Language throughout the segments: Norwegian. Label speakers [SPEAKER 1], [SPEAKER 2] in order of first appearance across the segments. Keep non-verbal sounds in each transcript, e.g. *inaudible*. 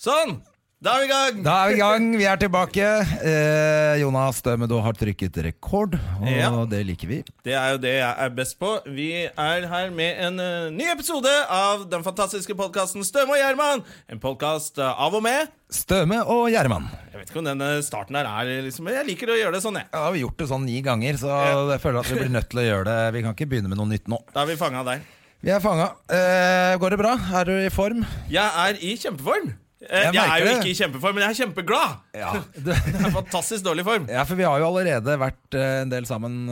[SPEAKER 1] Sånn! Da er vi i gang!
[SPEAKER 2] Da er vi i gang, vi er tilbake. Eh, Jonas Dømedo har trykket rekord, og
[SPEAKER 1] Ja.
[SPEAKER 2] det liker vi.
[SPEAKER 1] Det er jo det jeg er best på. Vi er her med en eh, ny episode av den fantastiske podkasten Støme og Gjerman. En podkast av og med.
[SPEAKER 2] Støme og Gjerman.
[SPEAKER 1] Jeg vet ikke om denne starten her er liksom men Jeg liker å gjøre det sånn, jeg.
[SPEAKER 2] Ja, vi har gjort det sånn ni ganger, så
[SPEAKER 1] Ja.
[SPEAKER 2] jeg føler at vi blir nødt til å gjøre det. Vi kan ikke begynne med noe nytt nå.
[SPEAKER 1] Da er vi fanga der.
[SPEAKER 2] Vi er fanga. Eh, går det bra? Er du i form?
[SPEAKER 1] Jeg er i kjempeform. Eh,
[SPEAKER 2] Jeg
[SPEAKER 1] Jeg,
[SPEAKER 2] merker
[SPEAKER 1] er jo
[SPEAKER 2] det.
[SPEAKER 1] ikke i kjempeform, men jeg er kjempeglad. *laughs*
[SPEAKER 2] Du,
[SPEAKER 1] Jeg er i fantastisk dårlig form.
[SPEAKER 2] ja, for vi har jo allerede vært eh, en del sammen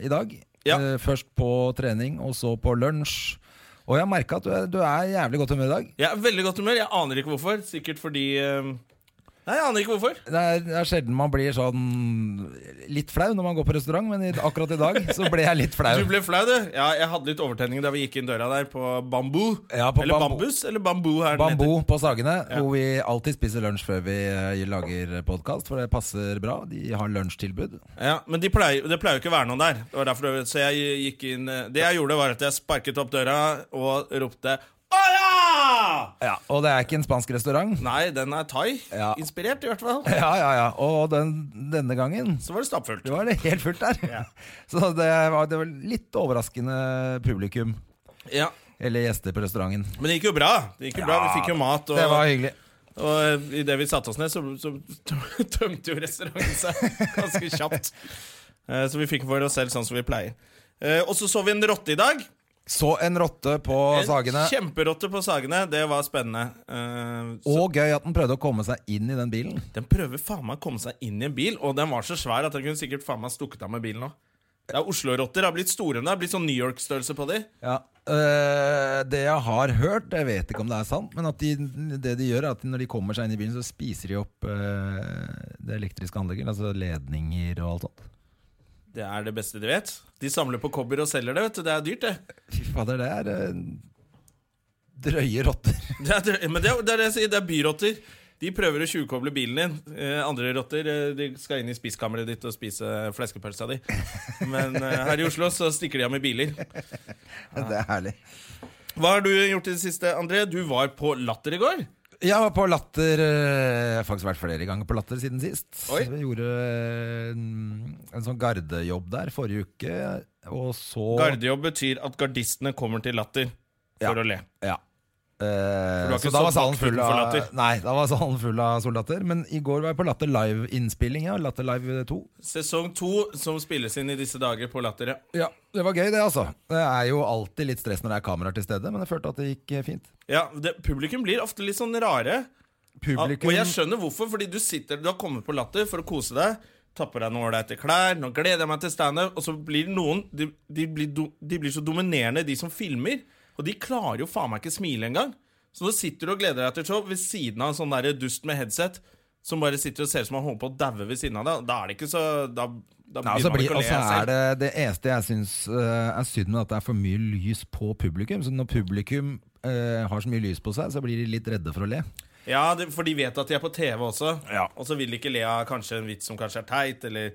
[SPEAKER 2] eh, i dag.
[SPEAKER 1] Ja.
[SPEAKER 2] Eh, først på trening, og så på lunsj. Og jeg har merka at du er, du er i jævlig godt humør i dag.
[SPEAKER 1] Jeg er i veldig godt humør. Jeg aner ikke hvorfor. Sikkert fordi eh, Nei, jeg aner ikke hvorfor.
[SPEAKER 2] Det er, det er sjelden man blir sånn litt flau når man går på restaurant, men i, akkurat i dag så ble jeg litt flau.
[SPEAKER 1] Du ble flau, du. Ja, jeg hadde litt overtenning da vi gikk inn døra der, på Bambu.
[SPEAKER 2] Ja, på
[SPEAKER 1] eller
[SPEAKER 2] Bambu.
[SPEAKER 1] Bambus? Eller Bambu her den
[SPEAKER 2] Bambo på Sagene,
[SPEAKER 1] Ja.
[SPEAKER 2] hvor vi alltid spiser lunsj før vi eh, lager podkast, for det passer bra. De har lunsjtilbud.
[SPEAKER 1] Ja, Men de pleier, det pleier jo ikke å være noen der. Det var derfor, så jeg gikk inn eh, Det jeg gjorde, var at jeg sparket opp døra og ropte Hola!
[SPEAKER 2] Ja, og det er ikke en spansk restaurant. *laughs*
[SPEAKER 1] Nei, den er
[SPEAKER 2] Ja.
[SPEAKER 1] thai-inspirert, i hvert fall.
[SPEAKER 2] Ja, ja, ja. Og den, denne gangen
[SPEAKER 1] Så var det stappfullt.
[SPEAKER 2] det var det helt fullt der. *laughs* Så det var, det var litt overraskende publikum,
[SPEAKER 1] Ja.
[SPEAKER 2] eller gjester på restauranten.
[SPEAKER 1] Men det gikk jo bra. Det gikk jo bra, Vi fikk jo mat.
[SPEAKER 2] Det var
[SPEAKER 1] Og,
[SPEAKER 2] hyggelig.
[SPEAKER 1] og eh, idet vi satte oss ned, så, så *laughs* tøm- tømte jo restauranten seg ganske kjapt. Eh, Så vi fikk for oss selv sånn som vi pleier. Eh, Og så så vi en rotte i dag.
[SPEAKER 2] Så en rotte på
[SPEAKER 1] En
[SPEAKER 2] Sagene.
[SPEAKER 1] kjemperotte på Sagene. Det var spennende. Eh, så-
[SPEAKER 2] Og gøy at den prøvde å komme seg inn i den bilen.
[SPEAKER 1] Den prøver faen meg å komme seg inn i en bil, og den var så svær at den kunne sikkert faen meg stukket av med bilen òg. Det er Oslo-rotter. Det har blitt store nå. Det har blitt sånn New York-størrelse på de.
[SPEAKER 2] Ja, øh, Det jeg har hørt, jeg vet ikke om det er sant, men at de, det de gjør er at når de kommer seg inn i bilen, så spiser de opp øh, det elektriske anlegget. Altså ledninger og alt sånt.
[SPEAKER 1] Det er det beste de vet. De samler på kobber og selger det, vet du. Det er dyrt, det.
[SPEAKER 2] Fy fader, det er øh, drøye rotter. *laughs*
[SPEAKER 1] det er, dyrt. men det er, det er det jeg sier. Det er byrotter. De prøver å tjuvkoble bilen din. Eh, andre rotter eh, de skal inn i spiskammeret ditt og spise fleskepølsa di. Men eh, her i Oslo så stikker de av med biler.
[SPEAKER 2] Det er herlig.
[SPEAKER 1] Hva har du gjort i det siste, André? Du var på Latter i går.
[SPEAKER 2] Jeg var på Latter øh, Jeg har faktisk vært flere ganger på Latter siden sist.
[SPEAKER 1] Oi.
[SPEAKER 2] Jeg gjorde øh, en, en sånn gardejobb der forrige uke, og så
[SPEAKER 1] Gardejobb betyr at gardistene kommer til Latter for
[SPEAKER 2] Ja.
[SPEAKER 1] å le.
[SPEAKER 2] Ja. Eh,
[SPEAKER 1] du har ikke
[SPEAKER 2] så da var
[SPEAKER 1] stått
[SPEAKER 2] salen
[SPEAKER 1] bak
[SPEAKER 2] full
[SPEAKER 1] utenfor
[SPEAKER 2] av
[SPEAKER 1] Latter?
[SPEAKER 2] Nei, da var salen full av soldater. Men i går var jeg på Latter Live-innspilling. Ja. Latter Live 2.
[SPEAKER 1] Sesong to, som spilles inn i disse dager på Latter. ja.
[SPEAKER 2] Ja, Det var gøy, det, altså. Det er jo alltid litt stress når det er kameraer til stede, men jeg følte at det gikk eh, fint.
[SPEAKER 1] Ja, det, Publikum blir ofte litt sånn rare. Ja,
[SPEAKER 2] Publikum
[SPEAKER 1] og jeg skjønner hvorfor, fordi du sitter, du har kommet på Latter for å kose deg. Tar på deg noen ålreite klær. Nå gleder jeg meg til standup. Og så blir noen de, de, blir do, de blir så dominerende, de som filmer. Og de klarer jo faen meg ikke smile engang. Så nå sitter du og gleder deg til show ved siden av en sånn der dust med headset som bare sitter og ser ut som han holder på å daue ved siden av deg. Da er det ikke så Da, da
[SPEAKER 2] Nei, og så
[SPEAKER 1] begynner man
[SPEAKER 2] Altså, blir,
[SPEAKER 1] ikke å
[SPEAKER 2] og
[SPEAKER 1] le
[SPEAKER 2] så
[SPEAKER 1] selv.
[SPEAKER 2] er det det eneste jeg syns eh, er synd med at det er for mye lys på publikum. Så når publikum eh, har så mye lys på seg, så blir de litt redde for å le.
[SPEAKER 1] Ja, det, for de vet at de er på TV også.
[SPEAKER 2] Ja.
[SPEAKER 1] Og så vil de ikke le av kanskje en vits som kanskje er teit, eller,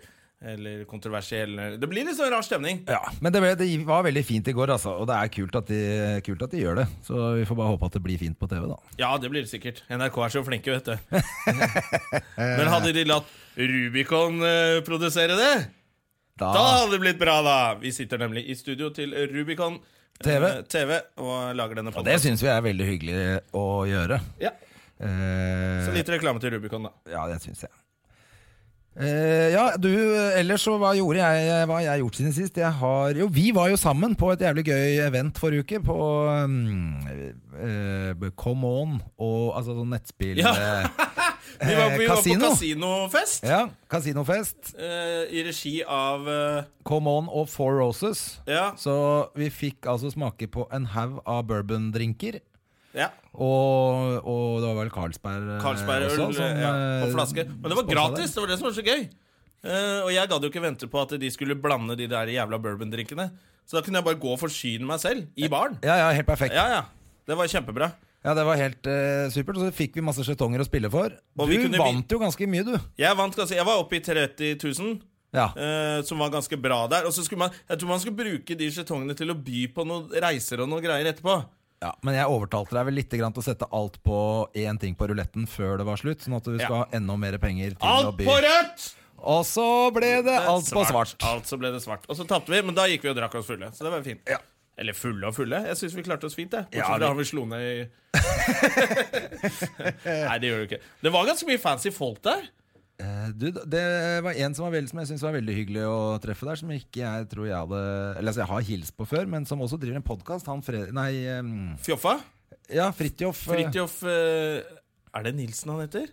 [SPEAKER 1] eller kontroversiell. Det blir litt sånn rar stemning.
[SPEAKER 2] Ja, Men det, ble, det var veldig fint i går, altså. Og det er kult at, de, kult at de gjør det. Så vi får bare håpe at det blir fint på TV, da.
[SPEAKER 1] Ja, det blir det sikkert. NRK er så flinke, vet du. Men hadde de latt Rubicon eh, produsere det,
[SPEAKER 2] Ah.
[SPEAKER 1] da hadde det blitt bra, da! Vi sitter nemlig i studio til Rubicon eh,
[SPEAKER 2] TV.
[SPEAKER 1] TV og lager denne
[SPEAKER 2] Og det
[SPEAKER 1] podcasten.
[SPEAKER 2] syns vi er veldig hyggelig å gjøre.
[SPEAKER 1] Ja.
[SPEAKER 2] Eh,
[SPEAKER 1] Så litt reklame til Rubicon, da.
[SPEAKER 2] Ja, det syns jeg. Eh, ja, du, ellers så hva gjorde jeg Hva har jeg gjort siden sist? Jeg har, jo, vi var jo sammen på et jævlig gøy event forrige uke. På mm, eh, Come On og altså sånn nettspill
[SPEAKER 1] Ja.
[SPEAKER 2] eh,
[SPEAKER 1] *laughs* Vi var,
[SPEAKER 2] Eh,
[SPEAKER 1] vi var på
[SPEAKER 2] kasino.
[SPEAKER 1] kasinofest
[SPEAKER 2] ja, Kasinofest.
[SPEAKER 1] eh, i regi av eh,
[SPEAKER 2] Come On og Four Roses.
[SPEAKER 1] Ja.
[SPEAKER 2] Så vi fikk altså smake på en haug av bourbondrinker.
[SPEAKER 1] ja.
[SPEAKER 2] Og, og det var var vel Carlsberg, eh,
[SPEAKER 1] Carlsberg-øl
[SPEAKER 2] også, som,
[SPEAKER 1] ja, på
[SPEAKER 2] eh,
[SPEAKER 1] flaske. Men det var
[SPEAKER 2] sponset
[SPEAKER 1] gratis! Det var det som var så gøy. Eh, og jeg gadd jo ikke vente på at de skulle blande de der jævla bourbondrinkene. Så da kunne jeg bare gå og forsyne meg selv i baren.
[SPEAKER 2] Ja, ja, helt perfekt. Ja,
[SPEAKER 1] Ja, ja. Det var kjempebra.
[SPEAKER 2] Det var helt eh, supert. Og så fikk vi masse skjetonger å spille for.
[SPEAKER 1] Og
[SPEAKER 2] du
[SPEAKER 1] vi kunne
[SPEAKER 2] vant jo ganske mye, du.
[SPEAKER 1] Jeg vant ganske Jeg var oppe i 30 000.
[SPEAKER 2] Ja.
[SPEAKER 1] eh, som var ganske bra der. Og så skulle man Jeg tror man skulle bruke de skjetongene til å by på noen reiser og noen greier etterpå.
[SPEAKER 2] ja. Men jeg overtalte deg vel litt grann til å sette alt på én ting på ruletten før det var slutt, sånn at du skal
[SPEAKER 1] Ja.
[SPEAKER 2] ha enda mer penger til å
[SPEAKER 1] Alt
[SPEAKER 2] by.
[SPEAKER 1] på rødt!
[SPEAKER 2] Og så ble det alt på svart.
[SPEAKER 1] Alt så ble det svart. Og så tapte vi, men da gikk vi og drakk oss fulle. Så det var fint. Eller fulle og fulle. Jeg syns vi klarte oss fint. det Bortsett
[SPEAKER 2] Ja,
[SPEAKER 1] fra
[SPEAKER 2] vi-
[SPEAKER 1] han vi slo ned i *laughs* Nei, det gjør du ikke. Det var ganske mye fancy folk der.
[SPEAKER 2] Eh, Du, det var en som, var veldig, som jeg syntes var veldig hyggelig å treffe der, som ikke jeg tror jeg hadde Eller altså, jeg har hilst på før, men som også driver en podkast. Han Fred... Nei, eh,
[SPEAKER 1] Fjoffa.
[SPEAKER 2] ja, Fridtjof. eh,
[SPEAKER 1] Fridtjof eh, Er det Nilsen han heter?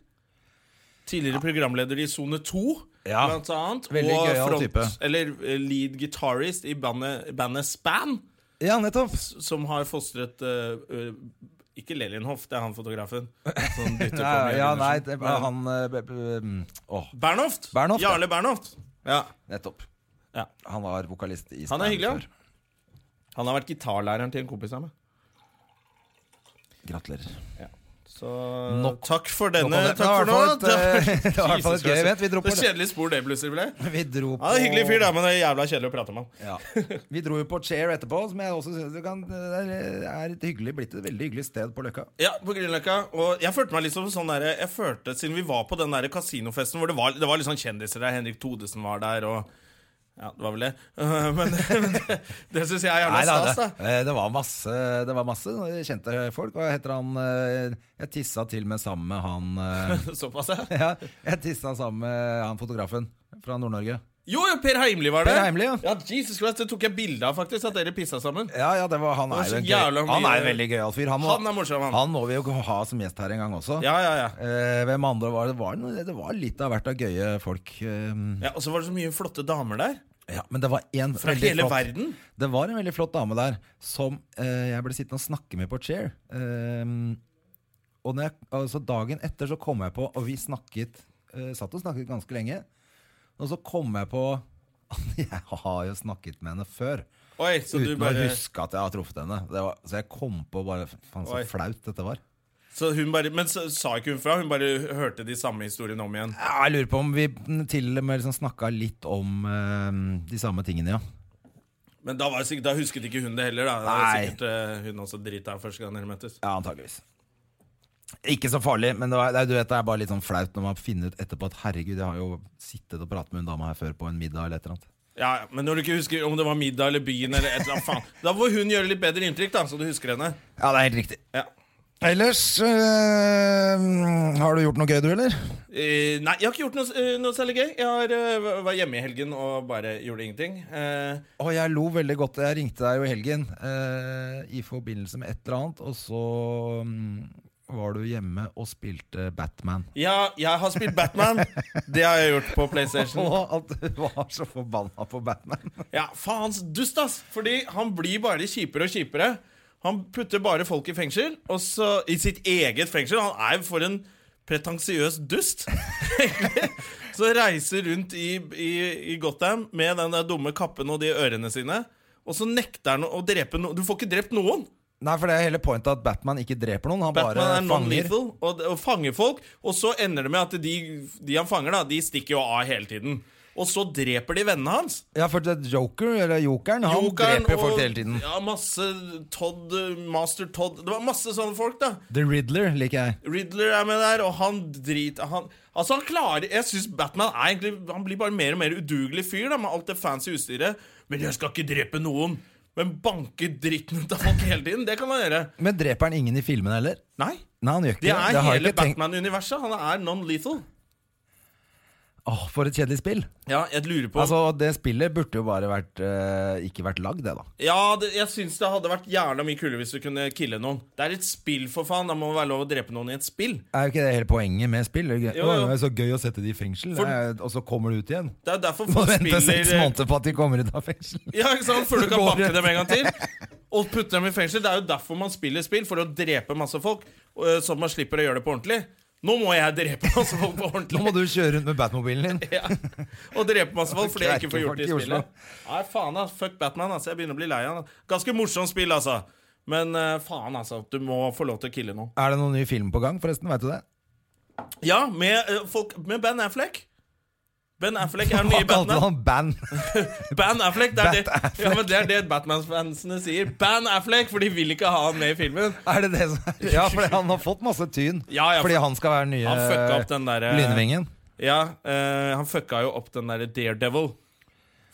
[SPEAKER 1] Tidligere programleder i Sone 2,
[SPEAKER 2] Ja.
[SPEAKER 1] blant annet.
[SPEAKER 2] Veldig
[SPEAKER 1] og
[SPEAKER 2] gøyal
[SPEAKER 1] front,
[SPEAKER 2] type.
[SPEAKER 1] Eller eh, lead guitarist i bandet, bandet Span,
[SPEAKER 2] Ja, nettopp.
[SPEAKER 1] som har fostret eh, eh, ikke Lelienhoff, det er han fotografen. Som dytter på sånn.
[SPEAKER 2] Ja,
[SPEAKER 1] med
[SPEAKER 2] ja,
[SPEAKER 1] Gundersen.
[SPEAKER 2] *laughs* nei, det var
[SPEAKER 1] Men-
[SPEAKER 2] han eh, be- be- mm, Åh,
[SPEAKER 1] Bernhoft.
[SPEAKER 2] Bernhoft, ja.
[SPEAKER 1] Jarle Bernhoft. Ja.
[SPEAKER 2] nettopp.
[SPEAKER 1] Ja.
[SPEAKER 2] Han var vokalist i
[SPEAKER 1] Han
[SPEAKER 2] Span
[SPEAKER 1] er hyggelig,
[SPEAKER 2] før.
[SPEAKER 1] han. Han har vært gitarlæreren til en kompis av meg.
[SPEAKER 2] Gratulerer.
[SPEAKER 1] Så eh,
[SPEAKER 2] Nok-
[SPEAKER 1] takk for
[SPEAKER 2] Nå
[SPEAKER 1] denne.
[SPEAKER 2] kom det-
[SPEAKER 1] takk for
[SPEAKER 2] det
[SPEAKER 1] nå.
[SPEAKER 2] var i
[SPEAKER 1] *laughs*
[SPEAKER 2] hvert fall et, eh, *laughs* det var i hvert fall et
[SPEAKER 1] Jesus
[SPEAKER 2] gøy
[SPEAKER 1] Christ.
[SPEAKER 2] event. Vi dro på
[SPEAKER 1] Det er kjedelig spor det plutselig ble.
[SPEAKER 2] Vi dro på
[SPEAKER 1] Han er en hyggelig fyr, da, men det er jævla kjedelig å prate med han.
[SPEAKER 2] Ja. Vi dro jo på Chair etterpå, som jeg også syns kan Det er- er et hyggelig, blitt et veldig hyggelig sted på Løkka.
[SPEAKER 1] Ja, på Grünerløkka. Og jeg følte meg litt som sånn der, Jeg følte, Siden vi var på den der kasinofesten hvor det var, det var litt sånn kjendiser der, Henrik Thodesen var der og Ja, det var vel det. *laughs* Men, men det, det syns jeg er jævla
[SPEAKER 2] Nei, da,
[SPEAKER 1] stas, da.
[SPEAKER 2] det, eh, det var masse Det var masse kjente folk. Hva heter han eh, Jeg tissa til med sammen med han eh, *laughs*
[SPEAKER 1] *laughs* Såpass, ja.
[SPEAKER 2] Ja, jeg tissa sammen med han fotografen fra Nord-Norge.
[SPEAKER 1] Jo, jo, Per Heimli var det.
[SPEAKER 2] Per Heimli, ja.
[SPEAKER 1] Jesus Christ, Det tok jeg bilde av, faktisk. At dere pissa sammen.
[SPEAKER 2] Ja, ja, det var, han,
[SPEAKER 1] Det var
[SPEAKER 2] er jo
[SPEAKER 1] så
[SPEAKER 2] en
[SPEAKER 1] jævla
[SPEAKER 2] gøy, han
[SPEAKER 1] mye-
[SPEAKER 2] er en veldig gøyal fyr. Han, må-
[SPEAKER 1] Han er morsom, han.
[SPEAKER 2] han må vi jo ha som gjest her en gang også.
[SPEAKER 1] Ja, ja, ja.
[SPEAKER 2] Eh, hvem andre var det? Det var, noe, det var litt av hvert av gøye folk. eh,
[SPEAKER 1] ja og så var det så mye flotte damer der.
[SPEAKER 2] ja, men det var en
[SPEAKER 1] Fra
[SPEAKER 2] veldig
[SPEAKER 1] hele
[SPEAKER 2] flott,
[SPEAKER 1] verden.
[SPEAKER 2] Det var en veldig flott dame der som eh, jeg ble sittende og snakke med på chair. Eh, og når jeg, altså dagen etter så kom jeg på, og vi snakket eh, satt og snakket ganske lenge, og så kom jeg på at *laughs* jeg har jo snakket med henne før.
[SPEAKER 1] Oi, så du
[SPEAKER 2] uten
[SPEAKER 1] bare
[SPEAKER 2] å huske at jeg har truffet henne. Det var, så jeg kom på bare Faen, så
[SPEAKER 1] Oi.
[SPEAKER 2] flaut dette var.
[SPEAKER 1] Så hun bare Men så, sa ikke hun fra? Hun bare hørte de samme historiene om igjen?
[SPEAKER 2] Ja, jeg lurer på om vi til og med liksom snakka litt om eh, de samme tingene, ja.
[SPEAKER 1] Men da, var det sikkert, da husket ikke hun det heller, da. da var
[SPEAKER 2] Nei.
[SPEAKER 1] det sikkert eh, hun også drita første gang dere møttes.
[SPEAKER 2] Ja, antageligvis. Ikke så farlig, men det, var, det, er- du vet, det er bare litt sånn flaut når man finner ut etterpå at herregud, jeg har jo sittet og pratet med hun dama her før på en middag eller et eller annet.
[SPEAKER 1] Ja, ja, Men når du ikke husker om det var middag eller byen eller et eller annet, faen. Da får hun gjøre litt bedre inntrykk, da, så du husker henne.
[SPEAKER 2] Ja, det er helt riktig.
[SPEAKER 1] Ja.
[SPEAKER 2] Ellers øh, Har du gjort noe gøy, du, eller?
[SPEAKER 1] Eh, nei, jeg har ikke gjort noe, eh, noe særlig gøy. Jeg har, eh, var hjemme i helgen og bare gjorde ingenting. Eh,
[SPEAKER 2] Å, jeg lo veldig godt. Jeg ringte deg jo i helgen eh, i forbindelse med et eller annet, og så mm, var du hjemme og spilte Batman.
[SPEAKER 1] ja, jeg har spilt Batman. Det har jeg gjort på PlayStation.
[SPEAKER 2] Og at du var så forbanna på Batman. *laughs*
[SPEAKER 1] Ja, faens dust, ass! Fordi han blir bare kjipere og kjipere. Han putter bare folk i fengsel, og så i sitt eget fengsel. Han er jo for en pretensiøs dust, *laughs* egentlig. Så reiser rundt i, i, i Gotham med den der dumme kappen og de ørene sine. Og så nekter han å drepe noen. Du får ikke drept noen!
[SPEAKER 2] Nei, for det er hele pointet at Batman ikke dreper noen. Han
[SPEAKER 1] Batman
[SPEAKER 2] bare
[SPEAKER 1] er
[SPEAKER 2] fanger.
[SPEAKER 1] non-lethal og, og fanger folk. Og så ender det med at de, de han fanger, da, de stikker jo av hele tiden. Og så dreper de vennene hans.
[SPEAKER 2] Ja, for det er Joker, eller Jokeren, han
[SPEAKER 1] Jokeren
[SPEAKER 2] dreper jo folk
[SPEAKER 1] og-
[SPEAKER 2] hele tiden.
[SPEAKER 1] Ja, masse Todd, Master Todd Det var masse sånne folk, da.
[SPEAKER 2] The Riddler liker jeg.
[SPEAKER 1] Riddler er med der, og han driter han, Altså, han klarer Jeg syns Batman er egentlig Han blir bare mer og mer udugelig fyr, da, med alt det fancy utstyret. Men jeg skal ikke drepe noen. Men banke dritten ut av folk hele tiden, det kan man gjøre.
[SPEAKER 2] Men dreper han ingen i filmen heller?
[SPEAKER 1] Nei.
[SPEAKER 2] Nei, han gjør ikke
[SPEAKER 1] Det
[SPEAKER 2] det.
[SPEAKER 1] er
[SPEAKER 2] har jeg
[SPEAKER 1] hele
[SPEAKER 2] ikke tenkt-
[SPEAKER 1] Batman-universet. Han er non-lethal.
[SPEAKER 2] Åh, for et kjedelig spill.
[SPEAKER 1] Ja, jeg lurer på
[SPEAKER 2] Altså, det spillet burde jo bare vært eh, ikke vært lagd, det, da.
[SPEAKER 1] Ja, det, jeg syns det hadde vært jævla mye kulere hvis du kunne kille noen. Det er et spill, for faen. Da må det være lov å drepe noen i et spill.
[SPEAKER 2] Er jo ikke det hele poenget med spill? Det er, gøy.
[SPEAKER 1] Jo, jo.
[SPEAKER 2] Åh, det er så gøy å sette de i fengsel,
[SPEAKER 1] For-
[SPEAKER 2] det er- og så kommer du ut igjen.
[SPEAKER 1] Det er jo derfor
[SPEAKER 2] Må
[SPEAKER 1] folk
[SPEAKER 2] vente seks
[SPEAKER 1] spiller
[SPEAKER 2] måneder på at de kommer ut av
[SPEAKER 1] *laughs*
[SPEAKER 2] fengsel.
[SPEAKER 1] Ja, ikke sant? Før du kan
[SPEAKER 2] Går
[SPEAKER 1] banke
[SPEAKER 2] rett. *laughs*
[SPEAKER 1] dem en gang til. Og putte dem i fengsel. Det er jo derfor man spiller spill, for å drepe masse folk. eh, så man slipper å gjøre det på ordentlig. Nå må jeg drepe masse folk på
[SPEAKER 2] Nå må
[SPEAKER 1] ordentlig. *laughs*
[SPEAKER 2] du kjøre rundt med Batmobilen din.
[SPEAKER 1] Ja. Og drepe masse folk fordi jeg ikke får gjort det i
[SPEAKER 2] Kverkefolk i Oslo.
[SPEAKER 1] spillet. Nei, faen, ass. Fuck Batman, altså. Jeg begynner å bli lei av han. Ganske morsomt spill, altså. Men eh, faen, altså. Du må få lov til å kille noen.
[SPEAKER 2] Er det noen ny film på gang, forresten? Vet du det?
[SPEAKER 1] Ja, med, eh, folk, med Ben Affleck. Ben Affleck er den
[SPEAKER 2] Hva
[SPEAKER 1] nye
[SPEAKER 2] kalte
[SPEAKER 1] Batman.
[SPEAKER 2] du han? Ban?
[SPEAKER 1] Ban Affleck, det er det,
[SPEAKER 2] Bat Affleck.
[SPEAKER 1] ja, men det, er det Batman-fansene sier. Ban Affleck, for de vil ikke ha han med i filmen.
[SPEAKER 2] *laughs* Er det det som Ja, fordi han har fått masse tyn.
[SPEAKER 1] Ja, ja, for-
[SPEAKER 2] fordi han skal være den nye
[SPEAKER 1] Han fucka opp den eh, derre
[SPEAKER 2] Lynvingen.
[SPEAKER 1] Ja, eh, han fucka jo opp den derre Daredevil.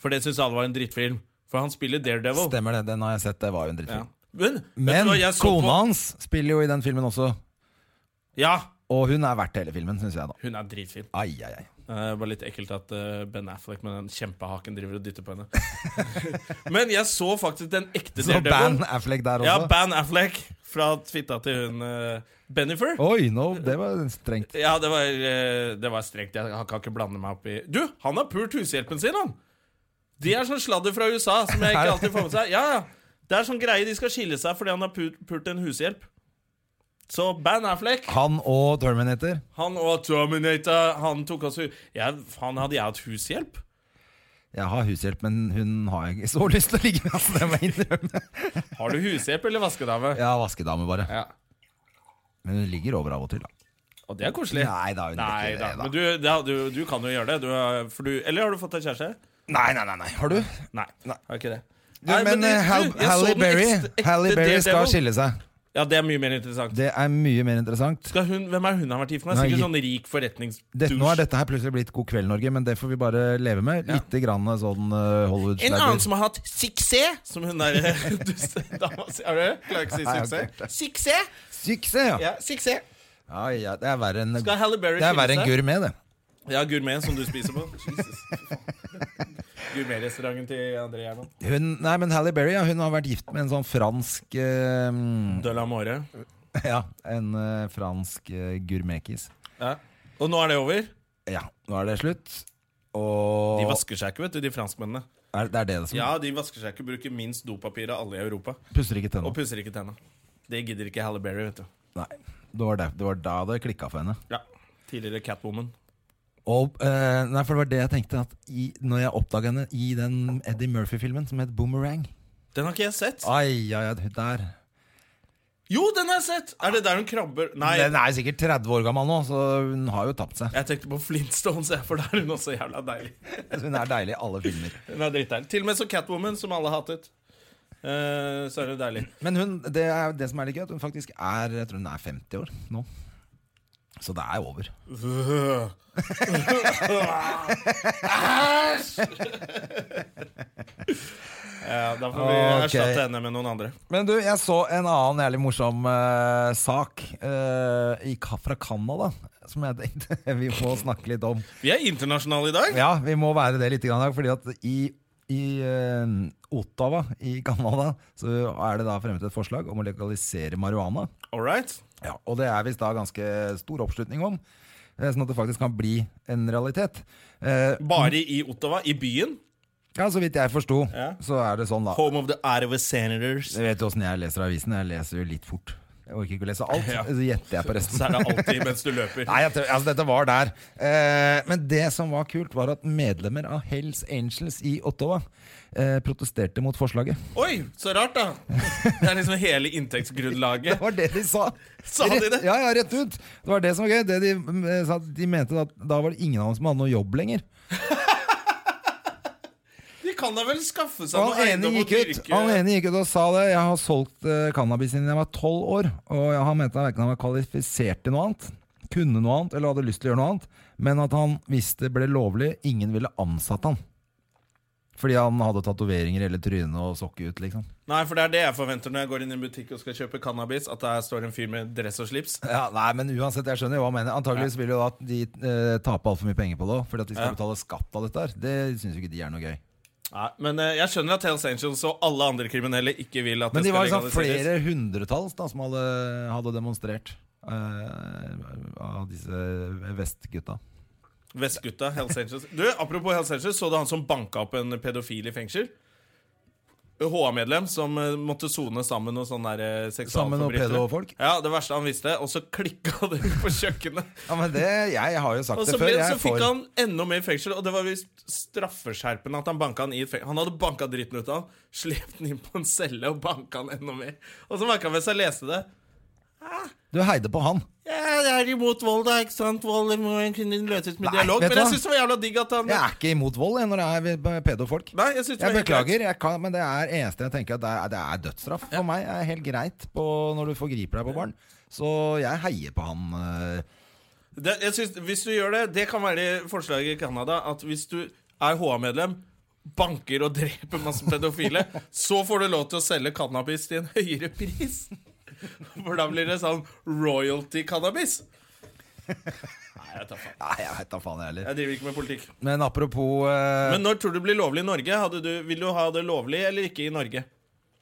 [SPEAKER 1] For det syns alle var en drittfilm. For han spiller Daredevil.
[SPEAKER 2] Stemmer det. Den har jeg sett. Det var jo
[SPEAKER 1] Ja.
[SPEAKER 2] en drittfilm.
[SPEAKER 1] Men, vet
[SPEAKER 2] Men
[SPEAKER 1] du hva, jeg så
[SPEAKER 2] kona
[SPEAKER 1] på-
[SPEAKER 2] hans spiller jo i den filmen også.
[SPEAKER 1] Ja,
[SPEAKER 2] Og hun er verdt hele filmen, syns jeg, da.
[SPEAKER 1] hun er dritfin.
[SPEAKER 2] Ai, ai, ai.
[SPEAKER 1] Eh, Det var litt ekkelt at eh, Ben Affleck med den kjempehaken driver og dytter på
[SPEAKER 2] *laughs*
[SPEAKER 1] henne. Men jeg så faktisk den ekte
[SPEAKER 2] Så Ban
[SPEAKER 1] Daredevil.
[SPEAKER 2] Affleck der
[SPEAKER 1] Ja,
[SPEAKER 2] også.
[SPEAKER 1] Ban Affleck fra fitta til hun eh, Bennifer.
[SPEAKER 2] Oi, no, det var strengt.
[SPEAKER 1] Ja, det var, eh, det var strengt. Jeg kan ikke blande meg opp i Du, han har pult hushjelpen sin, han! De er sånn sladder fra USA som
[SPEAKER 2] *laughs*
[SPEAKER 1] jeg ikke alltid får med seg. Ja, ja. Det er sånn greie de skal skille seg fordi han har pult, pult en hushjelp. Så Ban Affleck,
[SPEAKER 2] Han og Terminator.
[SPEAKER 1] han og Terminator, han tok oss ut ja, Faen, hadde jeg hatt hushjelp?
[SPEAKER 2] Jeg har hushjelp, men hun har jeg ikke så lyst til å ligge med. Altså, det må jeg innrømme.
[SPEAKER 1] Har du hushjelp eller vaskedame?
[SPEAKER 2] Jeg har vaskedame, bare.
[SPEAKER 1] Ja.
[SPEAKER 2] Men hun ligger over av og til, da.
[SPEAKER 1] Og det er koselig.
[SPEAKER 2] Nei da, hun
[SPEAKER 1] Nei
[SPEAKER 2] gjør
[SPEAKER 1] da.
[SPEAKER 2] ikke det, da.
[SPEAKER 1] Men du, det, har- du, du kan jo gjøre det. Du, har- for du, eller har du fått deg kjæreste?
[SPEAKER 2] Nei, nei, nei, nei. Har du?
[SPEAKER 1] Nei. Har ikke det.
[SPEAKER 2] Du, men
[SPEAKER 1] du-
[SPEAKER 2] eh, Hal
[SPEAKER 1] du, jeg så
[SPEAKER 2] Halle
[SPEAKER 1] den
[SPEAKER 2] Berry,
[SPEAKER 1] ekte- ekte
[SPEAKER 2] Halle Berry skal
[SPEAKER 1] Daredevil.
[SPEAKER 2] skille seg.
[SPEAKER 1] Ja, det er mye mer interessant.
[SPEAKER 2] Det er mye mer interessant.
[SPEAKER 1] Skal hun, hvem er hun har vært gift med?
[SPEAKER 2] Nei,
[SPEAKER 1] Sikkert
[SPEAKER 2] gi-
[SPEAKER 1] sånn rik
[SPEAKER 2] Det, nå er
[SPEAKER 1] forretningsdusj.
[SPEAKER 2] dette her plutselig blitt God kveld, Norge, men det får vi bare leve med. Litt grann sånn
[SPEAKER 1] En
[SPEAKER 2] eh,
[SPEAKER 1] annen
[SPEAKER 2] Hollywood-slagger.
[SPEAKER 1] som har hatt suksess, som hun der *laughs* dustedama sier. Har du? Klarer ikke å si
[SPEAKER 2] Nei, jeg har ikke hørt det.
[SPEAKER 1] suksess. Suksess!
[SPEAKER 2] Suksess, ja.
[SPEAKER 1] Ja, suksess.
[SPEAKER 2] ja! ja! Det er verre enn
[SPEAKER 1] Skal Halle Berry
[SPEAKER 2] Det er verre enn
[SPEAKER 1] skille seg?
[SPEAKER 2] gourmet, det.
[SPEAKER 1] Ja, gourmet som du spiser
[SPEAKER 2] *laughs*
[SPEAKER 1] på. Jesus. Gourmetrestauranten til André Gjerman.
[SPEAKER 2] Hun, nei, men Halle Berry ja, hun har vært gift med en sånn fransk eh,
[SPEAKER 1] De la More.
[SPEAKER 2] Ja, en eh, fransk eh, gourmetkis.
[SPEAKER 1] Ja. Og nå er det over.
[SPEAKER 2] Ja, nå er det slutt.
[SPEAKER 1] De
[SPEAKER 2] Og
[SPEAKER 1] vasker seg ikke, vet du, de franskmennene.
[SPEAKER 2] er, Det er det som
[SPEAKER 1] Ja, de vasker seg ikke, bruker minst dopapir av alle i Europa.
[SPEAKER 2] Puster ikke
[SPEAKER 1] Og
[SPEAKER 2] tennene.
[SPEAKER 1] pusser ikke tenna. Det gidder ikke Halle Berry, vet du.
[SPEAKER 2] Nei. Det var, det, det var da det klikka for henne.
[SPEAKER 1] Ja. Tidligere Catwoman.
[SPEAKER 2] Og, eh, nei, for det var det jeg tenkte at i, Når jeg oppdaga henne i den Eddie Murphy-filmen som het Boomerang
[SPEAKER 1] Den har ikke jeg sett.
[SPEAKER 2] Ai, ai, ai, hun der
[SPEAKER 1] Jo, den har jeg sett! Er det der hun krabber Nei,
[SPEAKER 2] Den er sikkert 30 år gammel nå, så hun har jo tapt seg.
[SPEAKER 1] jeg tenkte på Flintstones, jeg, for da er hun også jævla deilig.
[SPEAKER 2] Hun er deilig i alle filmer.
[SPEAKER 1] Hun er dritdeilig. Til og med så Catwoman, som alle hatet. Eh, så er hun deilig.
[SPEAKER 2] Men hun, det, er, det som er litt gøy, at hun faktisk er Jeg tror hun er 50 år nå. Så det er over.
[SPEAKER 1] Ja, da får vi
[SPEAKER 2] Ok.
[SPEAKER 1] erstatte henne med noen andre.
[SPEAKER 2] Men du, jeg så en annen jævlig morsom eh, sak eh, i, Ka- fra Canada som jeg tenkte *laughs* vi må snakke litt om.
[SPEAKER 1] Vi er internasjonale i dag.
[SPEAKER 2] Ja, vi må være det litt, grann, i dag, fordi at i, i eh, Ottawa i Canada så er det da fremmet et forslag om å legalisere marihuana.
[SPEAKER 1] All right.
[SPEAKER 2] Ja, og det er visst da ganske stor oppslutning om, eh, sånn at det faktisk kan bli en realitet. Eh,
[SPEAKER 1] Bare i Ottawa, i byen.
[SPEAKER 2] ja, så vidt jeg forsto,
[SPEAKER 1] Ja.
[SPEAKER 2] så er det sånn da.
[SPEAKER 1] Home of the Ottawa Senators.
[SPEAKER 2] Du vet jo åssen jeg leser avisen. Jeg leser jo litt fort. Jeg orker ikke å lese alt.
[SPEAKER 1] *laughs* Ja.
[SPEAKER 2] Så gjetter jeg på resten.
[SPEAKER 1] Så er det alltid mens du løper.
[SPEAKER 2] Nei, jeg tror, altså dette var der. Eh, men det som var kult, var at medlemmer av Hells Angels i Ottawa eh, protesterte mot forslaget.
[SPEAKER 1] Oi, så rart, da. Det er liksom hele
[SPEAKER 2] Det
[SPEAKER 1] inntektsgrunnlaget.
[SPEAKER 2] var *laughs* det de sa.
[SPEAKER 1] Sa de det?
[SPEAKER 2] Ja, ja, rett ut. Det var det som var gøy. Det de, eh, sa, de mente at da var det ingen av dem som hadde noe jobb lenger.
[SPEAKER 1] De kan da vel skaffe seg
[SPEAKER 2] Og
[SPEAKER 1] noe
[SPEAKER 2] han ene
[SPEAKER 1] eiendom og
[SPEAKER 2] gikk ut
[SPEAKER 1] dyrke
[SPEAKER 2] Han ene gikk ut og sa det. Jeg har solgt eh, cannabis siden jeg var tolv år. Og jeg- han mente verken han var kvalifisert til noe annet, kunne noe annet eller hadde lyst til å gjøre noe annet, men at han, hvis det ble lovlig, ingen ville ansatt han. Fordi han hadde tatoveringer i hele trynet og sokke ut, liksom.
[SPEAKER 1] Nei, for det er det jeg forventer når jeg går inn i en butikk og skal kjøpe cannabis. At der står en fyr med dress og slips.
[SPEAKER 2] Ja, nei, men uansett, jeg skjønner jo hva han mener. Antakeligvis vil jo da at de eh, tape altfor mye penger på det òg, fordi at de skal
[SPEAKER 1] Ja.
[SPEAKER 2] betale skatt av dette her. Det syns jo ikke de er noe gøy.
[SPEAKER 1] Nei, men eh, jeg skjønner at Hells Angels og alle andre kriminelle ikke vil at
[SPEAKER 2] Men
[SPEAKER 1] det
[SPEAKER 2] de var
[SPEAKER 1] skal
[SPEAKER 2] liksom
[SPEAKER 1] legaliseres.
[SPEAKER 2] flere hundretalls da, som hadde, hadde demonstrert eh, av disse vestgutta.
[SPEAKER 1] Vestgutta, Hells Angels. Du, Apropos Hells Angels, så du han som banka opp en pedofil i fengsel? HA-medlem som eh, måtte sone sammen og sånne der, eh,
[SPEAKER 2] Sammen og
[SPEAKER 1] seksualforbrytere.
[SPEAKER 2] pedofolk?
[SPEAKER 1] Ja, det verste han visste. Og så klikka *laughs* det på kjøkkenet.
[SPEAKER 2] Ja, men det, Jeg har jo sagt
[SPEAKER 1] Og
[SPEAKER 2] det
[SPEAKER 1] så,
[SPEAKER 2] før.
[SPEAKER 1] ble,
[SPEAKER 2] Jeg
[SPEAKER 1] så
[SPEAKER 2] er
[SPEAKER 1] fikk
[SPEAKER 2] for-
[SPEAKER 1] han enda mer fengsel, og det var visst straffeskjerpende at han banka han i fengsel. Han hadde banka dritten ut av han, slept han inn på en celle og banka han enda mer. Og så merka han hvis jeg leste det.
[SPEAKER 2] Du heide på han.
[SPEAKER 1] Ja, jeg er imot vold, da, ikke sant? Vold må kunne løses med
[SPEAKER 2] Nei,
[SPEAKER 1] dialog.
[SPEAKER 2] vet du
[SPEAKER 1] Men jeg
[SPEAKER 2] hva?
[SPEAKER 1] syns det var jævla digg at han
[SPEAKER 2] Jeg er ikke imot vold jeg, når det er pedofolk.
[SPEAKER 1] Nei, jeg synes det
[SPEAKER 2] Jeg
[SPEAKER 1] var helt
[SPEAKER 2] beklager, jeg kan, men det er eneste jeg tenker at det er, det er dødsstraff. For meg er det helt greit på når du forgriper deg på barn. Så jeg heier på han. eh.
[SPEAKER 1] Det, jeg synes, hvis du gjør det, det kan være forslaget i Canada. At hvis du er HA-medlem, banker og *laughs* dreper masse pedofile, så får du lov til å selge cannabis til en høyere pris. For da blir det sånn royalty-cannabis. Nei, jeg tar faen.
[SPEAKER 2] Nei, jeg veit da faen, jeg heller.
[SPEAKER 1] Jeg driver ikke med politikk.
[SPEAKER 2] Men apropos eh,
[SPEAKER 1] Men når tror du det blir lovlig i Norge? Hadde du, vil du ha det lovlig eller ikke i Norge?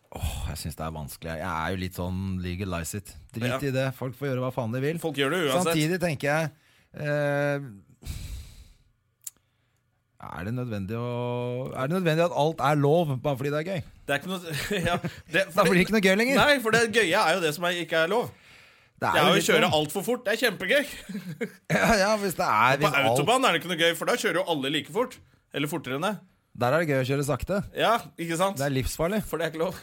[SPEAKER 2] åh, Jeg syns det er vanskelig. Jeg er jo litt sånn legalize it. Drit
[SPEAKER 1] Ja.
[SPEAKER 2] i det. Folk får gjøre hva faen de vil.
[SPEAKER 1] Folk gjør det uansett.
[SPEAKER 2] Samtidig tenker jeg eh, er det, nødvendig å, er det nødvendig at alt er lov bare fordi det er gøy?
[SPEAKER 1] Det er ikke noe *laughs* ja, det,
[SPEAKER 2] Da blir det ikke noe gøy lenger.
[SPEAKER 1] Nei, for det gøye er jo det som er, ikke er lov. Det er jo å kjøre altfor fort. Det er kjempegøy.
[SPEAKER 2] Ja, *laughs* ja, hvis det er
[SPEAKER 1] På
[SPEAKER 2] hvis alt,
[SPEAKER 1] autobahn er det ikke noe gøy, for da kjører jo alle like fort. Eller fortere enn det.
[SPEAKER 2] Der er det gøy å kjøre sakte.
[SPEAKER 1] Ja, ikke sant? *laughs*
[SPEAKER 2] Det er livsfarlig.
[SPEAKER 1] For det er
[SPEAKER 2] *laughs*
[SPEAKER 1] ikke lov.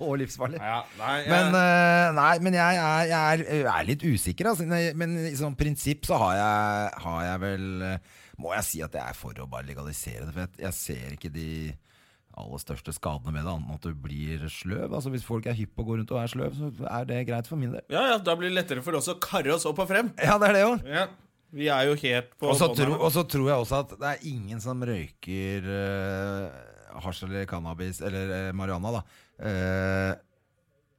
[SPEAKER 2] Og livsfarlig.
[SPEAKER 1] Ja, nei, jeg,
[SPEAKER 2] Men, eh, nei, men jeg er, jeg er, jeg er litt usikker, altså. Nei, Men i sånn prinsipp så har jeg, har jeg vel eh, Må jeg si at jeg er for å bare legalisere det. For jeg, jeg ser ikke de aller største skadene med det, annet enn at du blir sløv. Altså Hvis folk er hypp på å gå rundt og er sløv, så er det greit for min del.
[SPEAKER 1] ja, ja, da blir det lettere for oss å karre oss opp og frem.
[SPEAKER 2] Ja, det er det jo.
[SPEAKER 1] Ja. Vi er jo helt på
[SPEAKER 2] Og så
[SPEAKER 1] bånn
[SPEAKER 2] tro,
[SPEAKER 1] her nå.
[SPEAKER 2] og så tror jeg også at det er ingen som røyker uh, hasj eller cannabis eller eh, marihuana, da, eh,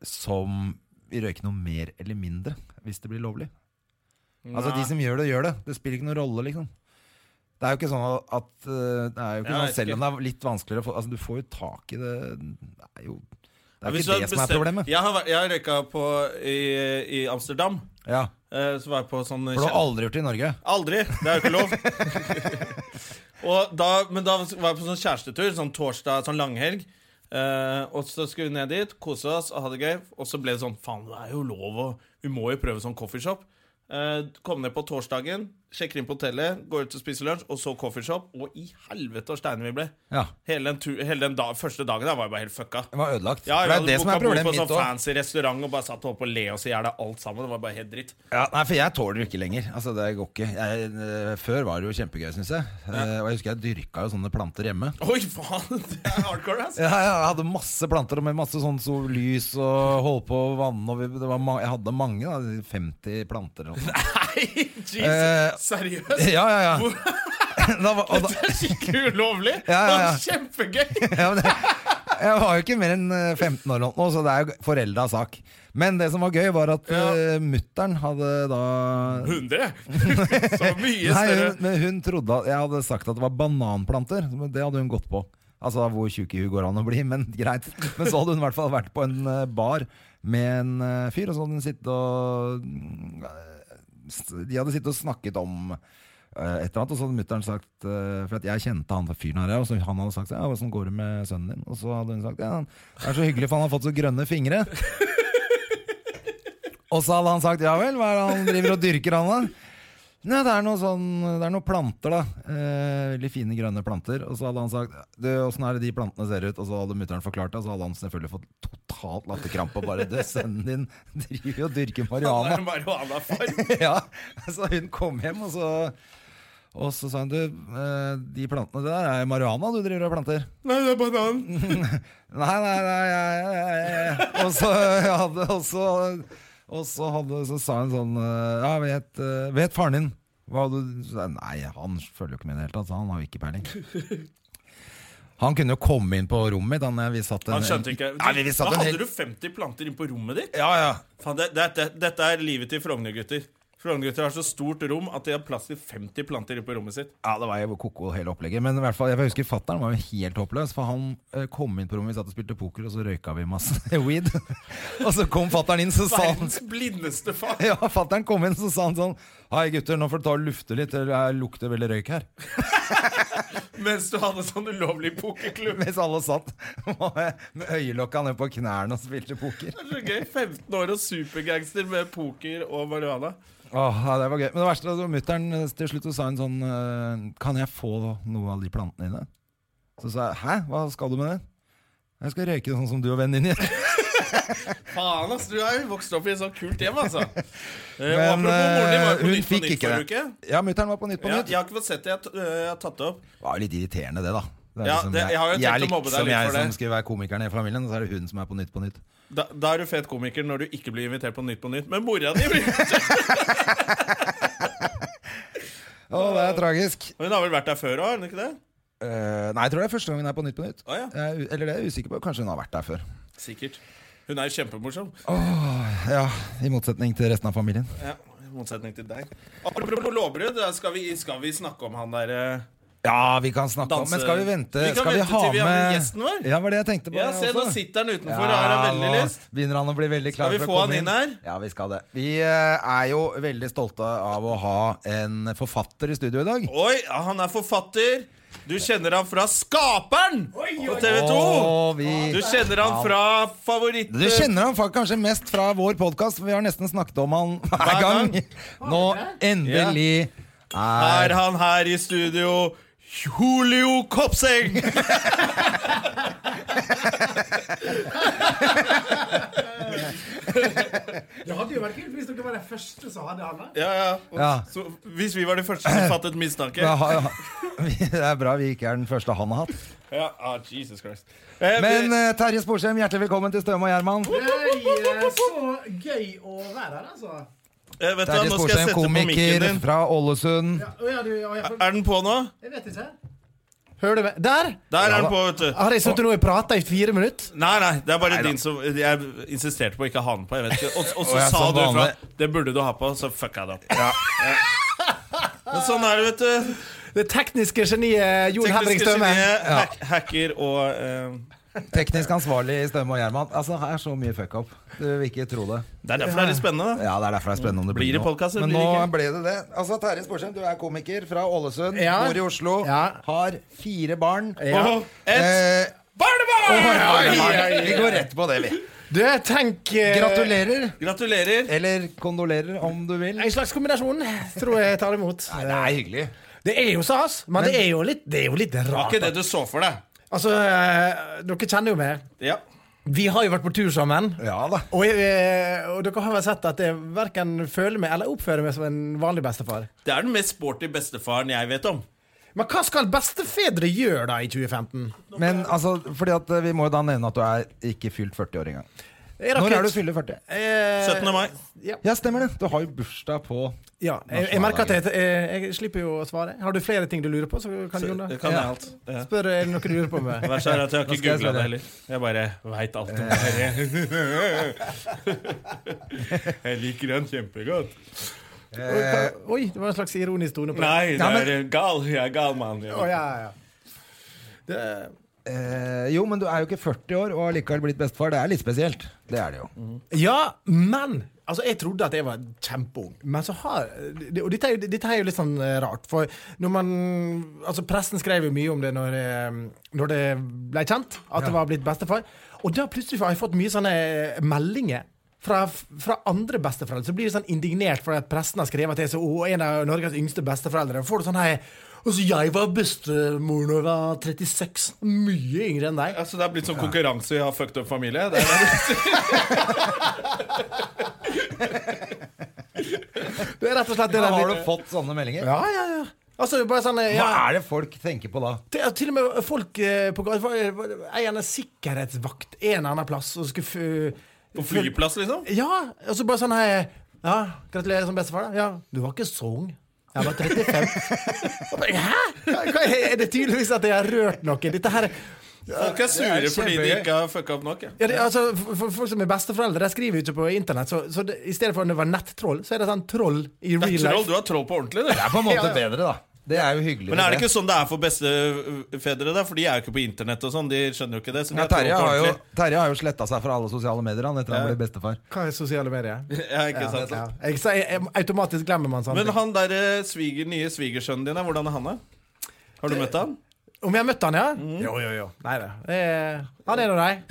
[SPEAKER 2] som vil røyke noe mer eller mindre hvis det blir lovlig. Altså
[SPEAKER 1] Nei.
[SPEAKER 2] De som gjør det, gjør det. Det spiller ikke noen rolle, liksom. Det er jo ikke sånn at eh, det er jo
[SPEAKER 1] Jeg
[SPEAKER 2] ikke sånn,
[SPEAKER 1] vet
[SPEAKER 2] Selv om det
[SPEAKER 1] ikke.
[SPEAKER 2] er litt vanskeligere å få Altså, du får jo tak i det Det er jo det er jo
[SPEAKER 1] Hvis du
[SPEAKER 2] ikke det som er
[SPEAKER 1] bestem-
[SPEAKER 2] problemet.
[SPEAKER 1] Jeg har, vært- jeg har røyka på i, i Amsterdam.
[SPEAKER 2] Ja,
[SPEAKER 1] Eh, Så var jeg på sånn
[SPEAKER 2] For du
[SPEAKER 1] kjempe-
[SPEAKER 2] har aldri gjort det i Norge?
[SPEAKER 1] Aldri. Det er jo ikke lov. *laughs* og da, men da var jeg på sånn kjærestetur, sånn torsdag, sånn langhelg. Eh, og så skulle vi ned dit, kose oss og ha det gøy. Og så ble det sånn Faen, det er jo lov, og vi må jo prøve sånn coffeeshop. Eh, kom ned på torsdagen, sjekker inn på hotellet, går ut og spiser lunsj, og så coffeeshop. Og i helvete så steine vi ble.
[SPEAKER 2] Ja.
[SPEAKER 1] Hele den, tu- hele den da, første dagen der var jeg bare helt fucka.
[SPEAKER 2] Det var ødelagt.
[SPEAKER 1] Ja,
[SPEAKER 2] For
[SPEAKER 1] vi
[SPEAKER 2] det er
[SPEAKER 1] hadde
[SPEAKER 2] det som er
[SPEAKER 1] booka bord
[SPEAKER 2] problemet
[SPEAKER 1] på
[SPEAKER 2] mitt
[SPEAKER 1] sånn
[SPEAKER 2] òg.
[SPEAKER 1] fancy restaurant og bare satt og holdt på å le oss i hjel av alt sammen. Det var bare helt dritt.
[SPEAKER 2] Ja, nei, for jeg tåler det ikke lenger. Altså, det går ikke. Jeg, eh, før var det jo kjempegøy, syns jeg. Eh, og jeg husker jeg dyrka jo sånne planter hjemme.
[SPEAKER 1] Oi, faen! *laughs* Det er hardcore, ass.
[SPEAKER 2] Ja, ja, jeg hadde masse planter og med masse sånn sol, lys og holdt på å vanne. Og vi, det var, ma- jeg hadde mange, da, 50 planter. Og sånn. sånt.
[SPEAKER 1] Nei, Jesus,
[SPEAKER 2] Eh,
[SPEAKER 1] seriøst?
[SPEAKER 2] *laughs* ja, ja, ja. Da var, og da,
[SPEAKER 1] Det er skikkelig ulovlig!
[SPEAKER 2] Ja, ja, ja.
[SPEAKER 1] Det er kjempegøy!
[SPEAKER 2] ja, men det, jeg var jo ikke mer enn eh, 15 år nå, så det er jo forelda sak. Men det som var gøy, var at
[SPEAKER 1] Ja.
[SPEAKER 2] uh, mutter'n hadde da
[SPEAKER 1] 100? Så mye
[SPEAKER 2] Nei,
[SPEAKER 1] større.
[SPEAKER 2] hun, men hun trodde at jeg hadde sagt at det var bananplanter. Men det hadde hun gått på. Altså hvor tjukk i huet går an å bli, men *laughs* greit. Men så hadde hun i hvert fall vært på en eh, bar med en eh, fyr, og så hadde hun sittet og mm, eh, De hadde sittet og snakket om eh, et eller annet, og så hadde mutter'n sagt eh, For at jeg kjente han fyren her, og så han hadde sagt ja, 'Åssen går det med sønnen din?' Og så hadde hun sagt ja, 'Det er så hyggelig, for han har fått så grønne fingre'. Og så hadde han sagt ja vel, hva er det han driver og dyrker han da? Nei, det er noen sånn, det er noen planter da eh, Veldig fine grønne planter Og så hadde han sagt, du, hvordan er det de plantene ser ut? Og så hadde mutteren forklart det Og så hadde han selvfølgelig fått totalt latterkramp Og bare, du, sønnen din driver jo og dyrker
[SPEAKER 1] Han er
[SPEAKER 2] *laughs* marihuana
[SPEAKER 1] marihuanafarm.
[SPEAKER 2] Ja, så hun kom hjem og så Og så sa hun, du, eh, de plantene det der er jo marihuana du driver og planter
[SPEAKER 1] Nei, det er banan.
[SPEAKER 2] Nei, nei, nei, nei, nei, nei. Og så hadde Og så, og så, hadde, så sa hun sånn eh, Ja, vet, eh, vet faren din hva du så sa jeg, Nei, han følger jo ikke med i det hele tatt. så Han har jo ikke peiling. Han kunne jo komme inn på rommet mitt. Han, eh, vi satt en,
[SPEAKER 1] Han skjønte ikke
[SPEAKER 2] Nei, vi, vi satt
[SPEAKER 1] Da
[SPEAKER 2] en
[SPEAKER 1] hadde
[SPEAKER 2] hel
[SPEAKER 1] du 50 planter inne på rommet ditt?
[SPEAKER 2] Ja, ja.
[SPEAKER 1] Faen, det, det, det, dette er livet til Frogner, gutter. Frognergutter har så stort rom at de har plass til 50 planter på rommet sitt.
[SPEAKER 2] Ja, det var jo koko hele opplegget. Men i hvert fall, jeg husker fattern var jo helt håpløs. For han eh, kom inn på rommet, vi satt og spilte poker, og så røyka vi masse *laughs* weed. og så kom fattern inn, så sa han
[SPEAKER 1] Verdens blindeste far!
[SPEAKER 2] *laughs* Ja, fattern kom inn, så sa han sånn Hei, gutter, nå får du ta og lufte litt. Det lukter veldig røyk her. *laughs*
[SPEAKER 1] Mens du hadde sånn ulovlig pokerklubb.
[SPEAKER 2] Mens alle satt *laughs* eh, med øyelokka ned på knærne og spilte poker.
[SPEAKER 1] *laughs* Det er så gøy. 15 år og supergangster med poker og marihuana.
[SPEAKER 2] Åh, ja, det var gøy. Men det verste var at mutter'n eh, til slutt så sa hun sånn eh, Kan jeg få noe av de plantene dine? Så sa jeg hæ, hva skal du med det? Jeg skal røyke sånn som du og vennen din gjør.
[SPEAKER 1] *laughs* Faen, ass! Du er jo vokst opp i et sånt kult hjem,
[SPEAKER 2] *laughs*
[SPEAKER 1] altså. Eh, og
[SPEAKER 2] Men
[SPEAKER 1] apropos moren din var
[SPEAKER 2] eh,
[SPEAKER 1] jo på
[SPEAKER 2] hun
[SPEAKER 1] Nytt på
[SPEAKER 2] fikk
[SPEAKER 1] Nytt
[SPEAKER 2] ikke
[SPEAKER 1] forrige
[SPEAKER 2] det.
[SPEAKER 1] uke.
[SPEAKER 2] Ja, mutter'n var på Nytt på
[SPEAKER 1] Ja,
[SPEAKER 2] Nytt.
[SPEAKER 1] jeg har ikke fått sett det. Jeg, har t- eh, jeg har tatt det opp.
[SPEAKER 2] Det var jo litt irriterende, det, da. Det er
[SPEAKER 1] Ja, det- jeg har jo tenkt
[SPEAKER 2] er
[SPEAKER 1] å mobbe deg
[SPEAKER 2] som
[SPEAKER 1] litt
[SPEAKER 2] jeg
[SPEAKER 1] for det.
[SPEAKER 2] som skulle være komikeren i familien, og så er det hun som er på Nytt på Nytt.
[SPEAKER 1] Da, da er du fet komiker når du ikke blir invitert på Nytt på Nytt. Men mora di blir *laughs* invitert!
[SPEAKER 2] Å, det er tragisk.
[SPEAKER 1] Hun har vel vært der før òg, har hun ikke det?
[SPEAKER 2] Eh, nei, jeg tror det er første gang hun er på Nytt på Nytt.
[SPEAKER 1] Å, ja.
[SPEAKER 2] Jeg er u- eller det er jeg usikker på. Kanskje hun har vært der før.
[SPEAKER 1] Sikkert. Hun er jo kjempemorsom.
[SPEAKER 2] *laughs* Ja, I motsetning til resten av familien.
[SPEAKER 1] Ja, I motsetning til deg. Apropos lovbrudd, da skal, vi- skal vi snakke om han der eh,
[SPEAKER 2] Ja, vi kan snakke
[SPEAKER 1] Danse-
[SPEAKER 2] om Men skal vi vente?
[SPEAKER 1] Vi kan
[SPEAKER 2] skal vi
[SPEAKER 1] vente
[SPEAKER 2] ha
[SPEAKER 1] til vi har
[SPEAKER 2] med
[SPEAKER 1] med gjesten vår.
[SPEAKER 2] Ja, var det jeg tenkte på.
[SPEAKER 1] Ja,
[SPEAKER 2] jeg
[SPEAKER 1] se, nå
[SPEAKER 2] også.
[SPEAKER 1] sitter han utenfor og har han veldig
[SPEAKER 2] nå
[SPEAKER 1] lyst.
[SPEAKER 2] Begynner han å bli veldig klar
[SPEAKER 1] Skal vi
[SPEAKER 2] for å
[SPEAKER 1] få
[SPEAKER 2] komme
[SPEAKER 1] han inn her?
[SPEAKER 2] Ja, vi skal det. Vi eh, er jo veldig stolte av å ha en forfatter i studio i dag.
[SPEAKER 1] Oi, ja, han er forfatter. Du kjenner han fra Skaperen på TV 2.
[SPEAKER 2] Å, vi...
[SPEAKER 1] Du kjenner han fra favoritt...
[SPEAKER 2] Du kjenner han fa- kanskje mest fra vår podkast, for vi har nesten snakket om han hver gang.
[SPEAKER 1] gang.
[SPEAKER 2] Nå endelig er
[SPEAKER 1] Er han her i studio? Julio Kopseng!
[SPEAKER 3] Det hadde jo vært kult hvis dere var de første som hadde han her.
[SPEAKER 1] Ja, ja. Og
[SPEAKER 2] Ja.
[SPEAKER 1] Så, hvis vi var de første som fattet mistanke
[SPEAKER 2] Ja, ha- *laughs* ha- Det er bra vi ikke er den første han har hatt.
[SPEAKER 1] Ja, ah, Jesus Christ. Eh,
[SPEAKER 2] Men
[SPEAKER 1] vi,
[SPEAKER 2] eh, Terje Sporsem, hjertelig velkommen til Støme og Gjerman.
[SPEAKER 3] Nei, eh, så gøy å være her, altså.
[SPEAKER 1] eh, vet du, hva,
[SPEAKER 2] Terje
[SPEAKER 1] nå skal jeg
[SPEAKER 2] Sporsem,
[SPEAKER 1] sette på mikken
[SPEAKER 2] komiker
[SPEAKER 1] din.
[SPEAKER 2] fra Ålesund.
[SPEAKER 3] Ja, å ja, du, ja, jeg,
[SPEAKER 1] Er den på nå?
[SPEAKER 3] jeg vet ikke. Hører du meg? Der!
[SPEAKER 1] Der
[SPEAKER 2] Ja
[SPEAKER 1] er
[SPEAKER 2] da.
[SPEAKER 1] den på, vet du.
[SPEAKER 3] Har jeg sittet nå og prata i fire minutter?
[SPEAKER 1] Nei, nei, det er bare din som Jeg insisterte på å ikke ha den på. Jeg vet ikke. Og, og
[SPEAKER 2] Og
[SPEAKER 1] så
[SPEAKER 2] jeg
[SPEAKER 1] sa
[SPEAKER 2] som
[SPEAKER 1] du fra
[SPEAKER 2] vanlig.
[SPEAKER 1] Det burde du ha på, så fucka jeg det opp. Ja. Men sånn er det, vet du.
[SPEAKER 3] Det tekniske geniet Jon Henrik
[SPEAKER 1] Tekniske
[SPEAKER 3] Støme.
[SPEAKER 1] geniet, hack, hacker og eh,
[SPEAKER 2] Teknisk ansvarlig i Støme og Gjerman. Altså, her er så mye fuck up. Du vil ikke tro det.
[SPEAKER 1] Det er derfor det er litt spennende.
[SPEAKER 2] Ja, det er derfor det er spennende om det
[SPEAKER 1] Blir
[SPEAKER 2] blir,
[SPEAKER 1] det podcast, eller
[SPEAKER 2] Men
[SPEAKER 1] blir
[SPEAKER 2] nå
[SPEAKER 1] det
[SPEAKER 2] ble det det. Altså, Terje Sporsem, du er komiker fra Ålesund,
[SPEAKER 3] Ja.
[SPEAKER 2] bor i Oslo,
[SPEAKER 3] Ja.
[SPEAKER 2] har fire barn.
[SPEAKER 1] da.
[SPEAKER 3] Ja.
[SPEAKER 1] Og et
[SPEAKER 2] Eh,
[SPEAKER 1] barnebarn!
[SPEAKER 2] vi går rett på det, vi.
[SPEAKER 3] Du, tenk eh,
[SPEAKER 2] Gratulerer.
[SPEAKER 1] Gratulerer.
[SPEAKER 2] Eller kondolerer, om du vil. Eh,
[SPEAKER 3] En slags kombinasjon, tror jeg jeg tar imot.
[SPEAKER 2] Nei, det er hyggelig.
[SPEAKER 3] Det er jo stas, men, det, er jo litt, det er jo litt
[SPEAKER 1] Det var
[SPEAKER 3] rart.
[SPEAKER 1] ikke det du så for deg.
[SPEAKER 3] Altså, eh, dere kjenner jo meg.
[SPEAKER 1] Ja.
[SPEAKER 3] Vi har jo vært på tur sammen.
[SPEAKER 2] Ja da.
[SPEAKER 3] Og, jeg, eh, og dere har vel sett at jeg verken føler meg eller oppfører meg som en vanlig bestefar.
[SPEAKER 1] Det er den mest sporty bestefaren jeg vet om.
[SPEAKER 3] Men hva skal bestefedre gjøre da i 2015?
[SPEAKER 2] Men altså, fordi at eh, vi må jo da nevne at du er ikke fylt 40 år engang.
[SPEAKER 3] Jeg rakk
[SPEAKER 2] Når
[SPEAKER 3] litt-
[SPEAKER 2] er du fyller 40?
[SPEAKER 3] Eh,
[SPEAKER 1] 17. mai.
[SPEAKER 2] Ja, stemmer det. Du har jo bursdag på
[SPEAKER 3] Ja, jeg, jeg merker at jeg, jeg, jeg slipper jo å svare. Har du flere ting du lurer på, så kan du
[SPEAKER 1] Det
[SPEAKER 3] Jon, da.
[SPEAKER 1] kan jeg
[SPEAKER 2] Ja.
[SPEAKER 1] alt. Ja.
[SPEAKER 3] Spør eh, noe du lurer på med.
[SPEAKER 1] *laughs* Verst er at jeg har
[SPEAKER 2] Nå
[SPEAKER 1] ikke
[SPEAKER 2] skal
[SPEAKER 1] googla
[SPEAKER 2] jeg spørre.
[SPEAKER 1] det heller. Jeg bare veit alt om det. Jeg liker den kjempegodt.
[SPEAKER 2] eh,
[SPEAKER 3] Oi, det var en slags ironisk tone på det.
[SPEAKER 1] Nei, det
[SPEAKER 2] Ja, men-
[SPEAKER 1] er en gal. Jeg er gal mann.
[SPEAKER 3] Å, ja, ja. Det,
[SPEAKER 2] eh, Jo, men du er jo ikke 40 år og har likevel blitt bestefar. Det er litt spesielt. Det er det jo.
[SPEAKER 3] ja, men Altså, Jeg trodde at jeg var kjempeung, men så har det- Og dette er, jo, dette er jo litt sånn eh, rart, for når man Altså, pressen skrev jo mye om det når, eh, når det ble kjent at det var blitt bestefar, og da plutselig har jeg fått mye sånne eh, meldinger. Fra, fra andre besteforeldre Så blir du sånn indignert fordi at pressen har skrevet at jeg er så, «Å, en av Norges yngste besteforeldre. Og får du sånn hei Altså, jeg var bestemor da jeg var 36. Mye yngre enn deg.
[SPEAKER 1] Altså, det er blitt sånn konkurranse i å ha fucked up familie. Det er det.
[SPEAKER 3] Det er rett og slett det
[SPEAKER 2] Da
[SPEAKER 3] der
[SPEAKER 2] har
[SPEAKER 3] litt-
[SPEAKER 2] du fått sånne meldinger.
[SPEAKER 3] Ja, ja, ja. Altså, bare sånn eh,
[SPEAKER 2] Hva
[SPEAKER 3] ja.
[SPEAKER 2] er det folk tenker på da?
[SPEAKER 3] til, til og med folk eh, på gata var- var- En eller annen sikkerhetsvakt en eller annen plass og skulle fø-
[SPEAKER 1] På flyplass, liksom.
[SPEAKER 3] Ja. Og så bare sånn her Ja, gratulerer som bestefar, da. Ja, du var ikke så ung. Jeg var
[SPEAKER 1] *laughs*
[SPEAKER 3] 35. Og bare, Hæ?! Hva- hva- Er det tydeligvis at jeg har rørt noe? Dette her
[SPEAKER 1] Folk er sure
[SPEAKER 3] det er
[SPEAKER 1] fordi de
[SPEAKER 3] kjempegøy.
[SPEAKER 1] ikke har fucka opp nok. Ja.
[SPEAKER 3] Ja, det, altså, for, for folk som er besteforeldre, de skriver jo ikke på internett. Så, så det, i stedet for at det var nettroll, så er det sånn troll i
[SPEAKER 1] Det er
[SPEAKER 3] real
[SPEAKER 1] troll,
[SPEAKER 3] life.
[SPEAKER 1] du er troll på ordentlig, du.
[SPEAKER 2] Det er på en måte bedre, da. Det er jo hyggelig.
[SPEAKER 1] Men er det ikke sånn det er for bestefedre, da? For de er jo ikke på internett og sånn. De skjønner jo ikke det. Så de
[SPEAKER 2] ja,
[SPEAKER 1] er troll
[SPEAKER 2] Terje
[SPEAKER 1] på
[SPEAKER 2] har jo,
[SPEAKER 1] ordentlig.
[SPEAKER 2] Terje har jo sletta seg fra alle sosiale medier han etter han ble bestefar.
[SPEAKER 3] Hva er sosiale medier?
[SPEAKER 1] *laughs* Ja, ikke sant?
[SPEAKER 3] Ja. Jeg, så jeg, jeg, automatisk glemmer man sånne
[SPEAKER 1] Men
[SPEAKER 3] ting.
[SPEAKER 1] han der eh, sviger, nye svigersønnen din, eh, hvordan er han, da? Har du møtt han? Mm.
[SPEAKER 3] Om jeg har møtt han, ja? Jo, jo, jo. Nei da. Eh, han er nå deg.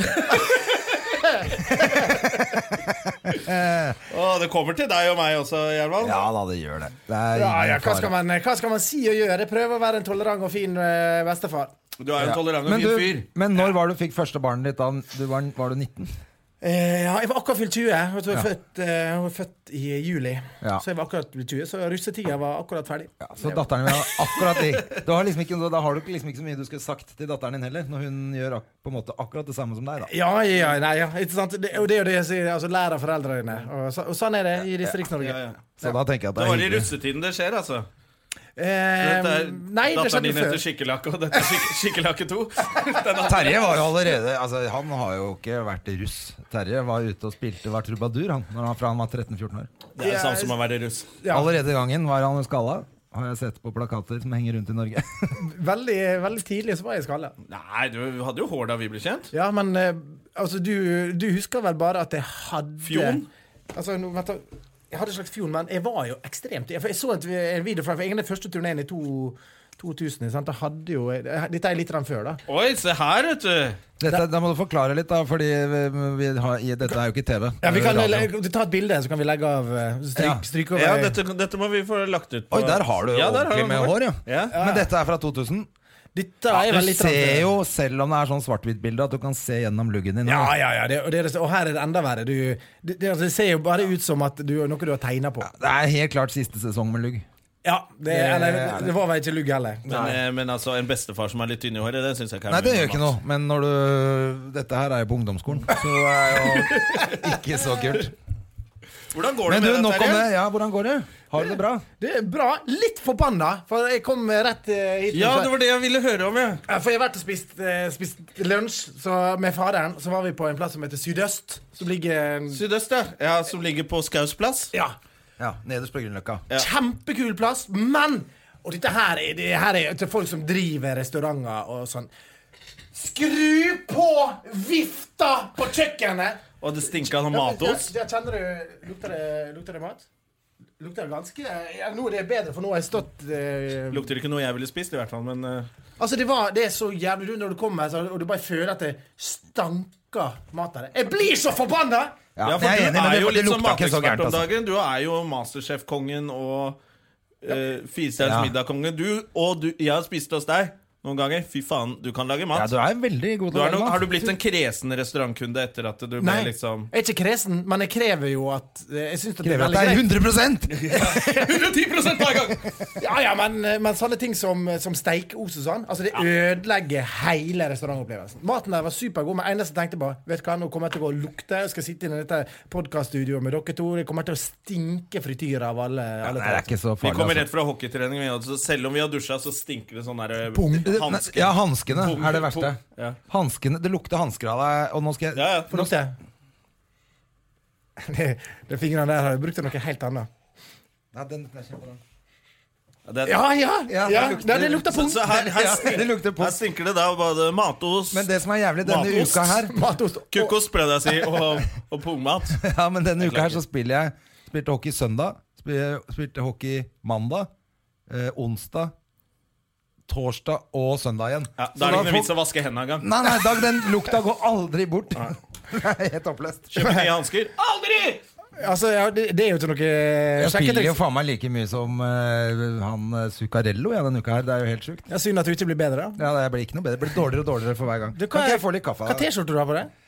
[SPEAKER 1] Å, det kommer til deg og meg også, Gjerman.
[SPEAKER 2] Ja da, det gjør det. Det er
[SPEAKER 3] Ja,
[SPEAKER 2] ingen
[SPEAKER 3] ja, hva, skal
[SPEAKER 2] fare.
[SPEAKER 3] man, hva skal man si og gjøre? Prøve å være en tolerant og fin eh, bestefar.
[SPEAKER 1] Du er jo en tolerant og
[SPEAKER 2] Men,
[SPEAKER 1] fin fyr.
[SPEAKER 2] du, men når var du fikk første barnet ditt? Da du var, var du 19?
[SPEAKER 3] Eh, ja, jeg var akkurat fylt 20. Jeg tror jeg er født, eh, hun er født i juli.
[SPEAKER 2] Ja.
[SPEAKER 3] Så jeg var akkurat fylt 20, så russetida var akkurat ferdig.
[SPEAKER 2] Ja, så datteren min har akkurat det. Du har liksom ikke, da har du ikke- liksom ikke så mye du skulle sagt til datteren din heller, når hun gjør ak på en måte akkurat det samme som deg. da
[SPEAKER 3] Ja, ja, nei, ja. Ikke sant? Det, og det er jo det jeg sier. Altså, lær av foreldrene dine. Og, så, og sånn er det i Distrikts-Norge.
[SPEAKER 1] Ja, ja.
[SPEAKER 2] Så da tenker jeg at det
[SPEAKER 1] Det
[SPEAKER 2] er
[SPEAKER 1] var i
[SPEAKER 2] hyggelig.
[SPEAKER 1] russetiden det skjer, altså.
[SPEAKER 3] Eh,
[SPEAKER 1] Dette er
[SPEAKER 3] nei, det
[SPEAKER 1] datteren
[SPEAKER 3] skjedde
[SPEAKER 1] din heter
[SPEAKER 3] før.
[SPEAKER 1] Skikkelakke, og dette er skik
[SPEAKER 3] *laughs*
[SPEAKER 1] Skikkelakke 2. Den er-
[SPEAKER 2] Terje var jo allerede altså, Han har jo ikke vært russ. Terje var ute og spilte, var trubadur han, når han, fra han var 13-14 år.
[SPEAKER 1] Det er det samme som å være russ.
[SPEAKER 3] Ja.
[SPEAKER 2] Allerede i gangen var han skalla. Har jeg sett på plakater som henger rundt i Norge. *laughs*
[SPEAKER 3] Veldig, veldig tidlig så var jeg skalla.
[SPEAKER 1] Nei, du hadde jo hår da vi ble kjent.
[SPEAKER 3] Ja, men eh, altså, du, du husker vel bare at jeg hadde
[SPEAKER 1] Fjon?
[SPEAKER 3] Altså, nå, vent da. Jeg hadde en slags fjon, men jeg var jo ekstremt Jeg, for jeg så et, en video fra for egentlig den første turneen i to, 2000. Sant? Jeg hadde jo, jeg, dette er litt rann før, da.
[SPEAKER 1] Oi, se her, vet du.
[SPEAKER 2] Dette, da må du forklare litt, da, fordi vi, vi har, i, dette er jo ikke TV.
[SPEAKER 3] Ja, vi kan
[SPEAKER 2] Radio.
[SPEAKER 3] le- ta et bilde, så kan vi legge av eh,
[SPEAKER 2] Ja.
[SPEAKER 3] Stryk, stryk over.
[SPEAKER 1] Ja, dette, dette må vi få lagt ut. på-
[SPEAKER 2] Oi, der har du jo
[SPEAKER 1] Ja, der har
[SPEAKER 2] ordentlig
[SPEAKER 1] han
[SPEAKER 2] med
[SPEAKER 1] hår.
[SPEAKER 2] hår, ja.
[SPEAKER 1] Ja.
[SPEAKER 2] Men dette er fra 2000.
[SPEAKER 3] Dette er
[SPEAKER 2] Du
[SPEAKER 3] vel litt rann
[SPEAKER 2] ser
[SPEAKER 3] før.
[SPEAKER 2] jo, selv om det er sånn svart-hvitt-bilde, at du kan se gjennom luggen din.
[SPEAKER 3] Ja, ja, ja. Det, og, det, er det- og her er det enda verre. Du, det, det, altså, det ser jo bare ut som at du, noe du har tegna på.
[SPEAKER 2] Det er helt klart siste sesong med lugg.
[SPEAKER 3] Ja, det, eller, det var vel ikke lugg heller.
[SPEAKER 1] Men, eh, men altså, en bestefar som er litt tynn i håret, det syns jeg ikke er
[SPEAKER 2] Nei, det
[SPEAKER 1] mye
[SPEAKER 2] gjør ikke noe, men når du Dette her er jo på ungdomsskolen, så det er jo ikke så kult.
[SPEAKER 1] Hvordan går det
[SPEAKER 2] Men du,
[SPEAKER 1] med
[SPEAKER 2] nok
[SPEAKER 1] deg,
[SPEAKER 2] om det.
[SPEAKER 1] Terje?
[SPEAKER 2] Ja, hvordan går det? Har du det bra?
[SPEAKER 3] Det er bra. Litt forbanna, for jeg kom eh, rett eh, hit.
[SPEAKER 1] Ja, det var det jeg ville høre om, ja.
[SPEAKER 3] Ja, For jeg har vært og spist, eh, spist lunsj så med faderen. Så var vi på en plass som heter Sydøst. Som ligger en
[SPEAKER 1] Sydøst, ja. ja. Som ligger på Skaus plass.
[SPEAKER 3] ja,
[SPEAKER 2] Ja, nederst på Grünerløkka.
[SPEAKER 1] Ja.
[SPEAKER 3] kjempekul plass, men Og dette her er, det her er til folk som driver restauranter og sånn. Skru på vifta på kjøkkenet!
[SPEAKER 1] Og det stinka av
[SPEAKER 3] Ja,
[SPEAKER 1] matost.
[SPEAKER 3] ja, kjenner du Lukter det, lukter det mat? Lukter det ganske ja, Nå er det bedre, for nå har jeg stått eh,
[SPEAKER 1] Lukter ikke noe jeg ville spist, i hvert fall. Men eh,
[SPEAKER 3] Altså, det, var, det er så jævlig du, når du kommer her, så- og du bare føler at det stanker mat av det. Jeg blir så forbanna!
[SPEAKER 2] Ja,
[SPEAKER 1] ja, for
[SPEAKER 2] jeg er
[SPEAKER 1] du
[SPEAKER 2] enig, men
[SPEAKER 1] er
[SPEAKER 2] det,
[SPEAKER 1] jo
[SPEAKER 2] det
[SPEAKER 1] litt sånn
[SPEAKER 2] lukta ikke så
[SPEAKER 1] matekspert
[SPEAKER 2] gærent,
[SPEAKER 1] om
[SPEAKER 2] altså.
[SPEAKER 1] dagen. Du er jo masterchef-kongen og uh, Firestjerners
[SPEAKER 2] Ja.
[SPEAKER 1] middag-kongen. Du og du Jeg har spist hos deg noen ganger. Fy faen, du kan lage
[SPEAKER 2] Ja,
[SPEAKER 1] mat.
[SPEAKER 2] du er veldig god
[SPEAKER 1] du
[SPEAKER 2] til å
[SPEAKER 1] er
[SPEAKER 2] lage
[SPEAKER 1] nok, har
[SPEAKER 2] mat.
[SPEAKER 1] du blitt en kresen restaurantkunde etter at du ble
[SPEAKER 3] Nei,
[SPEAKER 2] *laughs*
[SPEAKER 1] liksom
[SPEAKER 3] jeg er ikke kresen, men jeg krever jo at eh, Jeg syns det er
[SPEAKER 2] Krever at
[SPEAKER 3] veldig
[SPEAKER 2] det er
[SPEAKER 3] greit.
[SPEAKER 1] *laughs*
[SPEAKER 2] 100
[SPEAKER 1] 110 hver gang!
[SPEAKER 3] Ja, ja, men, eh, men sånne ting som, som steikeos og sånn, altså det ødelegger hele restaurantopplevelsen. Maten der var supergod, men eneste jeg tenkte på Vet du hva, nå kommer jeg til å gå og lukte. Jeg skal sitte inne i dette podkaststudioet med dere to. Det kommer til å stinke frityr av alle, alle
[SPEAKER 2] Nei, det er ikke så
[SPEAKER 1] Vi kommer
[SPEAKER 2] farlig. altså.
[SPEAKER 1] rett fra hockeytrening, vi, og så selv om vi har dusja, så stinker det sånn der
[SPEAKER 3] Pung.
[SPEAKER 1] eh,
[SPEAKER 2] Altså.
[SPEAKER 1] hanske.
[SPEAKER 2] Ja, hanskene
[SPEAKER 1] Pung,
[SPEAKER 2] er det verste.
[SPEAKER 1] pung. Ja.
[SPEAKER 2] Hanskene, Det lukter hansker av deg, og nå skal
[SPEAKER 1] Ja,
[SPEAKER 2] jeg
[SPEAKER 1] ja.
[SPEAKER 3] Få lukte. *laughs* De, de fingrene der har jeg brukt til noe helt annet.
[SPEAKER 2] Nei, den, den er kjempelang.
[SPEAKER 1] Det,
[SPEAKER 3] Ja, ja!
[SPEAKER 2] Ja,
[SPEAKER 3] ja,
[SPEAKER 2] det lukter-
[SPEAKER 3] nei, det lukter
[SPEAKER 1] Så,
[SPEAKER 3] pung.
[SPEAKER 1] så her, her,
[SPEAKER 2] Ja,
[SPEAKER 1] stinker,
[SPEAKER 2] det lukter pung.
[SPEAKER 1] her stinker det da både matost,
[SPEAKER 2] Men det som er jævlig denne
[SPEAKER 1] Matost.
[SPEAKER 2] uka her *laughs*
[SPEAKER 3] Matost. Og-
[SPEAKER 1] kukkost, prøvde jeg å si, og, og pungmat.
[SPEAKER 2] Ja, men denne uka her så spiller jeg Spilte hockey søndag spil- Spilte hockey mandag eh, Onsdag Torsdag og søndag igjen
[SPEAKER 1] Ja,
[SPEAKER 2] Så
[SPEAKER 1] da er det ikke noe
[SPEAKER 2] får-
[SPEAKER 1] vits å vaske hendene engang.
[SPEAKER 2] Nei, nei, Dag, den lukta går aldri bort *laughs* Det er helt oppløst
[SPEAKER 1] Kjøpe nye hansker.
[SPEAKER 2] Ah,
[SPEAKER 1] Aldri!
[SPEAKER 3] Altså, ja, det, det er jo til noe
[SPEAKER 2] *laughs*
[SPEAKER 3] eh,
[SPEAKER 2] Jeg spiller jo
[SPEAKER 3] sjekketriks.
[SPEAKER 2] faen meg like mye som eh, han eh, Zuccarello ja, denne uka her Det er jo helt sykt
[SPEAKER 3] Ja, Synd at du ikke blir bedre. da.
[SPEAKER 2] ja, det blir ikke noe bedre, det blir dårligere og dårligere for hver gang
[SPEAKER 3] Du, hva
[SPEAKER 2] Kan
[SPEAKER 3] er-
[SPEAKER 2] ikke jeg få litt kaffe?
[SPEAKER 3] Hva T-skjorte du har på deg?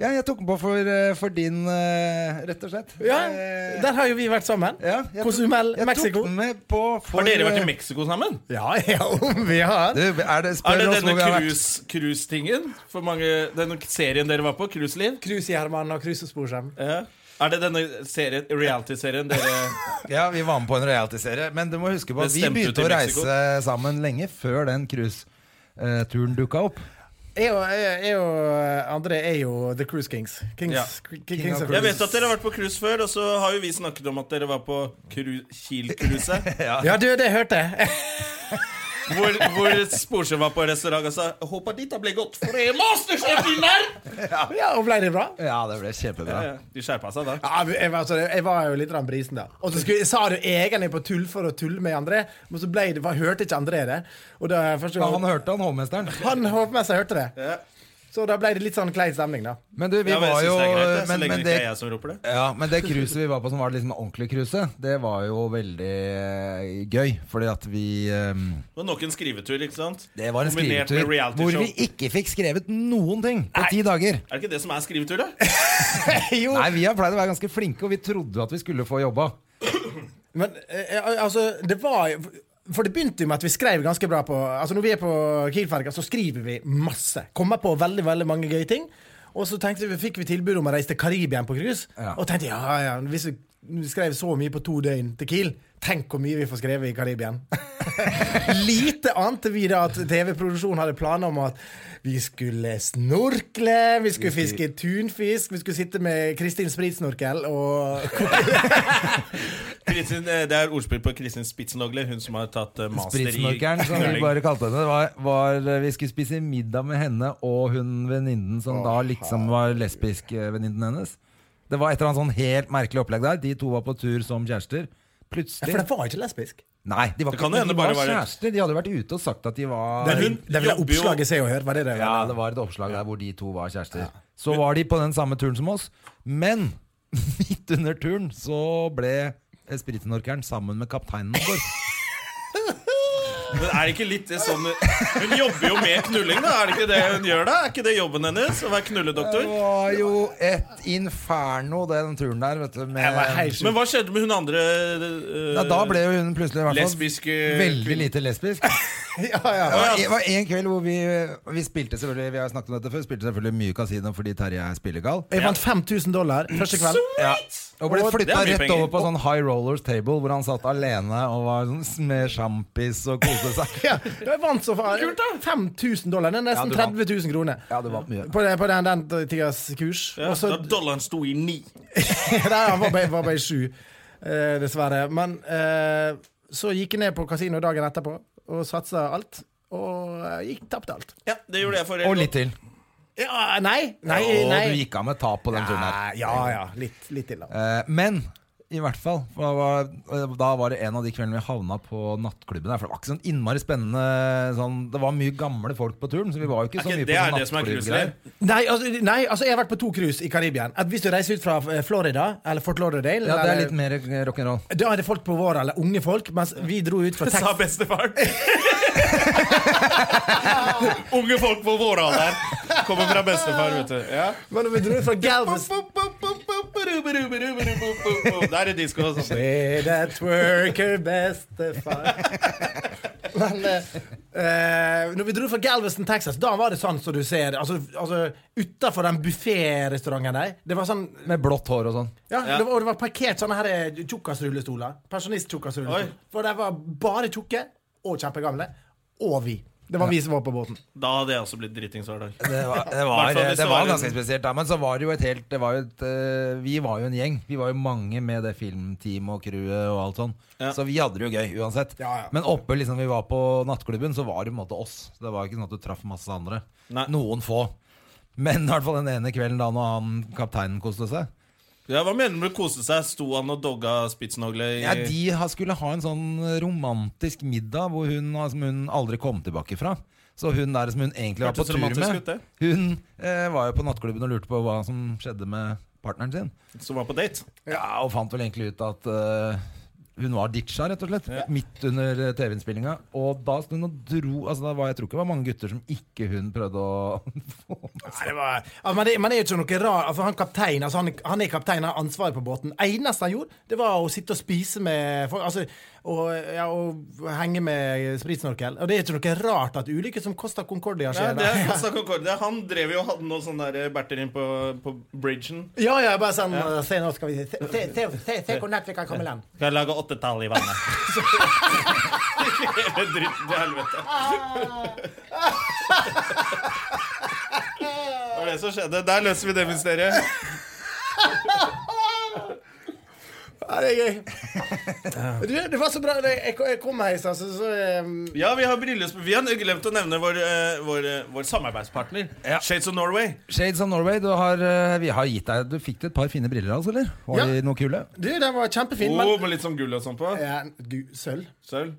[SPEAKER 2] Ja, jeg tok den på for, eh, for din, eh, rett og slett
[SPEAKER 3] Ja,
[SPEAKER 2] Eh,
[SPEAKER 3] der har jo vi vært sammen.
[SPEAKER 2] ja, jeg tok-
[SPEAKER 3] Cozumel,
[SPEAKER 2] jeg
[SPEAKER 3] Mexico.
[SPEAKER 2] tok den med på for,
[SPEAKER 1] Har dere vært
[SPEAKER 2] eh,
[SPEAKER 1] i Mexico sammen?
[SPEAKER 3] Ja, *laughs* ja, om vi har.
[SPEAKER 2] Du, er det, spør
[SPEAKER 1] Er det
[SPEAKER 2] oss hvor
[SPEAKER 1] denne
[SPEAKER 2] vi har vært.
[SPEAKER 1] cruise- cruise-tingen? For mange- Denne serien dere var på? Cruiseliv?
[SPEAKER 3] Cruise i Herman og cruise og Sporsem.
[SPEAKER 1] Ja. Er det denne serien, reality-serien dere
[SPEAKER 2] Ja, vi var med på en reality-serie. Men du må huske på
[SPEAKER 1] Det
[SPEAKER 2] at vi
[SPEAKER 1] stemte
[SPEAKER 2] begynte
[SPEAKER 1] ut i
[SPEAKER 2] å
[SPEAKER 1] Mexico.
[SPEAKER 2] reise sammen lenge før den cruiseturen dukka eh, opp.
[SPEAKER 3] Jeg og, jeg, jeg og eh, André er jo The Cruise Kings. Kings,
[SPEAKER 1] Ja.
[SPEAKER 3] K- K- Kings of
[SPEAKER 2] Cruise.
[SPEAKER 1] Jeg vet at dere har vært på cruise før, og så har jo vi snakket om at dere var på cru- Kiel-cruiset.
[SPEAKER 2] *laughs*
[SPEAKER 3] Ja, du, det hørte jeg.
[SPEAKER 1] Hvor, hvor Sporsem var på restaurant og sa 'Jeg håper dette ble godt for det er Masterchef i nær!»
[SPEAKER 3] *laughs* Ja, og ble det bra?
[SPEAKER 2] Ja, det ble kjempebra.
[SPEAKER 1] Ja, De skjerpa seg da.
[SPEAKER 3] Ja, jeg, var- altså, jeg var jo litt rann brisen da. Og så skulle, jeg sa det jo egentlig på tull for å tulle med André, men så ble det, hva- hørte ikke André det. Og da, første
[SPEAKER 2] Ja,
[SPEAKER 3] gang,
[SPEAKER 2] han
[SPEAKER 3] han
[SPEAKER 2] hørte han hovmesteren.
[SPEAKER 3] håpet med seg hørte det.
[SPEAKER 1] Ja.
[SPEAKER 3] Så da ble det litt sånn klein stemning, da.
[SPEAKER 2] Men du, vi
[SPEAKER 1] Ja, men
[SPEAKER 2] var
[SPEAKER 1] jeg
[SPEAKER 2] jo
[SPEAKER 1] synes det er greit, det, så
[SPEAKER 2] men,
[SPEAKER 1] lenge
[SPEAKER 2] men
[SPEAKER 1] det
[SPEAKER 2] det
[SPEAKER 1] ikke er jeg som roper det.
[SPEAKER 2] ja, men det cruiset vi var på som var det liksom ordentlige cruiset, det var jo veldig eh, gøy. Fordi at vi eh,
[SPEAKER 1] Det var nok en skrivetur, ikke sant?
[SPEAKER 2] Det var en
[SPEAKER 1] Kombinert med
[SPEAKER 2] skrivetur
[SPEAKER 1] reality
[SPEAKER 2] hvor
[SPEAKER 1] show.
[SPEAKER 2] vi ikke fikk skrevet noen ting på ti dager.
[SPEAKER 1] Er det ikke det som er skrivetur, da?
[SPEAKER 3] *laughs* jo,
[SPEAKER 2] Nei, vi har pleid å være ganske flinke, og vi trodde at vi skulle få jobba.
[SPEAKER 3] Men eh, eh, altså, det var jo- For det begynte jo med at vi skrev ganske bra på Altså Når vi er på Kielferga, så skriver vi masse. Kommer på veldig veldig mange gøye ting. Og så tenkte vi, fikk vi tilbud om å reise til Karibia på cruise.
[SPEAKER 2] Ja.
[SPEAKER 3] Og tenkte ja, ja, hvis vi vi skrev så mye på to døgn til Kiel, tenk hvor mye vi får skrevet i Karibia. *laughs* Lite ante vi da at TV-produksjonen hadde planer om at vi skulle snorkle, vi skulle fiske tunfisk, vi skulle sitte med Kristin Spritsnorkel og
[SPEAKER 1] Kristin, eh, det er ordspill på Kristin Spitzenogler, hun som har tatt eh, master i
[SPEAKER 2] Spritsnorkeren, som vi
[SPEAKER 1] knulling.
[SPEAKER 2] bare kalte henne, var, var eh, Vi skulle spise middag med henne og hun venninnen som da liksom var lesbisk eh, venninnen hennes. Det var et eller annet sånn helt merkelig opplegg der. De to var på tur som kjærester.
[SPEAKER 3] Ja, For
[SPEAKER 2] Plutselig
[SPEAKER 3] det var ikke lesbisk.
[SPEAKER 2] Nei, de var,
[SPEAKER 1] Det kan
[SPEAKER 2] ikke,
[SPEAKER 1] hende
[SPEAKER 2] de var
[SPEAKER 1] bare var det.
[SPEAKER 2] kjærester. De hadde vært ute og sagt at de var
[SPEAKER 3] Det
[SPEAKER 1] Men
[SPEAKER 3] vil,
[SPEAKER 1] hun
[SPEAKER 3] det vil jeg
[SPEAKER 1] jobber jo-
[SPEAKER 3] oppslaget Se og Hør. Var det det?
[SPEAKER 2] Ja, det var et oppslag der hvor de to var kjærester. Så var de på den samme turen som oss, men *laughs* midt under turen så ble spritenorkeren sammen med kapteinen vår.
[SPEAKER 1] Men er det ikke litt det sånn Hun jobber jo med knulling, da. Er det ikke det hun gjør, da? Er ikke det jobben hennes? Å være
[SPEAKER 2] Det
[SPEAKER 1] knulledoktor?
[SPEAKER 2] var jo et inferno, den turen der, vet du.
[SPEAKER 3] Jeg var
[SPEAKER 2] Med
[SPEAKER 3] helt sjuk.
[SPEAKER 1] Men hva skjedde med hun andre eh,
[SPEAKER 2] ja, da ble jo hun plutselig i hvert fall
[SPEAKER 1] lesbiske
[SPEAKER 2] veldig lite lesbisk.
[SPEAKER 3] *laughs* ja, ja.
[SPEAKER 2] Det var- Det var en kveld hvor vi, vi spilte selvfølgelig Vi har snakket om dette før spilte selvfølgelig mye kasino fordi Terje er spillegal.
[SPEAKER 3] Jeg vant 5000 dollar første kveld.
[SPEAKER 1] eh,
[SPEAKER 2] Ja. Og ble
[SPEAKER 3] Og-
[SPEAKER 2] flytta
[SPEAKER 1] Det er mye
[SPEAKER 2] rett
[SPEAKER 1] penger.
[SPEAKER 2] over på sånn high rollers table, hvor han satt alene og var sånn med sjampis og koste seg.
[SPEAKER 1] *laughs*
[SPEAKER 3] Ja, jeg vant så faen. 5000 dollar. Det er nesten
[SPEAKER 2] Ja, du vant.
[SPEAKER 3] 30 000 kroner.
[SPEAKER 2] Ja, det var mye.
[SPEAKER 3] På, det- på den, den tidas kurs.
[SPEAKER 1] Ja,
[SPEAKER 3] Og så
[SPEAKER 1] Da dollaren sto i ni.
[SPEAKER 3] *laughs* Nei, han var bare, var bare sju, eh, dessverre. Men eh, så gikk jeg ned på kasino dagen etterpå og satsa alt. Og eh, gikk tapte alt.
[SPEAKER 1] Ja, det gjorde jeg forrige
[SPEAKER 2] Og litt til.
[SPEAKER 3] Ja, nei, nei,
[SPEAKER 2] Og
[SPEAKER 3] nei.
[SPEAKER 2] du gikk av med tap på den turen her.
[SPEAKER 3] Nei, Ja ja, litt, litt til, da.
[SPEAKER 2] Eh, Men i hvert fall. for Da var, eh, da var det en av de kveldene vi havna på nattklubben. Der, for Det var ikke sånn innmari spennende sånn, Det var mye gamle folk på turen, så vi var jo
[SPEAKER 1] Er
[SPEAKER 2] ikke så
[SPEAKER 1] ikke
[SPEAKER 2] mye
[SPEAKER 1] det
[SPEAKER 2] på
[SPEAKER 1] er
[SPEAKER 2] sånn
[SPEAKER 1] det som er
[SPEAKER 2] nattklubbgreier.
[SPEAKER 3] Nei altså, nei, altså, jeg har vært på to cruise i Karibia. Hvis du reiser ut fra eh, Florida eller Fort Lauderdale
[SPEAKER 2] Ja, det er
[SPEAKER 3] eller-
[SPEAKER 2] litt mer eh, rock'n'roll.
[SPEAKER 3] Da er det folk på vår eller unge folk, mens vi dro ut
[SPEAKER 2] *laughs*
[SPEAKER 3] fra
[SPEAKER 1] Sa
[SPEAKER 3] Texas.
[SPEAKER 1] bestefaren. *laughs* Unge folk på vår alder kommer fra bestefar, vet du. Ja.
[SPEAKER 3] Men vi dro ut
[SPEAKER 2] *laughs*
[SPEAKER 3] fra Galveston.
[SPEAKER 1] Der er det disko og sånt.
[SPEAKER 3] Say that worker bestefar. *laughs* Men eh, eh, når vi dro fra Galveston, Texas, da var det sånn som du ser. Altså, altså utafor den bufférestauranten der. Det var sånn
[SPEAKER 2] Med blått hår og sånn.
[SPEAKER 3] ja,
[SPEAKER 1] Ja.
[SPEAKER 3] Det, var, og det var parkert sånne her eh, tjukkasrullestoler. Pensjonist-tjukkasrullestoler.
[SPEAKER 1] Oi.
[SPEAKER 3] For de var bare tjukke og kjempegamle. Og vi. Det var vi som var på båten.
[SPEAKER 1] Da hadde jeg også blitt dritings hver dag.
[SPEAKER 2] Det var, det
[SPEAKER 1] Hvertfall
[SPEAKER 2] var,
[SPEAKER 1] hvis
[SPEAKER 2] det
[SPEAKER 1] det
[SPEAKER 2] var
[SPEAKER 1] var en-
[SPEAKER 2] ganske spesielt, da. Men så var det jo et helt det var jo et, eh, Vi var jo en gjeng. Vi var jo mange med det filmteamet og crewet og alt sånn.
[SPEAKER 1] Ja.
[SPEAKER 2] Så vi hadde det jo gøy uansett.
[SPEAKER 3] Ja, ja.
[SPEAKER 2] Men oppe liksom vi var på nattklubben, så var det på en måte oss. Det var ikke sånn at du traff masse andre.
[SPEAKER 1] Nei.
[SPEAKER 2] Noen få. Men i hvert fall den ene kvelden da når han kapteinen koste seg
[SPEAKER 1] Ja, Hva mener du med kose seg? Sto han og dogga spitsenhogle i
[SPEAKER 2] ja, De ha, skulle ha en sånn romantisk middag hvor hun, har- som hun aldri kom tilbake fra. Så hun der som hun egentlig var på
[SPEAKER 1] Hørtes
[SPEAKER 2] tur
[SPEAKER 1] romantisk
[SPEAKER 2] med,
[SPEAKER 1] ut, det.
[SPEAKER 2] hun eh, var jo på nattklubben og lurte på hva som skjedde med partneren sin.
[SPEAKER 1] som var på date?
[SPEAKER 2] Ja, og fant vel egentlig ut at eh, hun var ditcha, rett og slett. Midt under eh, TV-innspillinga. Og da sto hun og dro altså, da var, Jeg tror ikke det var mange gutter som ikke hun prøvde å *laughs* få med seg.
[SPEAKER 3] Nei, det var, altså, men, det, men det er jo ikke noe rar altså, Han kaptein, altså, han, han er kaptein, han har ansvaret på båten. Eneste han gjorde, det var å sitte og spise med folk. Altså, og, ja, og henge med spritsnorkel. Og det er ikke noe rart at ulykker som Costa Concordia
[SPEAKER 1] Ja,
[SPEAKER 3] skjer.
[SPEAKER 1] det er
[SPEAKER 3] da.
[SPEAKER 1] Costa Concordia. Han drev jo og hadde noen sånne der berter inn på, på bridgen.
[SPEAKER 3] *laughs* Ja, ja, bare sånn Se, nå skal vi se, se, se, se, se hvor nært vi kan komme i land.
[SPEAKER 1] Skal jeg lage åttetall i vannet? Hele dritten til helvete. det som skjedde. Der løser vi det mysteriet.
[SPEAKER 3] Ja, det er gøy. Du, det var så bra. det- Jeg jeg kom her i stad, så, så um,
[SPEAKER 1] Ja, vi har bryllups... Vi har glemt å nevne vår, eh, vår, eh, vår samarbeidspartner.
[SPEAKER 2] Ja.
[SPEAKER 1] Shades of Norway.
[SPEAKER 2] Shades of Norway, du, har, eh, vi har gitt deg, du fikk det et par fine briller, altså, eller? Var
[SPEAKER 3] Ja.
[SPEAKER 2] de noe kule?
[SPEAKER 3] Du, den var kjempefin,
[SPEAKER 1] Oh,
[SPEAKER 3] men
[SPEAKER 1] med litt sånn gull og sånn på.
[SPEAKER 3] ja, gu- Sølv.
[SPEAKER 1] Sølv.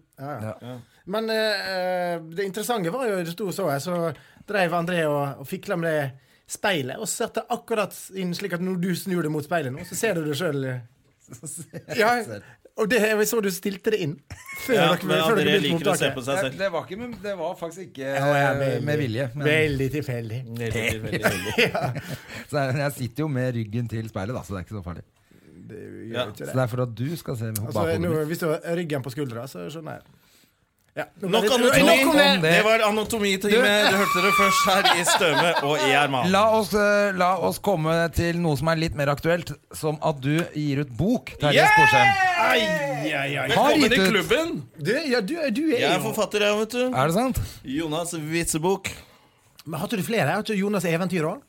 [SPEAKER 3] Men eh, eh, det interessante var jo, det sto så jeg, så dreiv André og, og fikla med det speilet, og satte akkurat inn slik at når du snur det mot speilet nå, så ser du det sjøl. Ja, og det, jeg så du stilte det inn før
[SPEAKER 1] Ja,
[SPEAKER 3] dere,
[SPEAKER 1] men
[SPEAKER 3] før dere
[SPEAKER 1] André
[SPEAKER 3] begynte
[SPEAKER 1] liker å se på
[SPEAKER 3] opptaket.
[SPEAKER 1] seg selv.
[SPEAKER 2] Det var, ikke, med- det var faktisk ikke
[SPEAKER 3] Ja,
[SPEAKER 2] eh,
[SPEAKER 3] veldig-
[SPEAKER 2] med vilje. Men
[SPEAKER 3] Veldig tilfeldig.
[SPEAKER 1] Veldig, veldig, veldig.
[SPEAKER 2] så er- jeg sitter jo med ryggen til speilet, da, så det er ikke så farlig.
[SPEAKER 1] Ja.
[SPEAKER 2] Så det er for at du skal se
[SPEAKER 3] Altså,
[SPEAKER 2] bakhodet
[SPEAKER 3] nå,
[SPEAKER 2] mitt.
[SPEAKER 3] hvis du har ryggen på skuldra, så skjønner jeg. Ja, nå ble
[SPEAKER 1] Nok
[SPEAKER 3] det-
[SPEAKER 1] anatomi.
[SPEAKER 3] Nok om det.
[SPEAKER 1] Det var anatomitimen. Du hørte det først her i Støme og i Herman.
[SPEAKER 2] La oss, eh, la oss komme til noe som er litt mer aktuelt, som at du gir ut bok. Terje
[SPEAKER 1] Yeah!
[SPEAKER 2] Sporsheim.
[SPEAKER 1] Ai, ai, ai.
[SPEAKER 2] Har
[SPEAKER 1] Velkommen i
[SPEAKER 2] gitt ut.
[SPEAKER 1] klubben.
[SPEAKER 3] Du, ja, du, du er
[SPEAKER 1] Jeg er
[SPEAKER 3] jo
[SPEAKER 1] forfatter, jeg, vet du.
[SPEAKER 2] Er det sant?
[SPEAKER 1] Jonas Witzebok.
[SPEAKER 3] Men Hadde du flere? Hadde ikke Jonas' eventyr òg?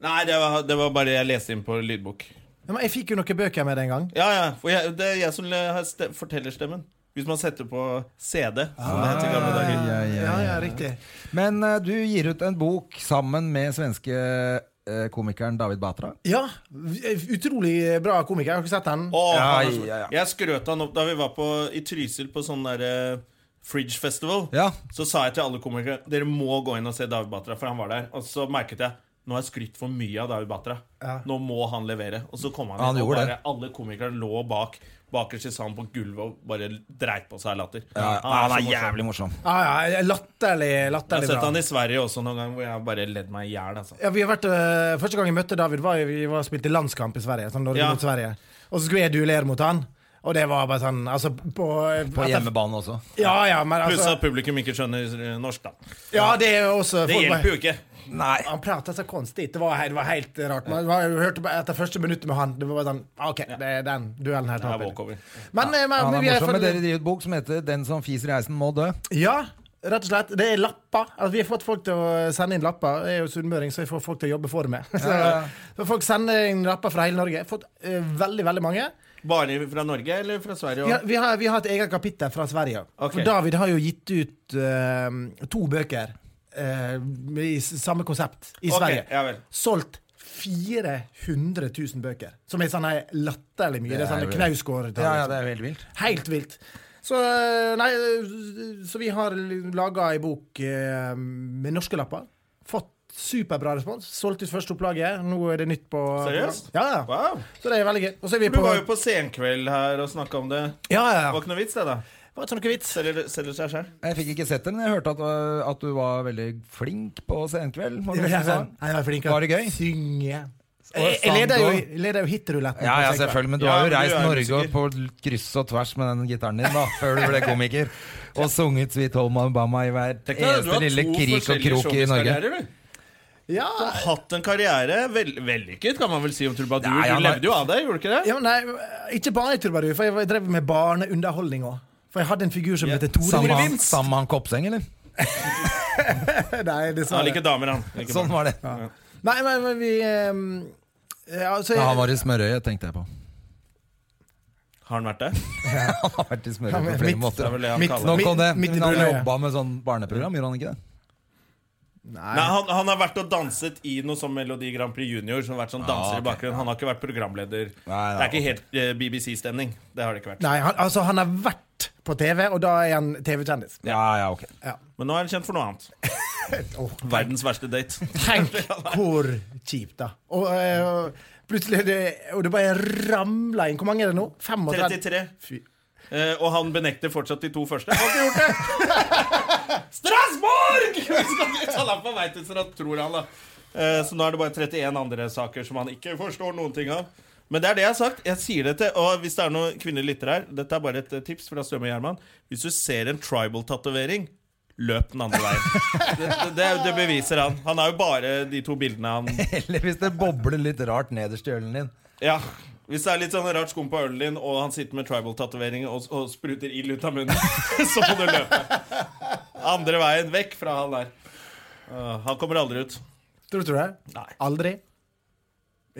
[SPEAKER 1] Nei, det var, det var bare jeg leste inn på lydbok.
[SPEAKER 3] Ja, men jeg fikk jo noen bøker med den gang.
[SPEAKER 1] Ja, ja, for jeg, Det er jeg som le- har ste forteller stemmen. Hvis man setter på CD,
[SPEAKER 2] Ah.
[SPEAKER 1] som det het i gamle dager.
[SPEAKER 2] Ja,
[SPEAKER 3] Ja, ja, riktig.
[SPEAKER 2] Men eh, du gir ut en bok sammen med svenske eh, komikeren David Batra.
[SPEAKER 3] Ja, utrolig bra komiker. Har dere sett den?
[SPEAKER 1] Åh,
[SPEAKER 2] Ja,
[SPEAKER 1] han er så-
[SPEAKER 2] ja, ja.
[SPEAKER 1] Jeg skrøt han opp da vi var på, i Trysil på sånn der eh, Fridge Festival.
[SPEAKER 2] Ja.
[SPEAKER 1] Så sa jeg til alle komikere Dere må gå inn og se David Batra, for han var der. Og så merket jeg nå har jeg skrytt for mye av David Batra. Nå må han levere. Og så kom han,
[SPEAKER 2] Han
[SPEAKER 1] inn, og
[SPEAKER 2] gjorde
[SPEAKER 1] bare,
[SPEAKER 2] det.
[SPEAKER 1] alle komikere lå bak bakerst i salen på gulvet og bare dreit på seg av latter.
[SPEAKER 2] han er
[SPEAKER 1] så morsom.
[SPEAKER 2] jævlig morsom.
[SPEAKER 3] Ah, Ja, ja, latterlig,
[SPEAKER 1] Jeg har
[SPEAKER 3] latterlig
[SPEAKER 1] sett han
[SPEAKER 3] bra.
[SPEAKER 1] i Sverige også noen gang hvor jeg bare ledd meg i hjel. Altså.
[SPEAKER 3] Ja, vi har vært, øh, første gang jeg møtte David, var jo- vi var spilt i landskamp i Sverige. Sånn Norge
[SPEAKER 1] Ja.
[SPEAKER 3] mot Sverige. Og så skulle jeg duellere mot han. Og det var bare sånn altså, på,
[SPEAKER 2] På
[SPEAKER 3] etter-
[SPEAKER 2] hjemmebane også.
[SPEAKER 3] Ja, ja, men
[SPEAKER 1] Pluss
[SPEAKER 3] altså
[SPEAKER 1] at publikum ikke skjønner eh, norsk, da.
[SPEAKER 3] Ja, det er jo også
[SPEAKER 1] Det
[SPEAKER 3] folk bare-
[SPEAKER 1] hjelper jo ikke.
[SPEAKER 2] Nei.
[SPEAKER 3] Han prata så konstig. Det var, he- det var helt rart. Man var, jo- hørte bare etter første minuttet med han. Det var bare sånn OK, det er den duellen her
[SPEAKER 1] Det er
[SPEAKER 3] taper jeg.
[SPEAKER 1] walkover.
[SPEAKER 3] Men, eh, men,
[SPEAKER 2] Han
[SPEAKER 3] men
[SPEAKER 2] er
[SPEAKER 3] vi er
[SPEAKER 2] morsom,
[SPEAKER 3] for,
[SPEAKER 2] men dere driver ut bok som heter 'Den som fiser i heisen, må dø'.
[SPEAKER 3] Ja, rett og slett. Det er lapper. Altså, vi har fått folk til å sende inn lapper. Jeg er jo sunnmøring, så jeg får folk til å jobbe for meg. *laughs* Så,
[SPEAKER 2] ja.
[SPEAKER 3] så folk sender inn lapper fra hele Norge. Jeg har Fått eh, veldig, veldig mange.
[SPEAKER 1] Bare fra Norge eller fra
[SPEAKER 3] Vi
[SPEAKER 1] Sverige? også?
[SPEAKER 3] har, vi har, vi har et eget kapittel fra Sverige.
[SPEAKER 1] Ok.
[SPEAKER 3] For David har jo gitt ut eh, to bøker eh, med i s- samme konsept i
[SPEAKER 1] Ok,
[SPEAKER 3] Sverige.
[SPEAKER 1] ja vel.
[SPEAKER 3] Solgt 400 000 bøker. Som er sånn her latterlig mye. Det er
[SPEAKER 2] er
[SPEAKER 3] sånn
[SPEAKER 2] jo-
[SPEAKER 3] knausgård.
[SPEAKER 2] Ja, ja, det er jo helt vilt.
[SPEAKER 3] Helt vilt. Så, eh, nei, eh, så vi har laga ei bok eh, med norske lapper. Fått superbra respons. Solgt ut første opplaget. Nå er det nytt på
[SPEAKER 1] Seriøst?
[SPEAKER 3] Ja, ja.
[SPEAKER 1] Wow.
[SPEAKER 3] Så det er veldig gøy. Og så er vi
[SPEAKER 1] Du
[SPEAKER 3] på
[SPEAKER 1] var jo på Senkveld her og snakka om det.
[SPEAKER 3] Ja, ja,
[SPEAKER 1] Det
[SPEAKER 3] ja.
[SPEAKER 1] var ikke noe vits, det, da.
[SPEAKER 3] Var det noe vits?
[SPEAKER 1] Selger, selger seg sjøl.
[SPEAKER 2] Jeg fikk ikke sett det, men jeg hørte at, øh, at du var veldig flink på senkveld. var det sånn? noen
[SPEAKER 3] Ja, sånn.
[SPEAKER 2] som sa?
[SPEAKER 3] Jeg var flink
[SPEAKER 2] Var det gøy?
[SPEAKER 3] synge. Jeg,
[SPEAKER 2] Og
[SPEAKER 3] jeg leder jo,
[SPEAKER 2] sang
[SPEAKER 3] jeg leder jo hitruletten.
[SPEAKER 2] Ja, ja,
[SPEAKER 3] på Sekva.
[SPEAKER 2] selvfølgelig, men du
[SPEAKER 1] Ja,
[SPEAKER 2] har jo
[SPEAKER 1] men du
[SPEAKER 2] reist
[SPEAKER 1] er
[SPEAKER 2] Norge
[SPEAKER 1] musiker.
[SPEAKER 2] på kryss og tvers med den gitaren din da, *laughs* før du ble komiker. Og sunget Sweet Home Alabama i hver eneste lille krik og krok i Norge.
[SPEAKER 3] Ja,
[SPEAKER 1] Hatt en karriere vel, vellykket, kan man vel si om Trubadur.
[SPEAKER 2] Ja, ja,
[SPEAKER 1] du
[SPEAKER 2] men-
[SPEAKER 1] levde jo av det, gjorde du ikke det?
[SPEAKER 3] ja, men nei, ikke bare i Trubadur, for jeg var- jeg drev med barneunderholdning òg. For jeg hadde en figur som
[SPEAKER 1] Ja.
[SPEAKER 3] heter Tore
[SPEAKER 2] Sammen med han-
[SPEAKER 3] Levins.
[SPEAKER 2] sammen med han Kopseng, eller?
[SPEAKER 3] Nei,
[SPEAKER 1] Han
[SPEAKER 3] dessverre.
[SPEAKER 1] liker damer, han. Liker
[SPEAKER 2] Sånn
[SPEAKER 1] barn.
[SPEAKER 2] var det.
[SPEAKER 3] Nei, men, men vi ehm, ja, altså,
[SPEAKER 2] Ja, han var i smørøyet, tenkte jeg på. *laughs*
[SPEAKER 1] Har han vært det?
[SPEAKER 2] Han har vært i
[SPEAKER 3] Ja,
[SPEAKER 2] smørøyet
[SPEAKER 3] men
[SPEAKER 2] på flere
[SPEAKER 3] mitt-
[SPEAKER 1] Det er
[SPEAKER 2] måter.
[SPEAKER 1] vel det han
[SPEAKER 3] Mitt-
[SPEAKER 1] kaller
[SPEAKER 2] Nå
[SPEAKER 1] det.
[SPEAKER 3] mitt-
[SPEAKER 2] kom det.
[SPEAKER 3] midt i
[SPEAKER 2] Men han
[SPEAKER 3] brødet.
[SPEAKER 2] jobba med sånn barneprogram, gjorde han ikke det?
[SPEAKER 1] Nei, han, han har vært og danset i noe som Melodi Grand Prix Junior. Som har vært sånn danser
[SPEAKER 2] Ah, ok,
[SPEAKER 1] i bakgrunnen Han har ikke vært programleder.
[SPEAKER 2] nei,
[SPEAKER 1] det er ikke helt eh, BBC-stemning. Det har det ikke vært.
[SPEAKER 3] Nei, han, altså, han har vært på TV, og da er han TV-kjendis.
[SPEAKER 2] Ja, ja, ok. *laughs*
[SPEAKER 1] Men nå er han kjent for noe annet.
[SPEAKER 3] Åh.
[SPEAKER 1] Verdens verste date.
[SPEAKER 2] *laughs*
[SPEAKER 3] Tenk hvor kjipt, da. Og eh, plutselig det, Og det bare ramla inn. Hvor mange er det nå? 35?
[SPEAKER 1] 33.
[SPEAKER 3] Fy.
[SPEAKER 1] Eh, og han benekter fortsatt de to første. Har ikke gjort det! Strasbourg! *laughs* Så langt på vei til Strasbourg, tror han, da. Eh, så nå er det bare 31 andre saker som han ikke forstår noen ting av. Men det er det jeg har sagt. Jeg sier det til Og hvis det er noen kvinnelige lyttere her, dette er bare et eh, tips fra Støme Gjerman. Hvis du ser en tribal-tatovering, løp den andre veien. *laughs* Det, det, det beviser han. Han har jo bare de to bildene han
[SPEAKER 2] Eller hvis det bobler litt rart nederst i ølen din.
[SPEAKER 1] Ja, hvis det er litt sånn rart skum på ølen din, og han sitter med tribal-tatovering og, og spruter ild ut av munnen, *laughs* så må du løpe. Andre veien vekk fra han der. Ah, han kommer aldri ut.
[SPEAKER 3] Tror du det?
[SPEAKER 1] Nei.
[SPEAKER 3] Aldri?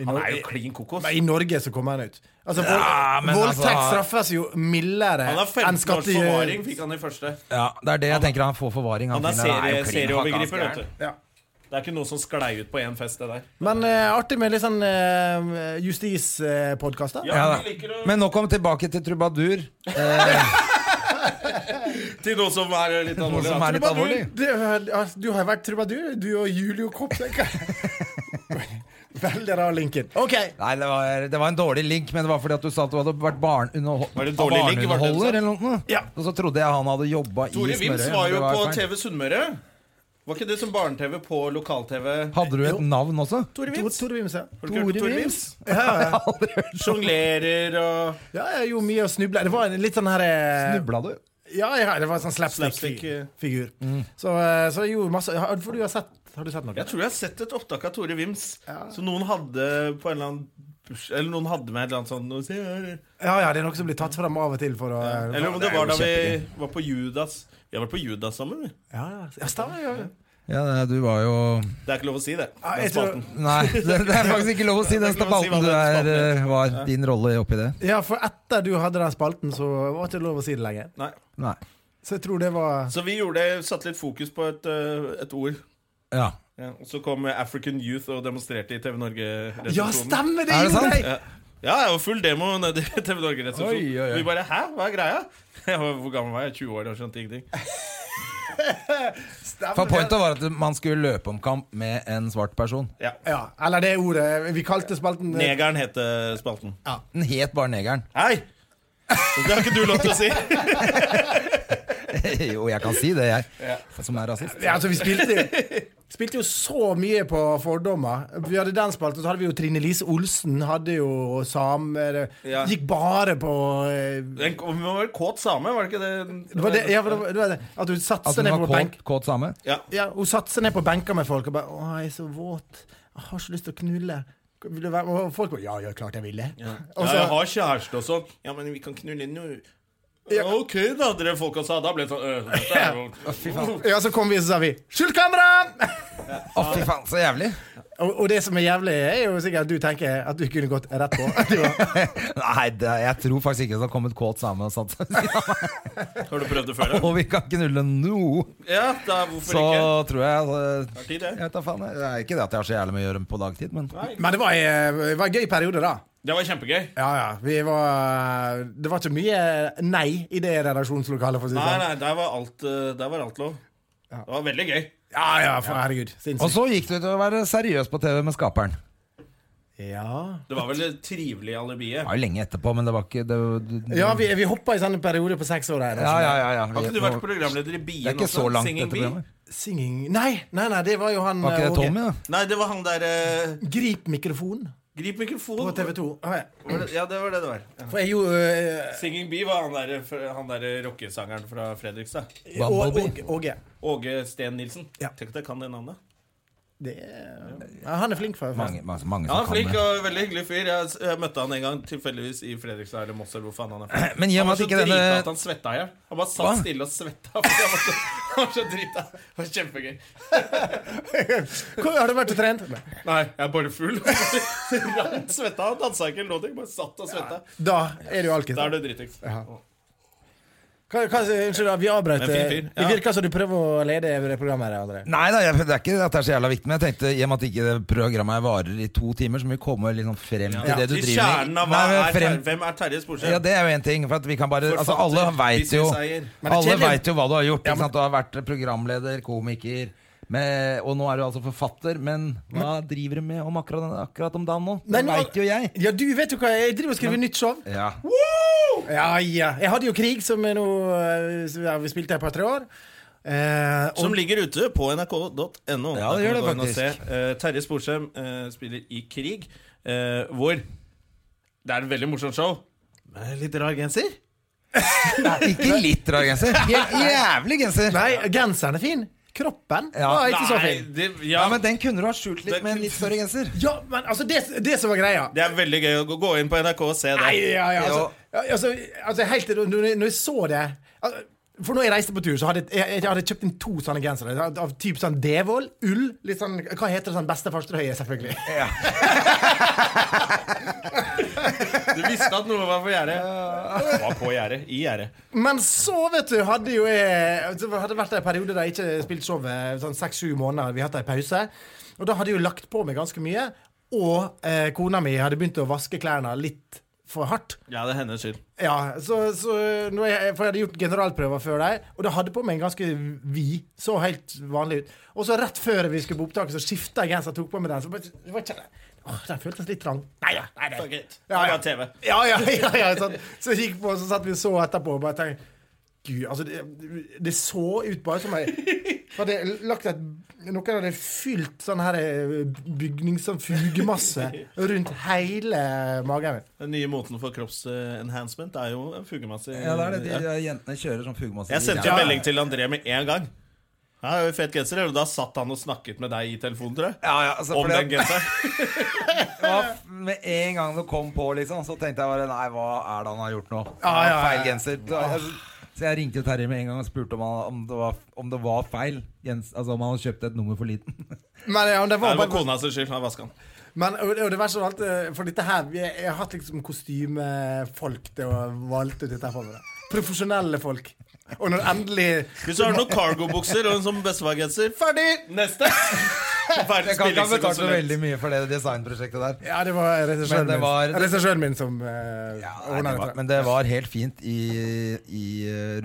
[SPEAKER 3] I
[SPEAKER 1] Han
[SPEAKER 3] Norge-
[SPEAKER 1] er jo klin kokos.
[SPEAKER 3] Nei, I Norge så kommer han ut. Altså, vold,
[SPEAKER 2] Ja, men
[SPEAKER 3] voldtekt
[SPEAKER 2] altså-
[SPEAKER 3] straffes jo mildere
[SPEAKER 1] Han har
[SPEAKER 3] enn
[SPEAKER 1] 15 års
[SPEAKER 3] skatte...
[SPEAKER 1] forvaring, fikk han i første.
[SPEAKER 2] Ja, det er det jeg tenker han får forvaring.
[SPEAKER 1] Han er
[SPEAKER 2] fyren der. Han er
[SPEAKER 1] serie,
[SPEAKER 2] jo klin
[SPEAKER 1] serieovergriper, vet
[SPEAKER 2] hakka
[SPEAKER 1] du.
[SPEAKER 3] Ja.
[SPEAKER 1] Det er ikke noe som sklei ut på én fest, det der.
[SPEAKER 3] Men eh, artig med litt sånn uh, justispodkaster.
[SPEAKER 1] Ja,
[SPEAKER 2] Ja,
[SPEAKER 1] vi liker
[SPEAKER 2] da.
[SPEAKER 1] å-
[SPEAKER 2] Men nå kom tilbake til trubadur.
[SPEAKER 1] Til noe som er litt
[SPEAKER 2] Noe
[SPEAKER 1] alvorlig.
[SPEAKER 2] som er
[SPEAKER 1] da.
[SPEAKER 2] litt alvorlig.
[SPEAKER 3] Du, altså, du har vært trubadur, du og Julio Kopp, tenker jeg. *laughs* Veldig rar linken. OK.
[SPEAKER 2] Nei, det var, det var en dårlig link, men det var fordi at du sa at du hadde vært barneunderho-
[SPEAKER 1] Var det dårlig link, var det det du sa?
[SPEAKER 2] barneunderholder eller noe.
[SPEAKER 3] Ja.
[SPEAKER 2] Og så trodde jeg han hadde jobba i
[SPEAKER 1] Tore Vims var
[SPEAKER 2] Smørøy. men det
[SPEAKER 1] jo
[SPEAKER 2] var
[SPEAKER 1] på
[SPEAKER 2] feil.
[SPEAKER 1] TV Sunnmøre. Var ikke det som barne-TV på lokal-TV?
[SPEAKER 2] Hadde du et navn også?
[SPEAKER 1] Tore
[SPEAKER 3] Tor-
[SPEAKER 1] Vims.
[SPEAKER 3] Tore Vims, ja.
[SPEAKER 1] Har du ikke hørt om
[SPEAKER 2] Tore
[SPEAKER 1] Tore
[SPEAKER 2] Vims?
[SPEAKER 1] Vims?
[SPEAKER 2] *laughs*
[SPEAKER 1] Sjonglerer og
[SPEAKER 3] Ja, jeg gjorde mye å snuble. Det var en litt sånn her eh,
[SPEAKER 2] Snubla du?
[SPEAKER 3] Ja, ja, det var en sånn slapstick-figur.
[SPEAKER 1] Slapstick,
[SPEAKER 3] Så, eh, så jeg gjorde masse har, For du har sett, har du sett noe?
[SPEAKER 1] Jeg tror jeg har sett et opptak av Tore Vims som noen hadde på en eller annen burs- Eller noen hadde med et eller annet sånt noe, se her.
[SPEAKER 3] Ja, ja, det er noe som blir tatt fram av og til for å
[SPEAKER 1] Eller om det
[SPEAKER 2] det er
[SPEAKER 1] var
[SPEAKER 2] jo
[SPEAKER 1] da vi var på Judas. Vi har vært på Judas sammen, vi.
[SPEAKER 3] Ja, ja, ja, stemmer, ja. ja.
[SPEAKER 2] Ja, nei, du var jo
[SPEAKER 1] Det er ikke lov å si det.
[SPEAKER 3] Ja,
[SPEAKER 1] Den
[SPEAKER 3] jeg tror-
[SPEAKER 1] spalten. *laughs*
[SPEAKER 2] Nei, det, det er faktisk ikke lov å si den
[SPEAKER 1] ikke lov å si hva
[SPEAKER 2] spalten du
[SPEAKER 1] den
[SPEAKER 2] er, eh, var. Din rolle oppi det.
[SPEAKER 3] Ja, for etter du hadde den spalten, så var det ikke lov å si det lenger.
[SPEAKER 1] Nei.
[SPEAKER 2] Nei.
[SPEAKER 3] Så jeg tror det var
[SPEAKER 1] Så vi gjorde, satte litt fokus på et, øh, et ord.
[SPEAKER 2] Ja.
[SPEAKER 1] Ja, og så kom African Youth og demonstrerte i TV Norge-resepsjonen.
[SPEAKER 3] Ja, stemmer det!
[SPEAKER 2] Er det
[SPEAKER 3] gjorde
[SPEAKER 2] sant?
[SPEAKER 3] jeg!
[SPEAKER 1] Ja, ja jeg var full demo nede i TV Norge-resepsjonen.
[SPEAKER 2] Oi, oi, oi.
[SPEAKER 1] Og Vi bare 'hæ, hva er greia?' *laughs* Jeg var, hvor gammel var sånn jeg? 20 år og skjønte ingenting.
[SPEAKER 2] For pointet var at man skulle løpe om kamp med en svart person.
[SPEAKER 1] Ja.
[SPEAKER 3] Ja, eller det ordet. Vi kalte spalten eh,
[SPEAKER 1] Negeren het eh, spalten.
[SPEAKER 2] Den het bare Negeren.
[SPEAKER 1] Hei! Det har ikke du lov til å si.
[SPEAKER 2] *laughs* jo, jeg kan si det, jeg. Som er rasist.
[SPEAKER 3] Ja, altså, vi spilte jo, spilte jo så mye på fordommer. Vi hadde den spalten, så hadde vi jo Trine Lise Olsen, hadde jo samer
[SPEAKER 1] Ja.
[SPEAKER 3] Gikk bare på eh,
[SPEAKER 1] Den kom- Hun var vel kåt same, var det ikke det?
[SPEAKER 3] det var det, ja, for det var- det var det. At hun satte
[SPEAKER 2] At
[SPEAKER 3] seg
[SPEAKER 2] Altså, hun
[SPEAKER 3] ned
[SPEAKER 2] var
[SPEAKER 3] på benk.
[SPEAKER 2] kåt, kåt same?
[SPEAKER 1] Ja.
[SPEAKER 3] Ja, hun satte seg ned på benker med folk og bare 'Å, jeg er så våt. Jeg har så lyst til å knulle'. Vil du være med? Og folk bare 'Ja, ja, klart jeg ville'.
[SPEAKER 1] Ja.
[SPEAKER 3] Og
[SPEAKER 1] ja, jeg
[SPEAKER 3] så,
[SPEAKER 1] har kjæreste og sånn. Ja, men vi kan knulle inn jo Ok, da, dere folka sa. Da ble det sånn øh, dette er jo-
[SPEAKER 3] ja, så kom vi, og så sa vi 'Skjult kamera!'
[SPEAKER 2] Å, fy faen, så jævlig. *laughs*
[SPEAKER 3] og, og det som er jævlig, er jo sikkert at du tenker at du kunne gått rett
[SPEAKER 1] *laughs*
[SPEAKER 3] på. Det var-
[SPEAKER 2] Nei, det, jeg tror faktisk ikke det har kommet kåt same og satt seg *laughs* ved siden av meg.
[SPEAKER 1] Har du prøvd det før?
[SPEAKER 2] *laughs*
[SPEAKER 1] da?
[SPEAKER 2] Og vi kan knulle nå.
[SPEAKER 1] Ja, da, hvorfor
[SPEAKER 2] Så
[SPEAKER 1] ikke?
[SPEAKER 2] tror jeg eh,
[SPEAKER 1] Har tid, jeg.
[SPEAKER 2] Jeg vet da faen. jeg. Det er ikke det at jeg har så jævlig mye å gjøre på dagtid, men
[SPEAKER 3] Men det var, eh, det var en gøy periode, da.
[SPEAKER 1] Det var kjempegøy.
[SPEAKER 3] Ja, ja. Vi var Det var ikke mye nei i det redaksjonslokalet, for å si det
[SPEAKER 1] Nei,
[SPEAKER 3] sånn.
[SPEAKER 1] nei, der var alt, eh, der var alt lov. Det var veldig gøy.
[SPEAKER 3] Ja, ja, for herregud. Sinnssykt.
[SPEAKER 2] Og så gikk det til å være seriøs på TV med Skaperen.
[SPEAKER 3] ja.
[SPEAKER 1] Det var vel det trivelige alibiet.
[SPEAKER 2] Det var jo lenge etterpå, men det var ikke det, det, det,
[SPEAKER 3] ja, vi, vi hoppa i sånne perioder på seks år her. altså.
[SPEAKER 2] ja, ja, ja, ja.
[SPEAKER 1] Har ikke du
[SPEAKER 2] Vi-
[SPEAKER 1] vært programleder i Bien
[SPEAKER 2] det er ikke så langt
[SPEAKER 1] sånn Singing
[SPEAKER 2] dette
[SPEAKER 1] Bee?
[SPEAKER 2] programmet.
[SPEAKER 3] Singing Nei, nei, nei, det var jo han
[SPEAKER 2] Var ikke
[SPEAKER 3] eh,
[SPEAKER 2] det
[SPEAKER 3] Åge.
[SPEAKER 2] Tommy, da?
[SPEAKER 1] Nei, det var han der eh,
[SPEAKER 3] Grip mikrofon
[SPEAKER 1] Grip mikrofonen.
[SPEAKER 3] på TV 2.
[SPEAKER 1] Var det- Ja, det var det det var. Ja.
[SPEAKER 3] For jeg gjorde øh,
[SPEAKER 1] Singing Bee var han der, eh, han der rockesangeren fra Fredrikstad.
[SPEAKER 3] Å- Åge-
[SPEAKER 2] Bumblebee?
[SPEAKER 3] Åge.
[SPEAKER 1] Åge Steen Nilsen.
[SPEAKER 3] Ja.
[SPEAKER 1] Tenk at jeg kan det navnet.
[SPEAKER 3] Det er, ja, han er flink for
[SPEAKER 2] Mange,
[SPEAKER 3] forresten.
[SPEAKER 2] mange, mange
[SPEAKER 1] Ja, han er
[SPEAKER 2] som
[SPEAKER 1] flink
[SPEAKER 2] kan det.
[SPEAKER 1] og veldig hyggelig fyr. Jeg, s- jeg møtte han en gang tilfeldigvis i Fredrikstad eller Moss eller hvor faen han er
[SPEAKER 2] *clears throat*
[SPEAKER 1] fra.
[SPEAKER 2] Men i og
[SPEAKER 1] Han var
[SPEAKER 2] med at
[SPEAKER 1] så
[SPEAKER 2] ikke
[SPEAKER 1] drita
[SPEAKER 2] denne-
[SPEAKER 1] at han svetta i hjel. Han bare
[SPEAKER 2] Hva?
[SPEAKER 1] satt stille og svetta. *laughs* Fordi han, var så, han var så drita. Det var kjempegøy. *laughs*
[SPEAKER 3] Hvor- Har du vært og trent? Nei.
[SPEAKER 1] Nei, jeg er bare full. *laughs* Rant, svetta, han dansa ikke eller noe. Bare satt og svetta.
[SPEAKER 3] Da er det jo alkis.
[SPEAKER 1] Da er du dritings.
[SPEAKER 3] Hva- hva- Unnskyld, da, vi avbrøt.
[SPEAKER 1] Men fin fyr,
[SPEAKER 3] eh,
[SPEAKER 1] ja.
[SPEAKER 3] Det virker som du prøver å lede det programmet her, André.
[SPEAKER 2] Nei da, jeg, det er ikke at det er så jævla viktig, men jeg tenkte i og med at ikke det programmet varer i to timer, så må vi komme liksom frem til det du
[SPEAKER 1] I
[SPEAKER 2] driver
[SPEAKER 1] kjernen
[SPEAKER 2] med.
[SPEAKER 1] av hva
[SPEAKER 2] men
[SPEAKER 1] er
[SPEAKER 2] frem-
[SPEAKER 1] Terje- Hvem er Terje Sporsem?
[SPEAKER 2] Ja, det er jo en ting. For at vi kan bare, altså,
[SPEAKER 1] Forfatter,
[SPEAKER 2] alle veit jo,
[SPEAKER 3] Men
[SPEAKER 1] businesseier.
[SPEAKER 3] det er
[SPEAKER 2] alle
[SPEAKER 3] kjedelig.
[SPEAKER 2] vet jo hva du har gjort. ikke sant? Du har vært programleder, komiker, med, og nå er du altså forfatter. Men hva driver du med om akkurat, akkurat om dagen nå? Det
[SPEAKER 3] nå-
[SPEAKER 2] veit jo jeg.
[SPEAKER 3] Ja, du vet jo hva. Jeg driver og skriver nytt show.
[SPEAKER 2] Ja.
[SPEAKER 3] Ja, ja. Jeg hadde jo Krig, som er nå eh, ja, Vi spilte her et par-tre år. Eh, og-
[SPEAKER 1] Som ligger ute på nrk.no.
[SPEAKER 2] Ja, det gjør det faktisk.
[SPEAKER 1] Uh, Terje Sporsem eh, spiller i Krig, eh, hvor Det er en veldig morsomt show. Med litt rar genser.
[SPEAKER 2] Ikke litt rar genser. Helt jævlig genser.
[SPEAKER 3] nei, genseren er fin. Kroppen
[SPEAKER 2] Ja.
[SPEAKER 3] var ikke så fin.
[SPEAKER 1] det, ja,
[SPEAKER 2] Ja, men den kunne du ha skjult litt
[SPEAKER 1] Det-
[SPEAKER 2] med en litt større genser.
[SPEAKER 3] Ja, men altså, det, det som var greia
[SPEAKER 1] det er veldig gøy å gå- gå inn på NRK og se det.
[SPEAKER 3] Nei, ja, ja, altså,
[SPEAKER 2] Jo.
[SPEAKER 3] ja, altså, altså helt, når, jeg- når jeg så det altså, For når jeg reiste på tur, så hadde jeg, jeg, jeg hadde kjøpt inn to sånne gensere. Av, av typ sånn Devold, ull litt sånn, Hva heter det sånn bestefarstrøye,
[SPEAKER 1] *laughs*
[SPEAKER 3] selvfølgelig.
[SPEAKER 1] Du visste at noe var på gjerdet. Var på gjerdet. I gjerdet.
[SPEAKER 3] Men så, vet du, hadde jo jeg Det hadde vært en periode der jeg ikke spilte showet. Sånn seks-sju måneder. Vi hadde en pause. Og da hadde jeg jo lagt på meg ganske mye. Og eh, kona mi hadde begynt å vaske klærne litt for hardt.
[SPEAKER 1] Ja, det er hennes skyld.
[SPEAKER 3] Ja, så, så når jeg, For jeg hadde gjort generalprøver før deg, og det hadde på meg en ganske vid. Så helt vanlig ut. Og så rett før vi skulle på opptaket, så skifta jeg genser og tok på meg den. Så bare, det var ikke, åh, den føltes litt trang. Nei da. Nei,
[SPEAKER 1] Fuck
[SPEAKER 3] det-
[SPEAKER 1] it.
[SPEAKER 3] Ja, ja.
[SPEAKER 1] Det var TV.
[SPEAKER 3] ja, ja, *laughs* ja, ja sånn. Så gikk på, så satt vi og så etterpå og bare tenkte Gud, altså det, det så ut bare som jeg hadde lagt et Noen hadde fylt sånn her bygnings... Sånn fugemasse rundt hele magen min.
[SPEAKER 1] Den nye måten for kroppsenhancement er jo en fugemasse.
[SPEAKER 2] Ja, det er det. De, Jentene kjører sånn fugemasse.
[SPEAKER 1] Jeg sendte
[SPEAKER 2] Ja.
[SPEAKER 1] jo melding til André med en gang. Ja, det er jo fet genser, eller? Da satt han og snakket med deg i telefonen, tror jeg.
[SPEAKER 2] ja, ja, altså,
[SPEAKER 1] Om
[SPEAKER 2] fordi at-
[SPEAKER 1] den *laughs* genseren.
[SPEAKER 2] Det var f- Med en gang det kom på, liksom, så tenkte jeg bare Nei, hva er det han har gjort nå?
[SPEAKER 3] Ja, ja, ja.
[SPEAKER 2] Feil genser. Da- jeg- Så jeg ringte jo Terje med en gang og spurte om, han, om, det, var, om det var feil. Gens, altså om han hadde kjøpt et nummer for
[SPEAKER 3] *laughs*
[SPEAKER 2] liten.
[SPEAKER 3] Men, ja, det
[SPEAKER 1] Nei,
[SPEAKER 3] var
[SPEAKER 1] det var
[SPEAKER 3] bare
[SPEAKER 1] kona sin skyld. Han vaska den.
[SPEAKER 3] Men og det, og det verste av alt, eh, for dette her Jeg, jeg har hatt liksom kostymefolk til å valgte ut dette for meg. da. Profesjonelle folk. Og når endelig
[SPEAKER 1] Hvis du har noen cargobukser og en sånn bestefar-genser, ferdig! Neste!
[SPEAKER 2] Jeg
[SPEAKER 1] *laughs* Verdens
[SPEAKER 2] kan ikke ha
[SPEAKER 1] billigste
[SPEAKER 2] betalt så
[SPEAKER 1] konsulent.
[SPEAKER 2] veldig mye for det designprosjektet der.
[SPEAKER 3] Ja, det var regissøren
[SPEAKER 2] Men det
[SPEAKER 3] min,
[SPEAKER 2] var-
[SPEAKER 3] regissøren min som uh, ja,
[SPEAKER 2] Nei, det var, men det var helt fint i, i,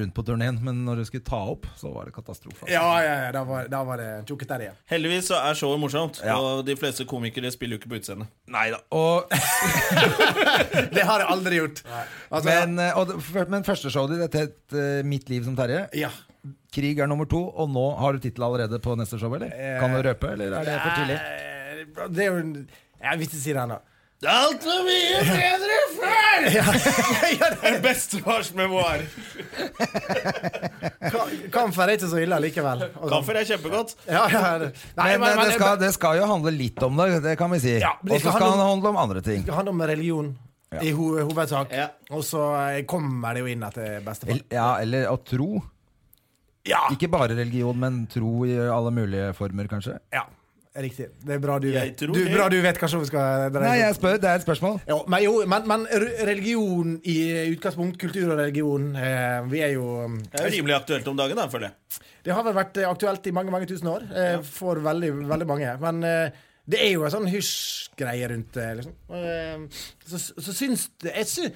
[SPEAKER 2] rundt på turneen, men når du skulle ta opp, så var det katastrofe. altså.
[SPEAKER 3] Ja, ja, ja, da var, da var det tjukketerrie.
[SPEAKER 1] Heldigvis så er showet morsomt,
[SPEAKER 2] Ja.
[SPEAKER 1] og de fleste komikere spiller jo ikke på utseendet.
[SPEAKER 2] Neida. Og,
[SPEAKER 3] Det har jeg aldri gjort. Altså,
[SPEAKER 2] men, eh, og, det- f- men første showet ditt het eh, Mitt liv som Terje.
[SPEAKER 3] ja.
[SPEAKER 2] Krig er nummer to, og nå har du tittel allerede på neste show, eller? Kan du røpe, eller er det for tidlig?
[SPEAKER 3] Eh, Det er jo en- Jeg vil ikke si det ennå.
[SPEAKER 1] Alt for mye bedre før!
[SPEAKER 3] Ja, *laughs* ja, det-
[SPEAKER 1] En bestefars memoar.
[SPEAKER 3] Ka- Kamfer er ikke så ille likevel. Og sånn.
[SPEAKER 1] Kaffer er kjempegodt.
[SPEAKER 3] Ja, ja. det- Nei,
[SPEAKER 2] Men,
[SPEAKER 3] men, men
[SPEAKER 2] det, skal, det skal jo handle litt om det, det kan vi si.
[SPEAKER 3] Ja,
[SPEAKER 2] og
[SPEAKER 3] men det
[SPEAKER 2] så
[SPEAKER 3] skal
[SPEAKER 2] skal
[SPEAKER 3] handle
[SPEAKER 2] det
[SPEAKER 3] om-
[SPEAKER 2] handle om andre ting.
[SPEAKER 3] Det handler om religion i ho hovedsak.
[SPEAKER 1] Ja.
[SPEAKER 3] Og så eh, kommer det jo inn at det er bestefar.
[SPEAKER 2] El- Ja, eller å tro.
[SPEAKER 3] Ja.
[SPEAKER 2] Ikke bare religion, men tro i alle mulige former, kanskje.
[SPEAKER 3] ja! Riktig. Det er bra du
[SPEAKER 1] Jeg
[SPEAKER 3] vet.
[SPEAKER 1] tror
[SPEAKER 3] Du,
[SPEAKER 1] det.
[SPEAKER 3] bra du vet kanskje om vi skal dreie
[SPEAKER 2] Nei, jeg spør, det er et spørsmål.
[SPEAKER 3] Jo, men, jo, men, men re- religion i utgangspunkt, kultur og religion, eh, vi er jo
[SPEAKER 1] Det er jo rimelig aktuelt om dagen, da, føler jeg.
[SPEAKER 3] Det har vel vært eh, aktuelt i mange mange tusen år eh, for veldig veldig mange. Men eh, det er jo en sånn hysj-greie rundt det. Liksom. Eh, så, så syns det Jeg syns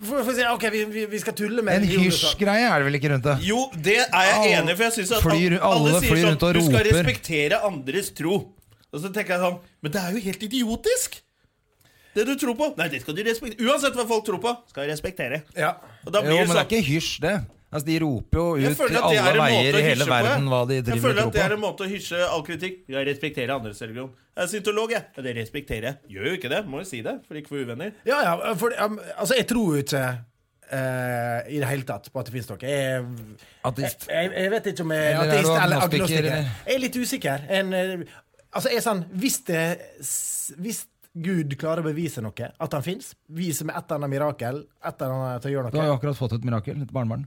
[SPEAKER 3] For, for å si OK, vi, vi, vi skal tulle med
[SPEAKER 2] En
[SPEAKER 3] religion og sånn.
[SPEAKER 2] hysj-greie er det vel ikke rundt det?
[SPEAKER 1] Jo, det er jeg
[SPEAKER 2] Alle
[SPEAKER 1] enig i, for jeg syns at
[SPEAKER 2] flyr-
[SPEAKER 1] al- alle,
[SPEAKER 2] alle
[SPEAKER 1] sier
[SPEAKER 2] flyr
[SPEAKER 1] sånn
[SPEAKER 2] rundt og
[SPEAKER 1] Du skal
[SPEAKER 2] roper."
[SPEAKER 1] respektere andres tro. Og så tenker jeg sånn Men det er jo helt idiotisk! Det du tror på. Nei, det skal du respektere. Uansett hva folk tror på, skal jeg respektere.
[SPEAKER 3] Ja.
[SPEAKER 1] Og da
[SPEAKER 2] Jo,
[SPEAKER 1] blir det
[SPEAKER 2] men det
[SPEAKER 1] sånn
[SPEAKER 2] er ikke hysj, det. Altså, De roper jo
[SPEAKER 1] Jeg
[SPEAKER 2] ut til
[SPEAKER 1] føler at det
[SPEAKER 2] alle
[SPEAKER 1] er en måte å
[SPEAKER 2] veier i hele
[SPEAKER 1] hysje på, jeg.
[SPEAKER 2] verden hva de
[SPEAKER 1] Jeg
[SPEAKER 2] driver
[SPEAKER 1] føler
[SPEAKER 2] og
[SPEAKER 1] at det er
[SPEAKER 2] tror
[SPEAKER 1] en
[SPEAKER 2] på.
[SPEAKER 1] måte å hysje all kritikk. Jeg respekterer andres religion. Jeg er syntolog, jeg. Ja, det respekterer jeg. Gjør jo ikke det. Må jo si det, for ikke å få uvenner.
[SPEAKER 3] Ja, ja, for um, altså, jeg tror jo ikke eh, i det hele tatt på at det finnes noe. Jeg,
[SPEAKER 2] Ateist.
[SPEAKER 3] jeg, jeg vet ikke om jeg er
[SPEAKER 2] Eller er du
[SPEAKER 3] ateist eller
[SPEAKER 2] agnostiker,
[SPEAKER 3] agnostiker.
[SPEAKER 2] eller?
[SPEAKER 3] Jeg er litt usikker. En, eh, altså, jeg er sånn Hvis det s- Hvis Gud klarer å bevise noe, at han fins, viser med et eller annet mirakel et eller annet til å gjøre
[SPEAKER 2] Du har
[SPEAKER 3] noe
[SPEAKER 2] jo akkurat fått et mirakel. Et barnebarn.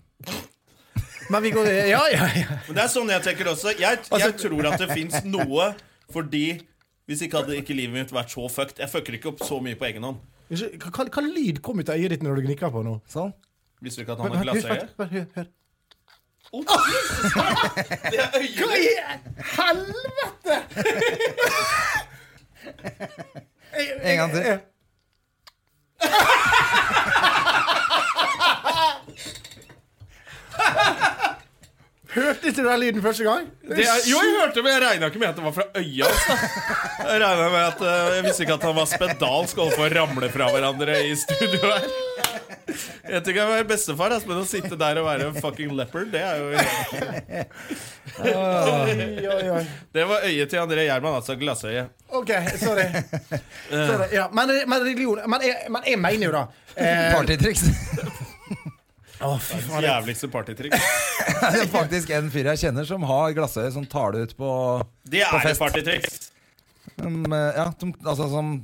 [SPEAKER 3] Men vi går Ja, ja, ja.
[SPEAKER 1] Men det er sånn jeg tenker også. Jeg,
[SPEAKER 2] Altså-
[SPEAKER 1] jeg tror at det fins noe fordi hvis ikke hadde ikke livet mitt vært så fucked. Jeg fucker ikke opp så mye på egen hånd.
[SPEAKER 3] Unnskyld, hva- Hva, hva lyd kom ut av øyet ditt når du gnikka på nå?
[SPEAKER 2] Sånn.
[SPEAKER 1] Visste du ikke at han har glassøye?
[SPEAKER 3] Hør, hør, hør.
[SPEAKER 1] Å, Jesus! Det er øyet ditt!
[SPEAKER 3] Helvete!
[SPEAKER 2] En gang til.
[SPEAKER 3] Hørte ikke du den lyden første gang?
[SPEAKER 1] Det er, jo, jeg hørte det, men jeg regna ikke med at det var fra øya altså. hans. da. *laughs* Jeg regnet med at eh, Jeg visste ikke at han var spedalsk og holdt på å ramle fra hverandre i studio her. Jeg tenker jeg var bestefar, ass, men å sitte der og være en fucking leopard, det er jo
[SPEAKER 3] Oi, oi, oi.
[SPEAKER 1] Det var øyet til André Gjerman, altså glassøyet.
[SPEAKER 3] OK, sorry. sorry. Ja, men, men religion Men jeg, men jeg mener jo da eh,
[SPEAKER 2] Partytriks.
[SPEAKER 3] å, fy faen.
[SPEAKER 1] Jævligste partytriks.
[SPEAKER 2] *laughs* Det er faktisk en fyr jeg kjenner som har glassøye som tar det ut på
[SPEAKER 1] Det
[SPEAKER 2] På
[SPEAKER 1] er
[SPEAKER 2] fest.
[SPEAKER 1] et partytriks.
[SPEAKER 2] um, eh, Ja, som, altså som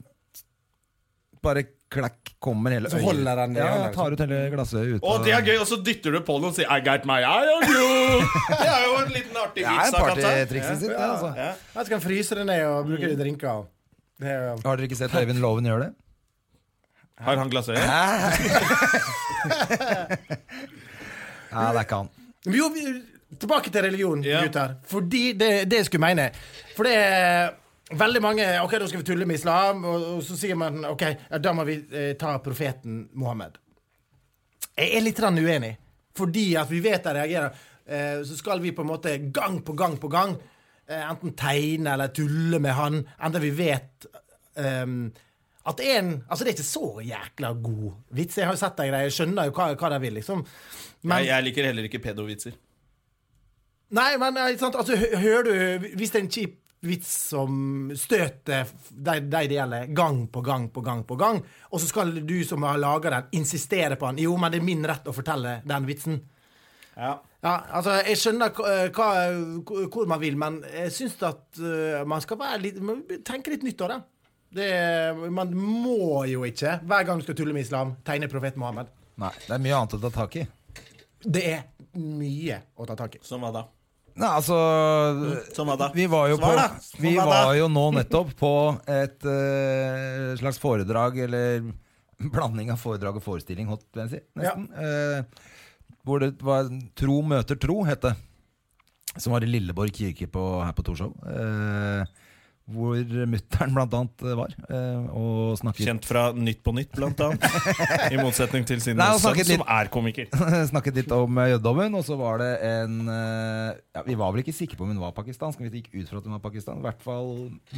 [SPEAKER 2] Bare klakk, kommer hele
[SPEAKER 3] Så holder han det
[SPEAKER 2] Ja,
[SPEAKER 3] igjen, liksom.
[SPEAKER 2] tar ut hele glasset ut.
[SPEAKER 1] Å, det er gøy! Og så dytter du på den og sier 'I got my eye on you'! Det er jo en liten artig
[SPEAKER 2] Det
[SPEAKER 1] vits.
[SPEAKER 2] er
[SPEAKER 1] av katta.
[SPEAKER 2] partytrikset sitt, det, altså.
[SPEAKER 3] Jeg skal fryse det ned og bruke det i drinker. av. Det er jo
[SPEAKER 2] Har dere ikke sett Øyvind Loven gjøre det?
[SPEAKER 1] Har han glassøye?
[SPEAKER 2] *laughs* Nei, det er ikke han.
[SPEAKER 3] Men Jo, vi- tilbake til religion,
[SPEAKER 1] Ja.
[SPEAKER 3] gutter. Fordi det, det jeg skulle mene For det er veldig mange Ok, da skal vi tulle med islam, og, og så sier man ok, ja, da må vi eh, ta profeten Mohammed. Jeg er litt grann uenig, fordi at vi vet jeg reagerer. Eh, så skal vi på en måte gang på gang på gang eh, enten tegne eller tulle med han, enda vi vet ehm, at en Altså, det er ikke så jækla god vits. Jeg har jo sett de greiene, jeg skjønner jo hva, hva de vil, liksom.
[SPEAKER 1] Nei, jeg liker heller ikke pedovitser.
[SPEAKER 3] Nei, men eh, ikke sant? Altså, hø- hører du Hvis det er en kjip vits som støter f- de de det gjelder, gang på gang på gang, på gang, og så skal du som har laga den, insistere på den Jo, men det er min rett å fortelle den vitsen.
[SPEAKER 1] Ja.
[SPEAKER 3] Ja, altså, Jeg skjønner k- eh, hva, k- hvor man vil, men jeg syns at eh, man skal være litt, man tenke litt nytt av det. det. Man må jo ikke, hver gang du skal tulle med islam, tegne profeten Mohammed.
[SPEAKER 2] Nei, det er mye annet å ta tak i.
[SPEAKER 3] Det er mye å ta tak i.
[SPEAKER 1] Som hva da?
[SPEAKER 2] Nei, altså
[SPEAKER 1] Som hva da?
[SPEAKER 2] Vi var jo, på,
[SPEAKER 1] Svar da! Som
[SPEAKER 2] vi
[SPEAKER 1] hva da?
[SPEAKER 2] var jo nå nettopp på et eh, slags foredrag, eller blanding av foredrag og forestilling, holdt jeg på å si, nesten. Eh, hvor det var Tro møter tro, het det. Som var i Lilleborg kirke på, her på Torshov. eh, hvor mutter'n blant annet var. eh, og snakket,
[SPEAKER 1] Kjent fra Nytt på Nytt, blant annet. I motsetning til sin
[SPEAKER 2] Nei, han
[SPEAKER 1] sønn,
[SPEAKER 2] snakket
[SPEAKER 1] som
[SPEAKER 2] litt-
[SPEAKER 1] er komiker.
[SPEAKER 2] *laughs* snakket litt om eh, jødedommen, og så var det en eh, ja, Vi var vel ikke sikre på om hun var pakistansk, men vi gikk ut fra at hun var pakistansk. I hvert fall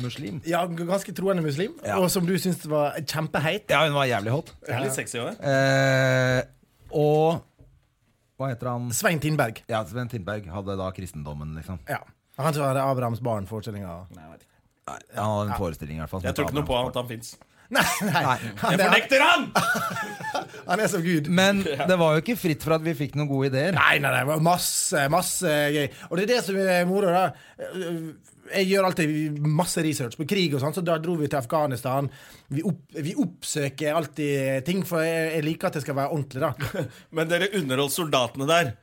[SPEAKER 2] muslim.
[SPEAKER 3] Ja, g- ganske troende muslim,
[SPEAKER 2] Ja.
[SPEAKER 3] og som du syns var kjempeheit.
[SPEAKER 2] Ja, hun var jævlig hot.
[SPEAKER 1] Det er litt sexy òg, det.
[SPEAKER 2] Eh, og Hva heter han?
[SPEAKER 3] Svein Tindberg.
[SPEAKER 2] Ja, Sven Tindberg hadde da kristendommen, liksom.
[SPEAKER 3] Ja. Han som hadde Abrahams barn-forestillinga.
[SPEAKER 1] Nei, jeg vet ikke.
[SPEAKER 2] Han hadde en forestilling, i hvert fall. som
[SPEAKER 1] Jeg tror ikke noe på at han fins.
[SPEAKER 3] *laughs* Nei, nei. Han,
[SPEAKER 1] Jeg
[SPEAKER 3] er,
[SPEAKER 1] fornekter han!
[SPEAKER 3] han er som Gud.
[SPEAKER 2] Men det var jo ikke fritt for at vi fikk noen gode ideer.
[SPEAKER 3] Nei, nei, nei, det var masse, masse gøy. Og det er det som er moro. da. Jeg gjør alltid masse research på krig, og sånn, så da dro vi til Afghanistan. Vi, opp, vi oppsøker alltid ting, for jeg, jeg liker at det skal være ordentlig. da.
[SPEAKER 1] Men dere underholdt soldatene der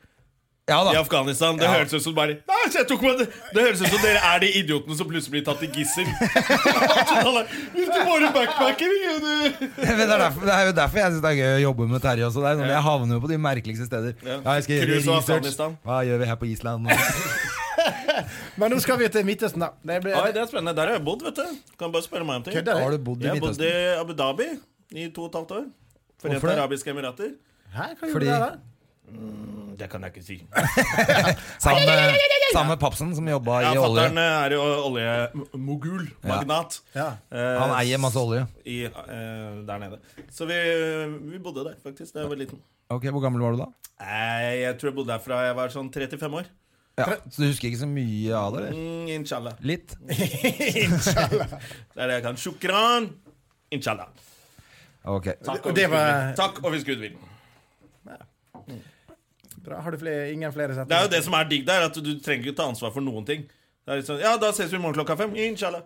[SPEAKER 2] Ah. Ja
[SPEAKER 1] i
[SPEAKER 2] da.
[SPEAKER 1] Afghanistan. Det høres ut som bare Nei, så jeg tok meg det. det høres ut som dere er de idiotene som plutselig blir tatt i gissel. Så alle, Hvis du får en backpacker du-
[SPEAKER 2] *laughs* Men det, er derfor, det er jo derfor jeg syns det er gøy å jobbe med Terje også. Det er sånn, jeg havner jo på de merkeligste steder.
[SPEAKER 1] Ja.
[SPEAKER 2] Ja, jeg skal gjøre
[SPEAKER 1] Cruise og
[SPEAKER 2] research.
[SPEAKER 1] Afghanistan.
[SPEAKER 2] Hva gjør vi her på Island? nå?
[SPEAKER 3] Men nå skal vi til Midtøsten, da. Det ble,
[SPEAKER 1] Oi, det er spennende. Der har jeg bodd, vet du. Kan bare spørre meg om ting.
[SPEAKER 3] Kødder
[SPEAKER 2] Har
[SPEAKER 3] du?
[SPEAKER 2] du bodd i
[SPEAKER 1] Jeg bodde
[SPEAKER 2] Midtøsten?
[SPEAKER 1] i Abu Dhabi i to og et halvt år.
[SPEAKER 2] Hvorfor
[SPEAKER 1] Forente
[SPEAKER 2] det?
[SPEAKER 1] arabiske emirater.
[SPEAKER 3] Hæ, hva gjorde
[SPEAKER 2] Fordi-
[SPEAKER 3] du der, da?
[SPEAKER 1] Det kan jeg ikke si.
[SPEAKER 2] Sammen med, sammen med Papsen, som jobba
[SPEAKER 1] Ja,
[SPEAKER 2] i olje.
[SPEAKER 1] Fatter'n eh, er jo oljemogul. Magnat.
[SPEAKER 3] Ja.
[SPEAKER 1] Eh,
[SPEAKER 2] Han eier masse olje.
[SPEAKER 1] I, eh, der nede. Så vi, vi bodde der, faktisk, da jeg var liten.
[SPEAKER 2] Ok, Hvor gammel var du da?
[SPEAKER 1] Nei, jeg tror jeg bodde der fra jeg var sånn 35 år.
[SPEAKER 2] Ja. Så du husker ikke så mye av det? eller?
[SPEAKER 1] Mm, inshallah.
[SPEAKER 2] Litt?
[SPEAKER 1] Det er det jeg kan. Shukran! Inshallah.
[SPEAKER 2] Ok.
[SPEAKER 1] Takk,
[SPEAKER 3] Og
[SPEAKER 1] og
[SPEAKER 3] det
[SPEAKER 1] hvis Gud
[SPEAKER 3] var-
[SPEAKER 1] vil. Takk, og hvis Gud vil.
[SPEAKER 3] Bra. Har du flere, ingen flere
[SPEAKER 1] Det er
[SPEAKER 3] setninger?
[SPEAKER 1] jo det som er digg der, at du trenger ikke ta ansvar for noen ting. Det er litt sånn, ja, da ses vi i morgen klokka fem. Inshallah.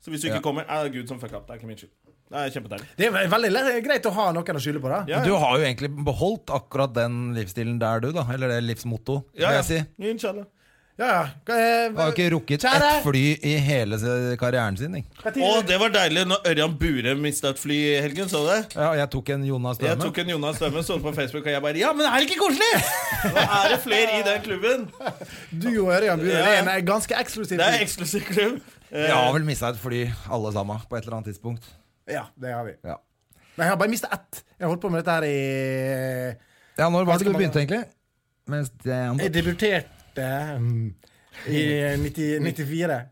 [SPEAKER 1] Så hvis du
[SPEAKER 2] Ja.
[SPEAKER 1] ikke kommer, er det Gud som fucker opp. Det er ikke min skyld. Det er kjempedeilig.
[SPEAKER 3] Det er veldig le- greit å ha noen å skylde på, da.
[SPEAKER 1] Ja,
[SPEAKER 2] Du har jo egentlig beholdt akkurat den livsstilen der, du, da. Eller det livsmotto, vil
[SPEAKER 1] ja,
[SPEAKER 2] jeg si.
[SPEAKER 1] ja. Inshallah.
[SPEAKER 3] Ja, eh, ja.
[SPEAKER 2] Du har jo ikke rukket
[SPEAKER 3] Kjære!
[SPEAKER 2] ett fly i hele se- karrieren sin. Ikke?
[SPEAKER 1] Å, det var deilig når Ørjan Bure mista et fly i helgen, så du det?
[SPEAKER 2] Ja, jeg tok en Jonas
[SPEAKER 1] Jeg
[SPEAKER 2] Døhme.
[SPEAKER 1] tok en Jonas Stømme, så det på Facebook, og jeg bare Ja, men er det ikke koselig?! Nå er det flere i den klubben.
[SPEAKER 3] Du og Ørjan Bure
[SPEAKER 1] Ja.
[SPEAKER 3] det er en eh, ganske eksklusiv
[SPEAKER 1] Det er en eksklusiv klubb. Eh,
[SPEAKER 2] Vi har vel mista et fly, alle sammen, på et eller annet tidspunkt.
[SPEAKER 3] Ja, det har vi.
[SPEAKER 2] Ja,
[SPEAKER 3] Men jeg har bare mista ett. Jeg har holdt på med dette her i
[SPEAKER 2] ja når var
[SPEAKER 3] Ganske
[SPEAKER 2] det du
[SPEAKER 3] mange.
[SPEAKER 2] begynte, egentlig? Mens
[SPEAKER 3] Jeg
[SPEAKER 2] det-
[SPEAKER 3] debuterte mm, i 90, 94.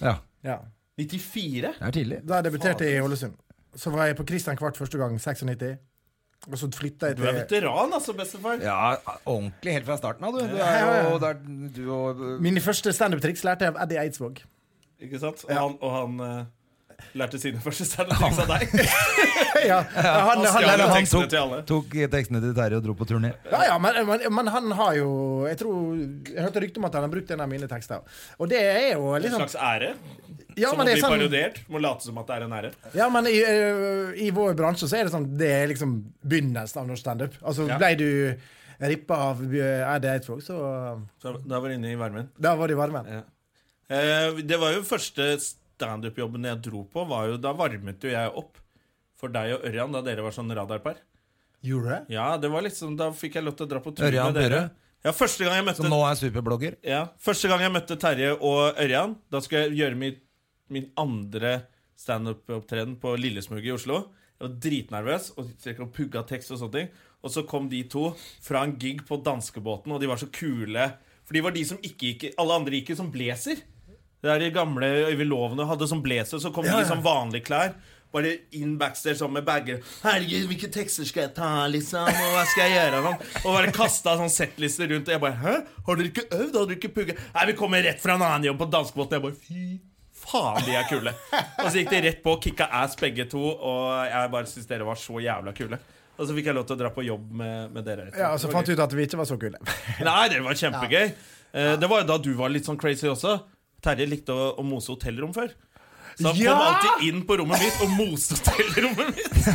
[SPEAKER 2] Ja,
[SPEAKER 3] Ja.
[SPEAKER 1] 94?
[SPEAKER 2] det er tidlig.
[SPEAKER 3] Da debuterte jeg i Ålesund. Så var jeg på Christian Kvart første gang, 96. Og så flytta jeg
[SPEAKER 1] Du er
[SPEAKER 3] til
[SPEAKER 1] veteran, altså, bestefar.
[SPEAKER 2] Ja, ordentlig helt fra starten av, du. Du er jo der, du og
[SPEAKER 3] Mine første standup-triks lærte jeg av Eddie
[SPEAKER 1] *laughs*
[SPEAKER 3] Eidsvåg.
[SPEAKER 1] Ikke sant? Og han, og han eh, lærte sine første standup-triks av deg.
[SPEAKER 3] Ja, han, han,
[SPEAKER 1] stjal
[SPEAKER 3] han,
[SPEAKER 2] Eller han
[SPEAKER 1] tekstene
[SPEAKER 2] tok-
[SPEAKER 1] til alle.
[SPEAKER 2] Tok tekstene til Terje og dro på turné.
[SPEAKER 3] Ja, ja, men, men, men han har jo Jeg tror Jeg hørte rykte om at han har brukt en av mine tekster. Og det er jo
[SPEAKER 1] En
[SPEAKER 3] liksom
[SPEAKER 1] slags ære.
[SPEAKER 3] Ja,
[SPEAKER 1] som
[SPEAKER 3] men
[SPEAKER 1] å
[SPEAKER 3] det
[SPEAKER 1] bli
[SPEAKER 3] er sånn-
[SPEAKER 1] parodiert. Må late som at det er en ære.
[SPEAKER 3] Ja, men i, eh, i vår bransje så er det sånn Det er liksom begynnelsen av norsk standup. Altså,
[SPEAKER 1] Ja.
[SPEAKER 3] ble du rippa av eh, Eide Eidsvåg, så
[SPEAKER 1] Så Da var jeg inne i varmen.
[SPEAKER 3] Da var de varme.
[SPEAKER 1] Ja. Eh, det var jo første standup-jobben jeg dro på. Var jo, da varmet jo jeg opp for deg og Ørjan da dere var sånn radarpar.
[SPEAKER 3] Gjorde det?
[SPEAKER 1] Ja, det var liksom, Da fikk jeg lov til å dra på tur
[SPEAKER 2] Ørjan
[SPEAKER 1] med dere.
[SPEAKER 2] Børre?
[SPEAKER 1] Ja, første gang jeg møtte
[SPEAKER 2] Som nå er superblogger.
[SPEAKER 1] Ja, Første gang jeg møtte Terje og Ørjan, da skulle jeg gjøre min, min andre standup-opptreden på Lillesmuget i Oslo. Jeg var dritnervøs og gikk og pugga tekst og sånne ting. Og så kom de to fra en gig på danskebåten, og de var så kule. For de var de som ikke gikk Alle andre gikk jo som blazer. Det der de gamle Øyvind Lovene hadde som blazer, så kom de i sånn vanlige klær. Bare inn backstage sånn med bager. 'Herregud, hvilke tekster skal jeg ta, liksom?' Og hva skal jeg gjøre? Og, sånn. og bare kasta sånn settlister rundt. Og jeg bare 'Hæ? Har dere ikke øvd? Har dere ikke pugga?' 'Nei, vi kommer rett fra en annen jobb på danskebåten.' Jeg bare 'Fy faen, de er kule'. Og så gikk de rett på og kicka ass begge to, og jeg bare syns dere var så jævla kule. Og så fikk jeg lov til å dra på jobb med, med dere. etterpå.
[SPEAKER 3] Ja, altså, og så fant vi ut at vi ikke var så *laughs* kule.
[SPEAKER 1] Nei, det var kjempegøy. Eh, Det var jo da du var litt sånn crazy også. Terje likte å, å mose hotellrom før. Så han
[SPEAKER 3] Ja!
[SPEAKER 1] kom alltid inn på rommet mitt og moste hotellrommet mitt.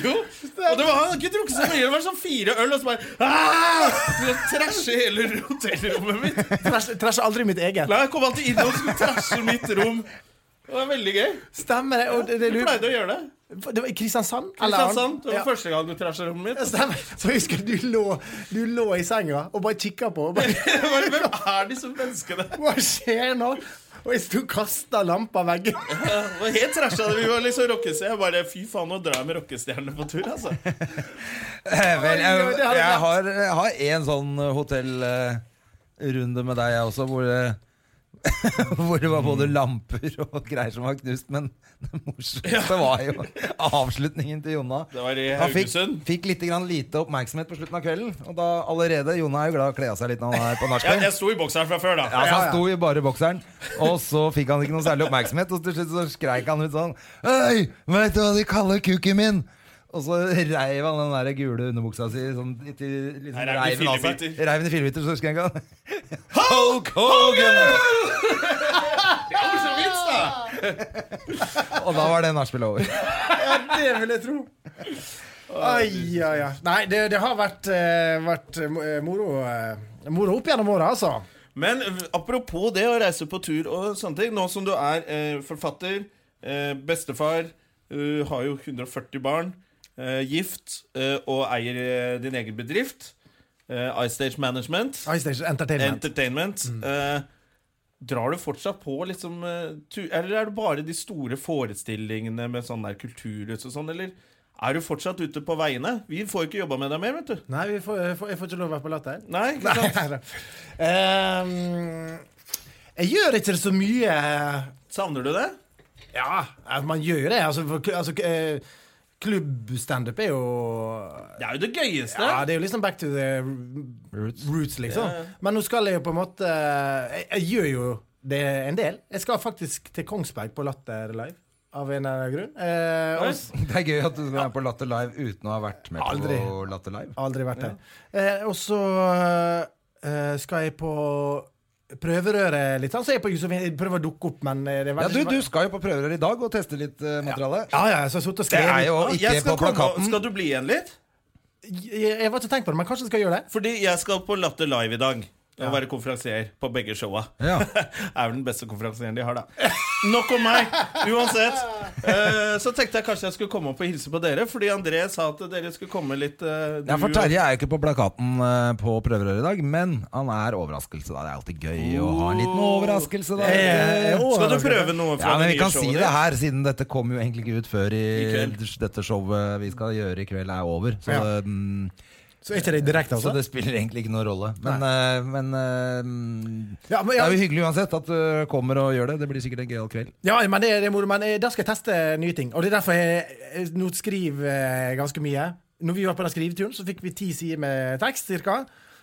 [SPEAKER 1] jo, og det var Han hadde ikke drukket så mye. Det var sånn fire øl, og så bare «Ah!» Så Trashe hele hotellrommet mitt.
[SPEAKER 3] Træsja aldri mitt eget.
[SPEAKER 1] Nei, han kom alltid inn og skulle trashe mitt rom. Det var veldig gøy.
[SPEAKER 3] Stemmer det. Og det, det,
[SPEAKER 1] Du pleide å gjøre det.
[SPEAKER 3] det var i Kristiansand? eller annet?
[SPEAKER 1] Kristiansand, det var
[SPEAKER 3] Ja.
[SPEAKER 1] første gang du trasha rommet mitt.
[SPEAKER 3] *laughs* Stemmer. Så jeg husker du lå, du lå i senga og bare kikka på. Og bare, *laughs*
[SPEAKER 1] Jeg bare, Hvem er disse menneskene?
[SPEAKER 3] Hva skjer nå? Og jeg sto og kasta lampa av veggen.
[SPEAKER 1] Ja, det var helt trasha. Vi var liksom rockestjerne. Jeg bare, fy faen, nå drar jeg med rockestjerne på tur, altså.
[SPEAKER 2] Vel, jeg,
[SPEAKER 3] Oi, det hadde
[SPEAKER 2] jeg har, jeg har en sånn hotellrunde med deg, jeg også, hvor det *laughs* hvor det var
[SPEAKER 1] Mm.
[SPEAKER 2] både lamper og greier som var knust. Men det morsomste var jo avslutningen til Jonna.
[SPEAKER 1] Det var i
[SPEAKER 2] Han fikk,
[SPEAKER 1] Haugesund.
[SPEAKER 2] fikk litt grann lite oppmerksomhet på slutten av kvelden. Og da allerede, Jonna er jo glad i å kle av seg litt når han er på
[SPEAKER 1] Jeg,
[SPEAKER 2] nachspiel.
[SPEAKER 1] jeg sto i bokseren fra før, da.
[SPEAKER 2] Ja, så han sto i bare bokseren, og så fikk han ikke noe særlig oppmerksomhet. Og til slutt så skreik han ut sånn Øy, veit du hva de kaller kuken min? Og så reiv han den der gule underbuksa si sånn, i- til liksom,
[SPEAKER 1] Her er det
[SPEAKER 2] reiven av seg.
[SPEAKER 1] fillebiter.
[SPEAKER 2] Reiv den i fillebiter, så skrek han Hulk Hogan!
[SPEAKER 1] Det var så vits, da!
[SPEAKER 2] Og da var det nachspielet over.
[SPEAKER 3] Ja, det vil jeg tro. Ai, ja, ja. Nei, det, det har vært, eh, vært eh, moro, eh, moro opp gjennom åra, altså.
[SPEAKER 1] Men eh, apropos det å reise på tur og sånne ting. Nå som du er eh, forfatter, eh, bestefar, eh, har jo 140 barn, eh, gift eh, og eier eh, din egen bedrift, eh, iStage Management
[SPEAKER 3] Ice Station Entertainment.
[SPEAKER 1] Entertainment.
[SPEAKER 2] Mm.
[SPEAKER 1] Eh, drar du fortsatt på liksom eh, tu- Eller er det bare de store forestillingene med sånn der kulturhus og sånn, eller er du fortsatt ute på veiene? Vi får jo ikke jobba med deg mer, vet du.
[SPEAKER 3] Nei, vi får, jeg, får, jeg får ikke lov å være på latter.
[SPEAKER 1] Nei, ikke sant?
[SPEAKER 3] Nei, da. Ehm, jeg gjør ikke så mye
[SPEAKER 1] Savner du det?
[SPEAKER 3] Ja, altså, man gjør jo det. Altså, for, kl- altså eh, Klubbstandup er jo
[SPEAKER 1] Det er jo det gøyeste.
[SPEAKER 3] Ja, det er jo liksom back to the roots, liksom. Men nå skal jeg jo på en måte jeg, jeg gjør jo det en del. Jeg skal faktisk til Kongsberg på Latter Live, av en eller annen grunn. Eh, og, s-
[SPEAKER 2] Det er gøy at du er på Latter Live uten å ha vært med
[SPEAKER 3] Aldri.
[SPEAKER 2] på Latter Live.
[SPEAKER 3] aldri vært der. Eh, og så eh, skal jeg på prøverøret litt, sånn, så jeg, er på, så jeg prøver å dukke opp, men eh, det er
[SPEAKER 2] Ja, du,
[SPEAKER 3] veldig
[SPEAKER 2] du skal jo på prøverør i dag og teste litt eh, materiale.
[SPEAKER 3] ja, ja, så jeg har sittet og
[SPEAKER 2] Det
[SPEAKER 3] skrevet
[SPEAKER 2] er jo
[SPEAKER 1] Ja,
[SPEAKER 2] ikke
[SPEAKER 1] jeg
[SPEAKER 2] på
[SPEAKER 1] skal, komme,
[SPEAKER 2] plakaten.
[SPEAKER 1] skal du bli igjen litt?
[SPEAKER 3] jeg, jeg var ikke tenkt på det, men kanskje jeg skal gjøre det.
[SPEAKER 1] Fordi jeg skal på Latter Live i dag. Og være konferansier på begge showa.
[SPEAKER 2] Ja.
[SPEAKER 1] *laughs* er vel den beste konferansieren de har, da. Nok om meg! Uansett. Eh, så tenkte jeg kanskje jeg skulle komme opp og hilse på dere, fordi André sa at dere skulle komme litt eh, du
[SPEAKER 2] Ja, for
[SPEAKER 1] og-
[SPEAKER 2] Terje er jo ikke på plakaten eh, på prøverøret i dag, men han er overraskelse. da Det er alltid gøy å ha en liten overraskelse. da
[SPEAKER 3] Eh, å,
[SPEAKER 1] Skal du prøve noe fra
[SPEAKER 2] Ja, men
[SPEAKER 1] det
[SPEAKER 2] Vi
[SPEAKER 1] nye
[SPEAKER 2] kan
[SPEAKER 1] showet
[SPEAKER 2] si
[SPEAKER 1] ditt?
[SPEAKER 2] det her, siden dette kom jo egentlig ikke ut før i,
[SPEAKER 1] I kveld.
[SPEAKER 2] dette showet vi skal gjøre i kveld, er over. Så,
[SPEAKER 3] Ja.
[SPEAKER 2] mm,
[SPEAKER 3] Så er ikke det direkte,
[SPEAKER 2] så
[SPEAKER 3] altså?
[SPEAKER 2] det spiller egentlig ikke noen rolle. Men, eh, men, eh, mm,
[SPEAKER 3] Ja, men,
[SPEAKER 2] det
[SPEAKER 3] ja,
[SPEAKER 2] er jo hyggelig uansett at du kommer og gjør det. Det blir sikkert en gøyal kveld.
[SPEAKER 3] Ja, men det, det er moro. Men eh, der skal jeg teste nye ting. Og det er derfor jeg, jeg nå skriver eh, ganske mye. Når vi var på den skriveturen, så fikk vi ti sider med tekst, cirka.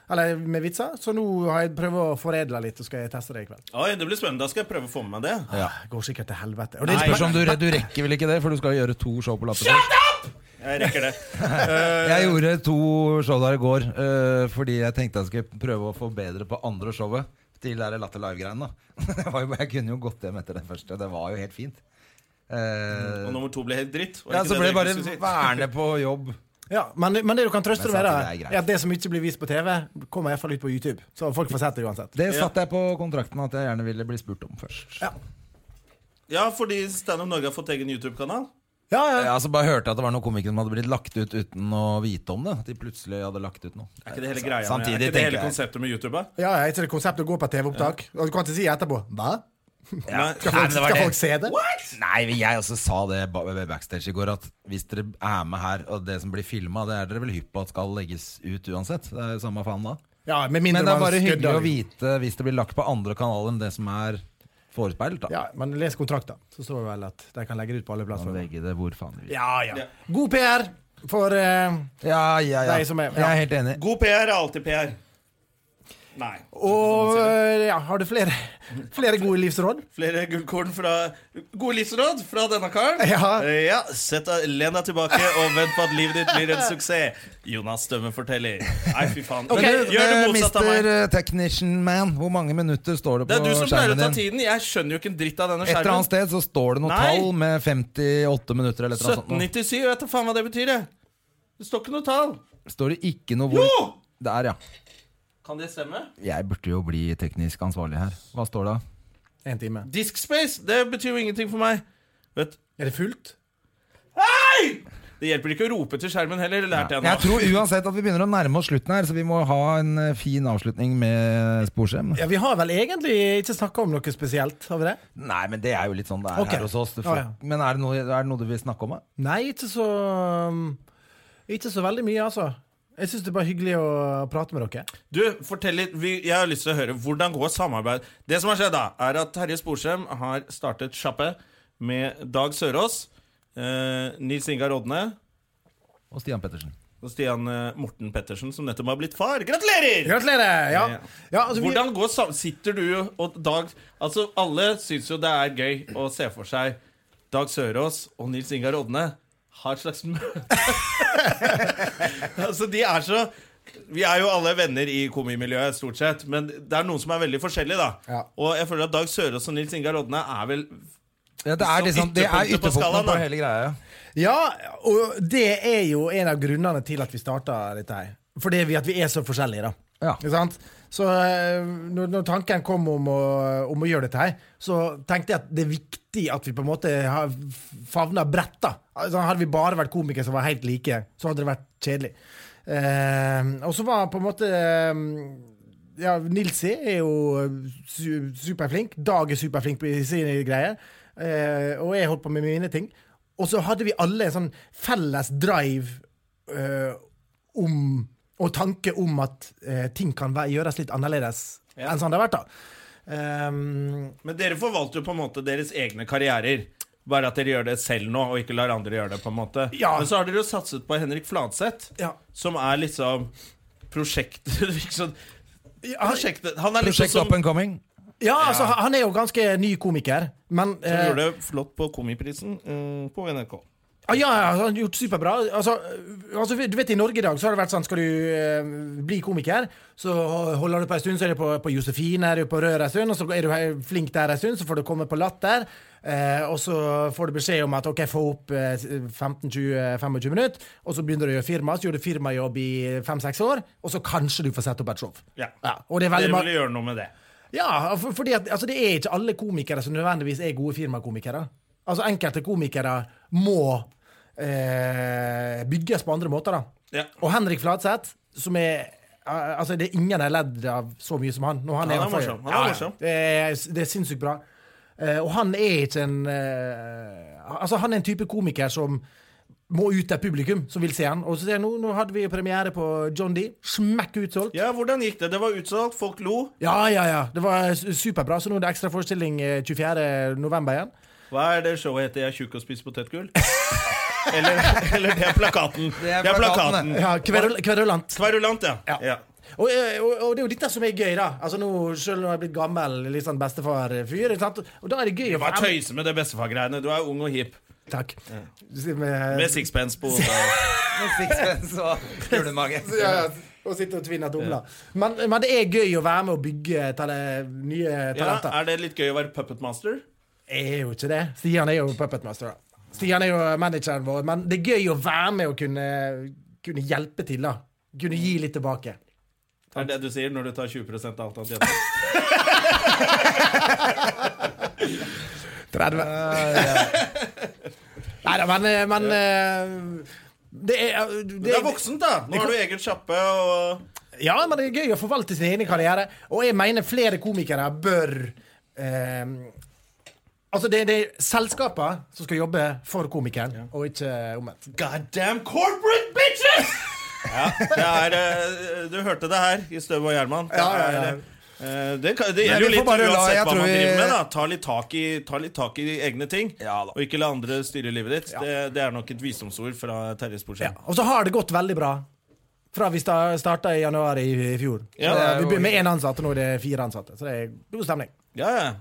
[SPEAKER 3] Eller med vitser. Så nå har jeg prøvd å foredle litt, og skal jeg teste det i kveld.
[SPEAKER 1] Oi, det blir spennende. Da skal jeg prøve å få med meg det.
[SPEAKER 3] Det går sikkert til helvete. Og det
[SPEAKER 2] Det
[SPEAKER 3] er
[SPEAKER 2] spørs om du, re- du rekker vel ikke det, for du skal gjøre to show på Latter.
[SPEAKER 1] Jeg rekker det.
[SPEAKER 2] Jeg gjorde to show der i går eh, fordi jeg tenkte jeg skulle prøve å forbedre på andre showet. de der Latter Live-greiene. da. *laughs* Det var jo- Jeg kunne jo gått hjem etter det første. Det var jo helt fint. Eh,
[SPEAKER 1] Og nummer to ble helt dritt. var
[SPEAKER 2] ja,
[SPEAKER 1] ikke
[SPEAKER 2] så
[SPEAKER 1] det
[SPEAKER 2] ble det
[SPEAKER 1] dere
[SPEAKER 2] bare
[SPEAKER 1] skulle si?
[SPEAKER 2] verne på jobb.
[SPEAKER 3] Ja, men, men det du kan trøste deg
[SPEAKER 2] Men
[SPEAKER 3] med,
[SPEAKER 2] sant,
[SPEAKER 3] da,
[SPEAKER 2] det er greit.
[SPEAKER 3] er at det som ikke blir vist på TV, kommer iallfall ut på YouTube. Så folk får sett det uansett.
[SPEAKER 2] Det satte jeg på kontrakten at jeg gjerne ville bli spurt om først.
[SPEAKER 3] Ja.
[SPEAKER 1] *laughs* Ja, fordi Standup Norge har fått egen YouTube-kanal.
[SPEAKER 3] Ja, ja.
[SPEAKER 2] Jeg altså bare hørte at det var noen komikere som hadde blitt lagt ut uten å vite om det. At de plutselig hadde lagt ut noe.
[SPEAKER 1] Er ikke det hele greia med,
[SPEAKER 2] Samtidig
[SPEAKER 1] er ikke det
[SPEAKER 2] tenker
[SPEAKER 1] hele
[SPEAKER 2] jeg-
[SPEAKER 1] konseptet med YouTube? da?
[SPEAKER 3] ja, ja ikke det konseptet å gå på TV-opptak. Og du kan ikke si etterpå Hva?
[SPEAKER 1] Nei.
[SPEAKER 3] Skal
[SPEAKER 2] Nei,
[SPEAKER 3] folk,
[SPEAKER 2] men det var
[SPEAKER 3] skal
[SPEAKER 2] det.
[SPEAKER 3] folk se det?
[SPEAKER 2] Nei, men jeg også sa det ba- backstage i går, at hvis dere er med her, og det som blir filma, det er dere vel hypp på at skal legges ut uansett. Det er jo samme faen da.
[SPEAKER 3] Ja, med mindre
[SPEAKER 2] Men det er
[SPEAKER 3] man
[SPEAKER 2] bare
[SPEAKER 3] skudder,
[SPEAKER 2] hyggelig å
[SPEAKER 3] liksom.
[SPEAKER 2] vite hvis det blir lagt på andre kanaler enn det som er forespeilet, da.
[SPEAKER 3] Ja, men les kontrakten, så står det vel at de kan legge det ut på alle
[SPEAKER 2] Og
[SPEAKER 3] plattformer.
[SPEAKER 2] legge det hvor faen de vil.
[SPEAKER 3] Ja, ja. God PR for eh,
[SPEAKER 2] Ja, ja, ja.
[SPEAKER 3] Nei, som er- ja.
[SPEAKER 2] Jeg er helt enig.
[SPEAKER 1] God PR er alltid PR. Nei.
[SPEAKER 3] Og eh, ja, har du flere, *laughs* flere gode livsråd?
[SPEAKER 1] Flere gullkorn fra Gode livsråd fra denne karen.
[SPEAKER 3] Ja.
[SPEAKER 1] Eh, ja sett deg, Len deg tilbake og vent på at livet ditt blir en suksess. Jonas Stømme forteller. Nei, fy faen.
[SPEAKER 2] Men du,
[SPEAKER 1] Gjør det
[SPEAKER 2] eh,
[SPEAKER 1] motsatt av meg.
[SPEAKER 2] Mr. Technician Man, hvor mange minutter står det
[SPEAKER 1] Det
[SPEAKER 2] på
[SPEAKER 1] er du som pleier å ta
[SPEAKER 2] skjermen din?
[SPEAKER 1] tiden. Jeg skjønner jo ikke en dritt av denne
[SPEAKER 2] Et eller annet
[SPEAKER 1] skjermen.
[SPEAKER 2] sted så står det noe
[SPEAKER 1] Nei.
[SPEAKER 2] tall med 58 minutter eller et eller annet sånt.
[SPEAKER 1] 1797, jeg vet da faen hva det betyr. jeg. Det står ikke noe tall.
[SPEAKER 2] Står det ikke noe hvor
[SPEAKER 1] Jo!
[SPEAKER 2] Der, ja.
[SPEAKER 1] Kan det stemme?
[SPEAKER 2] Jeg burde jo bli teknisk ansvarlig her. Hva står det?
[SPEAKER 3] En time.
[SPEAKER 1] Diskspace, det betyr jo ingenting for meg. Vet
[SPEAKER 3] Er det fullt?
[SPEAKER 1] det hjelper ikke å rope til skjermen heller, lærte jeg nå.
[SPEAKER 2] Jeg tror uansett at vi begynner å nærme oss slutten her, så vi må ha en eh, fin avslutning med sporskjem.
[SPEAKER 3] Ja, Vi har vel egentlig ikke snakka om noe spesielt, har vi det?
[SPEAKER 2] Nei, men det er jo litt sånn det er
[SPEAKER 3] Ok.
[SPEAKER 2] her hos oss. Det
[SPEAKER 3] Ja, ja.
[SPEAKER 2] Men er det, noe, er det noe du vil snakke om? da?
[SPEAKER 3] Nei, ikke så mm, Ikke så veldig mye, altså. Jeg syns det er bare hyggelig å prate med dere.
[SPEAKER 1] Du, fortell litt, vi, jeg har lyst til å høre Hvordan går samarbeid Det som har skjedd da, er at Terje Sporsem har startet sjappe Med Dag Sørås eh, Nils Ingar Odne
[SPEAKER 2] Og Stian Pettersen.
[SPEAKER 1] Og Stian eh, Morten Pettersen Som nettopp har blitt far, gratulerer!
[SPEAKER 3] Gratulerer! Ja. ja altså, vi,
[SPEAKER 1] Hvordan går sam- Sitter du og Dag Altså alle synes jo det er gøy Å se for seg Dag Sørås og Nils Ingar Odne Har et slags *laughs* møte Altså de er så vi er jo alle venner i komimiljøet, stort sett. Men det er noen som er veldig forskjellige, da.
[SPEAKER 3] Ja.
[SPEAKER 1] Og jeg føler at Dag Sørås og Nils Ingar Odne er vel
[SPEAKER 2] Ja, det
[SPEAKER 1] Så
[SPEAKER 2] er, liksom, det er
[SPEAKER 1] ytterpunktene på skalaen,
[SPEAKER 2] ytterpunktene på
[SPEAKER 1] da.
[SPEAKER 2] hele greia.
[SPEAKER 3] ja, og det er jo en av grunnene til at vi starta dette her. Fordi vi, at vi er så forskjellige, da.
[SPEAKER 2] Ja.
[SPEAKER 3] Ikke sant? Så eh, når, når tanken kom om å, om å gjøre dette her, så tenkte jeg at det er viktig at vi på en måte har favna bredt. da. Altså, hadde vi bare vært komikere som var helt like, så hadde det vært kjedelig. Eh, og så var på en måte eh, ja, Nilsi er jo eh, su superflink. Dag er superflink på sine greier. Eh, og jeg holdt på med mine ting. Og så hadde vi alle en sånn felles drive eh, om og tanke om at eh, ting kan væ- gjøres litt annerledes enn sånn det har vært. da. Ehm,
[SPEAKER 1] Men dere forvalter jo på en måte deres egne karrierer. Bare at dere gjør det selv nå, og ikke lar andre gjøre det. på en måte
[SPEAKER 3] Ja.
[SPEAKER 1] Men så har dere jo satset på Henrik Fladseth,
[SPEAKER 3] ja.
[SPEAKER 1] som er liksom prosjektet *laughs* liksom,
[SPEAKER 3] Han,
[SPEAKER 1] prosjektet, Han er liksom
[SPEAKER 2] Prosjekt Up
[SPEAKER 1] som,
[SPEAKER 2] and Coming.
[SPEAKER 3] ja, altså, han- han er jo ganske ny komiker, men
[SPEAKER 1] som
[SPEAKER 3] eh,
[SPEAKER 1] gjorde det flott på Komiprisen eh, på NRK.
[SPEAKER 3] Ah, ja, ja, han har gjort superbra. Altså, øh, altså, du vet I Norge i dag så har det vært sånn Skal du øh, bli komiker, så holder du på en stund, så er du på, på Josefine, er du på Rør en stund, og så er du he- flink der en stund, så får du komme på Latter. Eh, og så får du beskjed om at OK, få opp eh, 15-20-25 minutter. Og så begynner du å gjøre firma, så gjør du firmajobb i fem-seks år, og så kanskje du får sette opp et show.
[SPEAKER 1] Ja.
[SPEAKER 3] og det er veldig
[SPEAKER 1] Dere
[SPEAKER 3] mange
[SPEAKER 1] ville gjøre noe med det.
[SPEAKER 3] ja, for, fordi at, altså, det er ikke alle komikere som nødvendigvis er gode firmakomikere. Altså Enkelte komikere må eh, bygges på andre måter. da.
[SPEAKER 1] Ja.
[SPEAKER 3] Og Henrik Fladseth, som er eh, Altså, det er ingen jeg har ledd av så mye som han. Når han,
[SPEAKER 1] Han er
[SPEAKER 3] han
[SPEAKER 1] morsom. Han er morsom.
[SPEAKER 3] Det, er, det er sinnssykt bra. Eh, og han er ikke en eh, Altså, han er en type komiker som må ut til et publikum som vil se han. Og så ser jeg nå, nå hadde vi premiere på John D. Smekk utsolgt.
[SPEAKER 1] ja, hvordan gikk det? Det var utsolgt, folk lo.
[SPEAKER 3] Ja, ja, ja. Det var su- superbra. Så nå er det ekstra forestilling eh, 24. november igjen.
[SPEAKER 1] Hva er det showet heter? 'Jeg er tjukk og spiser *laughs* potetgull'? eller, eller det er plakaten. Det
[SPEAKER 2] er
[SPEAKER 1] er plakaten.
[SPEAKER 2] plakaten,
[SPEAKER 3] Ja, kverul Kverulant.
[SPEAKER 1] Kverulant, ja.
[SPEAKER 3] Ja.
[SPEAKER 1] ja.
[SPEAKER 3] Og, eh, og, og det er jo dette som er gøy, da. Altså nå, Selv om jeg er blitt gammel litt sånn bestefar-fyr. ikke sant? Og da er det gøy å
[SPEAKER 1] Bare
[SPEAKER 3] få-
[SPEAKER 1] tøyse med det bestefar-greiene. Du er ung og hip.
[SPEAKER 3] Takk.
[SPEAKER 1] Med
[SPEAKER 3] Med,
[SPEAKER 1] *laughs* sixpence på hodet. *laughs*
[SPEAKER 2] Med sixpence og kulemage.
[SPEAKER 3] og sitter og tvinner tomler. Men, men det er gøy å være med og bygge tale, nye
[SPEAKER 1] Ja,
[SPEAKER 3] talenter.
[SPEAKER 1] er det litt gøy å være puppet master?
[SPEAKER 3] Jeg er jo ikke det. Stian er jo puppetmaster. da. Stian er jo manageren vår. Men det er gøy å være med og kunne, kunne hjelpe til. da. Kunne gi litt tilbake.
[SPEAKER 1] Er det det du sier når du tar 20 av alt han tjener?
[SPEAKER 3] 30. *laughs* Nei da, men, men eh, Det er
[SPEAKER 1] Men Det er voksent, da! Nå har du egen sjappe og
[SPEAKER 3] Ja, men det er gøy å forvalte sin egen karriere. Og jeg mener flere komikere bør eh, Altså, det, det er selskapene som skal jobbe for komikeren, og ikke omvendt.
[SPEAKER 1] God damn corporate bitches! Ja, det er eh, Du hørte det her i Støv og Gjerman. Det
[SPEAKER 3] Ja, ja, ja.
[SPEAKER 1] er, eh, Det, kan- det
[SPEAKER 2] Nei,
[SPEAKER 1] gjelder
[SPEAKER 2] vi
[SPEAKER 1] jo
[SPEAKER 2] får
[SPEAKER 1] litt
[SPEAKER 2] bare la-
[SPEAKER 1] uansett
[SPEAKER 2] jeg
[SPEAKER 1] hva
[SPEAKER 2] tror
[SPEAKER 1] man
[SPEAKER 2] vi-
[SPEAKER 1] driver med. da Ta litt tak i, ta litt tak i egne ting,
[SPEAKER 2] Ja da.
[SPEAKER 1] og ikke la andre styre livet ditt. Det, det er nok et visdomsord fra Terje
[SPEAKER 3] Ja.
[SPEAKER 1] Sporsem.
[SPEAKER 3] Og så har det gått veldig bra. Fra vi starta i januar i i fjor. Så
[SPEAKER 1] Ja,
[SPEAKER 3] det,
[SPEAKER 2] det er
[SPEAKER 3] vi
[SPEAKER 2] jo-
[SPEAKER 3] begynner med én ansatt, og nå er det fire ansatte. Så det er god stemning.
[SPEAKER 1] Ja, ja.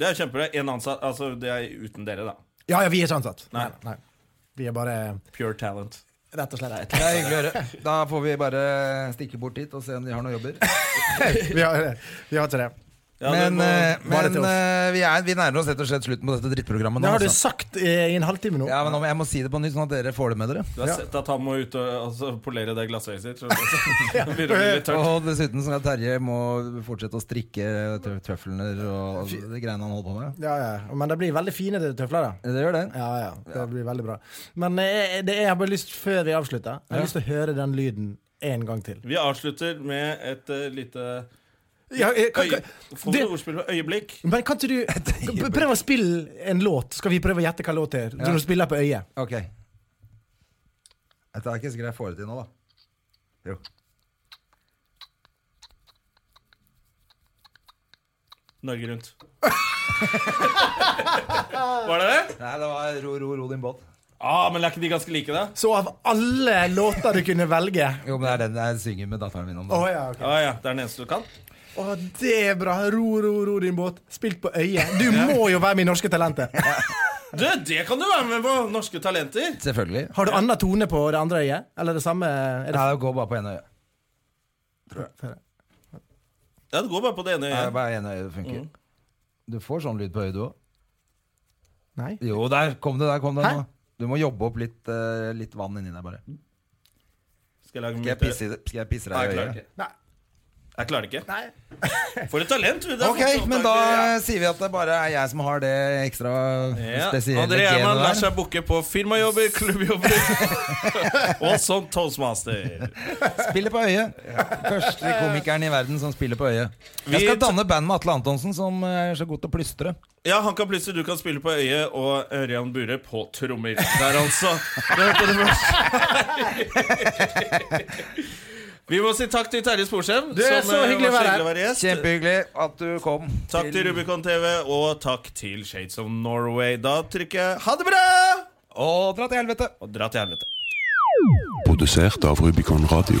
[SPEAKER 1] Det er kjempebra. En ansatt Altså, det er uten dere, da.
[SPEAKER 3] Ja, ja, vi er ikke ansatt.
[SPEAKER 1] Nei.
[SPEAKER 3] Nei. Vi er bare
[SPEAKER 1] Pure talent.
[SPEAKER 3] rett og slett
[SPEAKER 2] Det er hyggelig å høre. Da får vi bare stikke bort dit og se om de har noen jobber.
[SPEAKER 3] *laughs* Vi har, vi har ikke det.
[SPEAKER 1] Ja, du
[SPEAKER 2] men
[SPEAKER 1] må-
[SPEAKER 2] eh,
[SPEAKER 3] bare
[SPEAKER 2] men
[SPEAKER 3] til oss.
[SPEAKER 2] eh, vi, er, vi nærmer oss rett og slett slutten på dette drittprogrammet.
[SPEAKER 3] Det
[SPEAKER 2] Nå,
[SPEAKER 3] har du
[SPEAKER 2] altså.
[SPEAKER 3] sagt eh, i en halvtime nå.
[SPEAKER 2] Ja, men nå må- Jeg må si det på nytt, sånn at dere får det med dere.
[SPEAKER 1] Du har sett at han må ut og altså, polere det glassøyet sitt? skjønner du? Så det begynner å bli litt tørt.
[SPEAKER 2] Og dessuten skal Terje må fortsette å strikke trø trøflene og de greiene han holder på med.
[SPEAKER 3] Ja, ja. Men det blir veldig fine tøfler, da.
[SPEAKER 2] Det gjør det.
[SPEAKER 3] Ja, ja. Det blir veldig bra. Men eh, det jeg har bare lyst, før vi avslutter, jeg har lyst til å høre den lyden en gang til.
[SPEAKER 1] Vi avslutter med et eh, lite
[SPEAKER 3] Ja, eh, kan,
[SPEAKER 1] øye,
[SPEAKER 3] kan,
[SPEAKER 1] Får vi
[SPEAKER 3] det-
[SPEAKER 1] ordspill med øyeblikk?
[SPEAKER 3] men kan
[SPEAKER 2] *laughs*
[SPEAKER 3] ikke du kan- prøv å spille en låt? Skal vi prøve å gjette hva låt det er?
[SPEAKER 2] Ja.
[SPEAKER 3] Når du spiller på øyet.
[SPEAKER 2] Ok. Dette er ikke så greit å få det til nå, da. Jo.
[SPEAKER 1] Norge Rundt. Var det det?
[SPEAKER 2] Nei, det var ro, ro, ro din båt.
[SPEAKER 1] Ah, men er ikke de ganske like, da?
[SPEAKER 3] Så av alle låter du kunne velge
[SPEAKER 2] Jo, men det er den jeg synger med datteren min om.
[SPEAKER 3] Å
[SPEAKER 2] da.
[SPEAKER 3] ja, ok.
[SPEAKER 1] Ah, Ja, ja, Det er den eneste du kan?
[SPEAKER 3] Å, det er bra. Ro, ro, ro din båt. Spilt på øyet. Du må jo være med i Norske Talenter.
[SPEAKER 1] Du, Det kan du være med på! Norske talenter.
[SPEAKER 2] Selvfølgelig.
[SPEAKER 3] Har du annen tone på det andre øyet? Eller det samme? Er det
[SPEAKER 2] Nei, det går bare på ene øyet.
[SPEAKER 1] Ja, Det går bare på det ene
[SPEAKER 2] Det er
[SPEAKER 1] øyet.
[SPEAKER 2] bare ene øyet det funker. Du får sånn lyd på øyet, du òg.
[SPEAKER 3] Nei.
[SPEAKER 2] Jo, der kom det. der kom det
[SPEAKER 3] Hæ?
[SPEAKER 2] nå. Du må jobbe opp litt, eh, litt vann inni deg, bare.
[SPEAKER 1] Skal jeg lage
[SPEAKER 2] Skal jeg
[SPEAKER 1] myte?
[SPEAKER 2] pisse, i det- skal jeg pisse
[SPEAKER 1] eh, Nei, jeg
[SPEAKER 2] deg i
[SPEAKER 1] klarer
[SPEAKER 2] øyet?
[SPEAKER 1] ikke.
[SPEAKER 3] Nei.
[SPEAKER 1] Jeg klarer ikke.
[SPEAKER 3] Nei.
[SPEAKER 1] For et talent! du. Det er
[SPEAKER 2] Ok,
[SPEAKER 1] faktisk
[SPEAKER 2] men da eh,
[SPEAKER 1] oppdaget, ja.
[SPEAKER 2] sier vi at det bare er jeg som har det ekstra
[SPEAKER 1] Ja.
[SPEAKER 2] spesielle
[SPEAKER 1] André Gjerman lar
[SPEAKER 2] genet der.
[SPEAKER 1] seg booke på firmajobber,
[SPEAKER 2] *laughs*
[SPEAKER 1] klubbjobber *laughs* og som toastmaster.
[SPEAKER 2] Spiller på øyet. Første komikeren i verden som spiller på øyet. Jeg
[SPEAKER 1] Vi
[SPEAKER 2] skal
[SPEAKER 1] ta-
[SPEAKER 2] danne band med Atle Antonsen, som er så god til å plystre.
[SPEAKER 1] Ja, han kan plutselig, du kan spille på øyet, og Ørjan Bure på trommer. Der, altså. *laughs* Du hørte det først. *laughs* Vi må si takk til Terje Sporsem.
[SPEAKER 3] Du,
[SPEAKER 1] som,
[SPEAKER 3] så
[SPEAKER 1] eh,
[SPEAKER 3] hyggelig å
[SPEAKER 1] var
[SPEAKER 3] være
[SPEAKER 1] så
[SPEAKER 3] her.
[SPEAKER 1] hyggelig å være gjest.
[SPEAKER 2] Kjempehyggelig at du kom.
[SPEAKER 1] Takk til Rubicon TV, og takk til Shades of Norway. Da trykker jeg ha det bra!
[SPEAKER 2] Og dra til helvete!
[SPEAKER 1] Og dra til helvete.
[SPEAKER 4] Produsert av Rubicon Radio.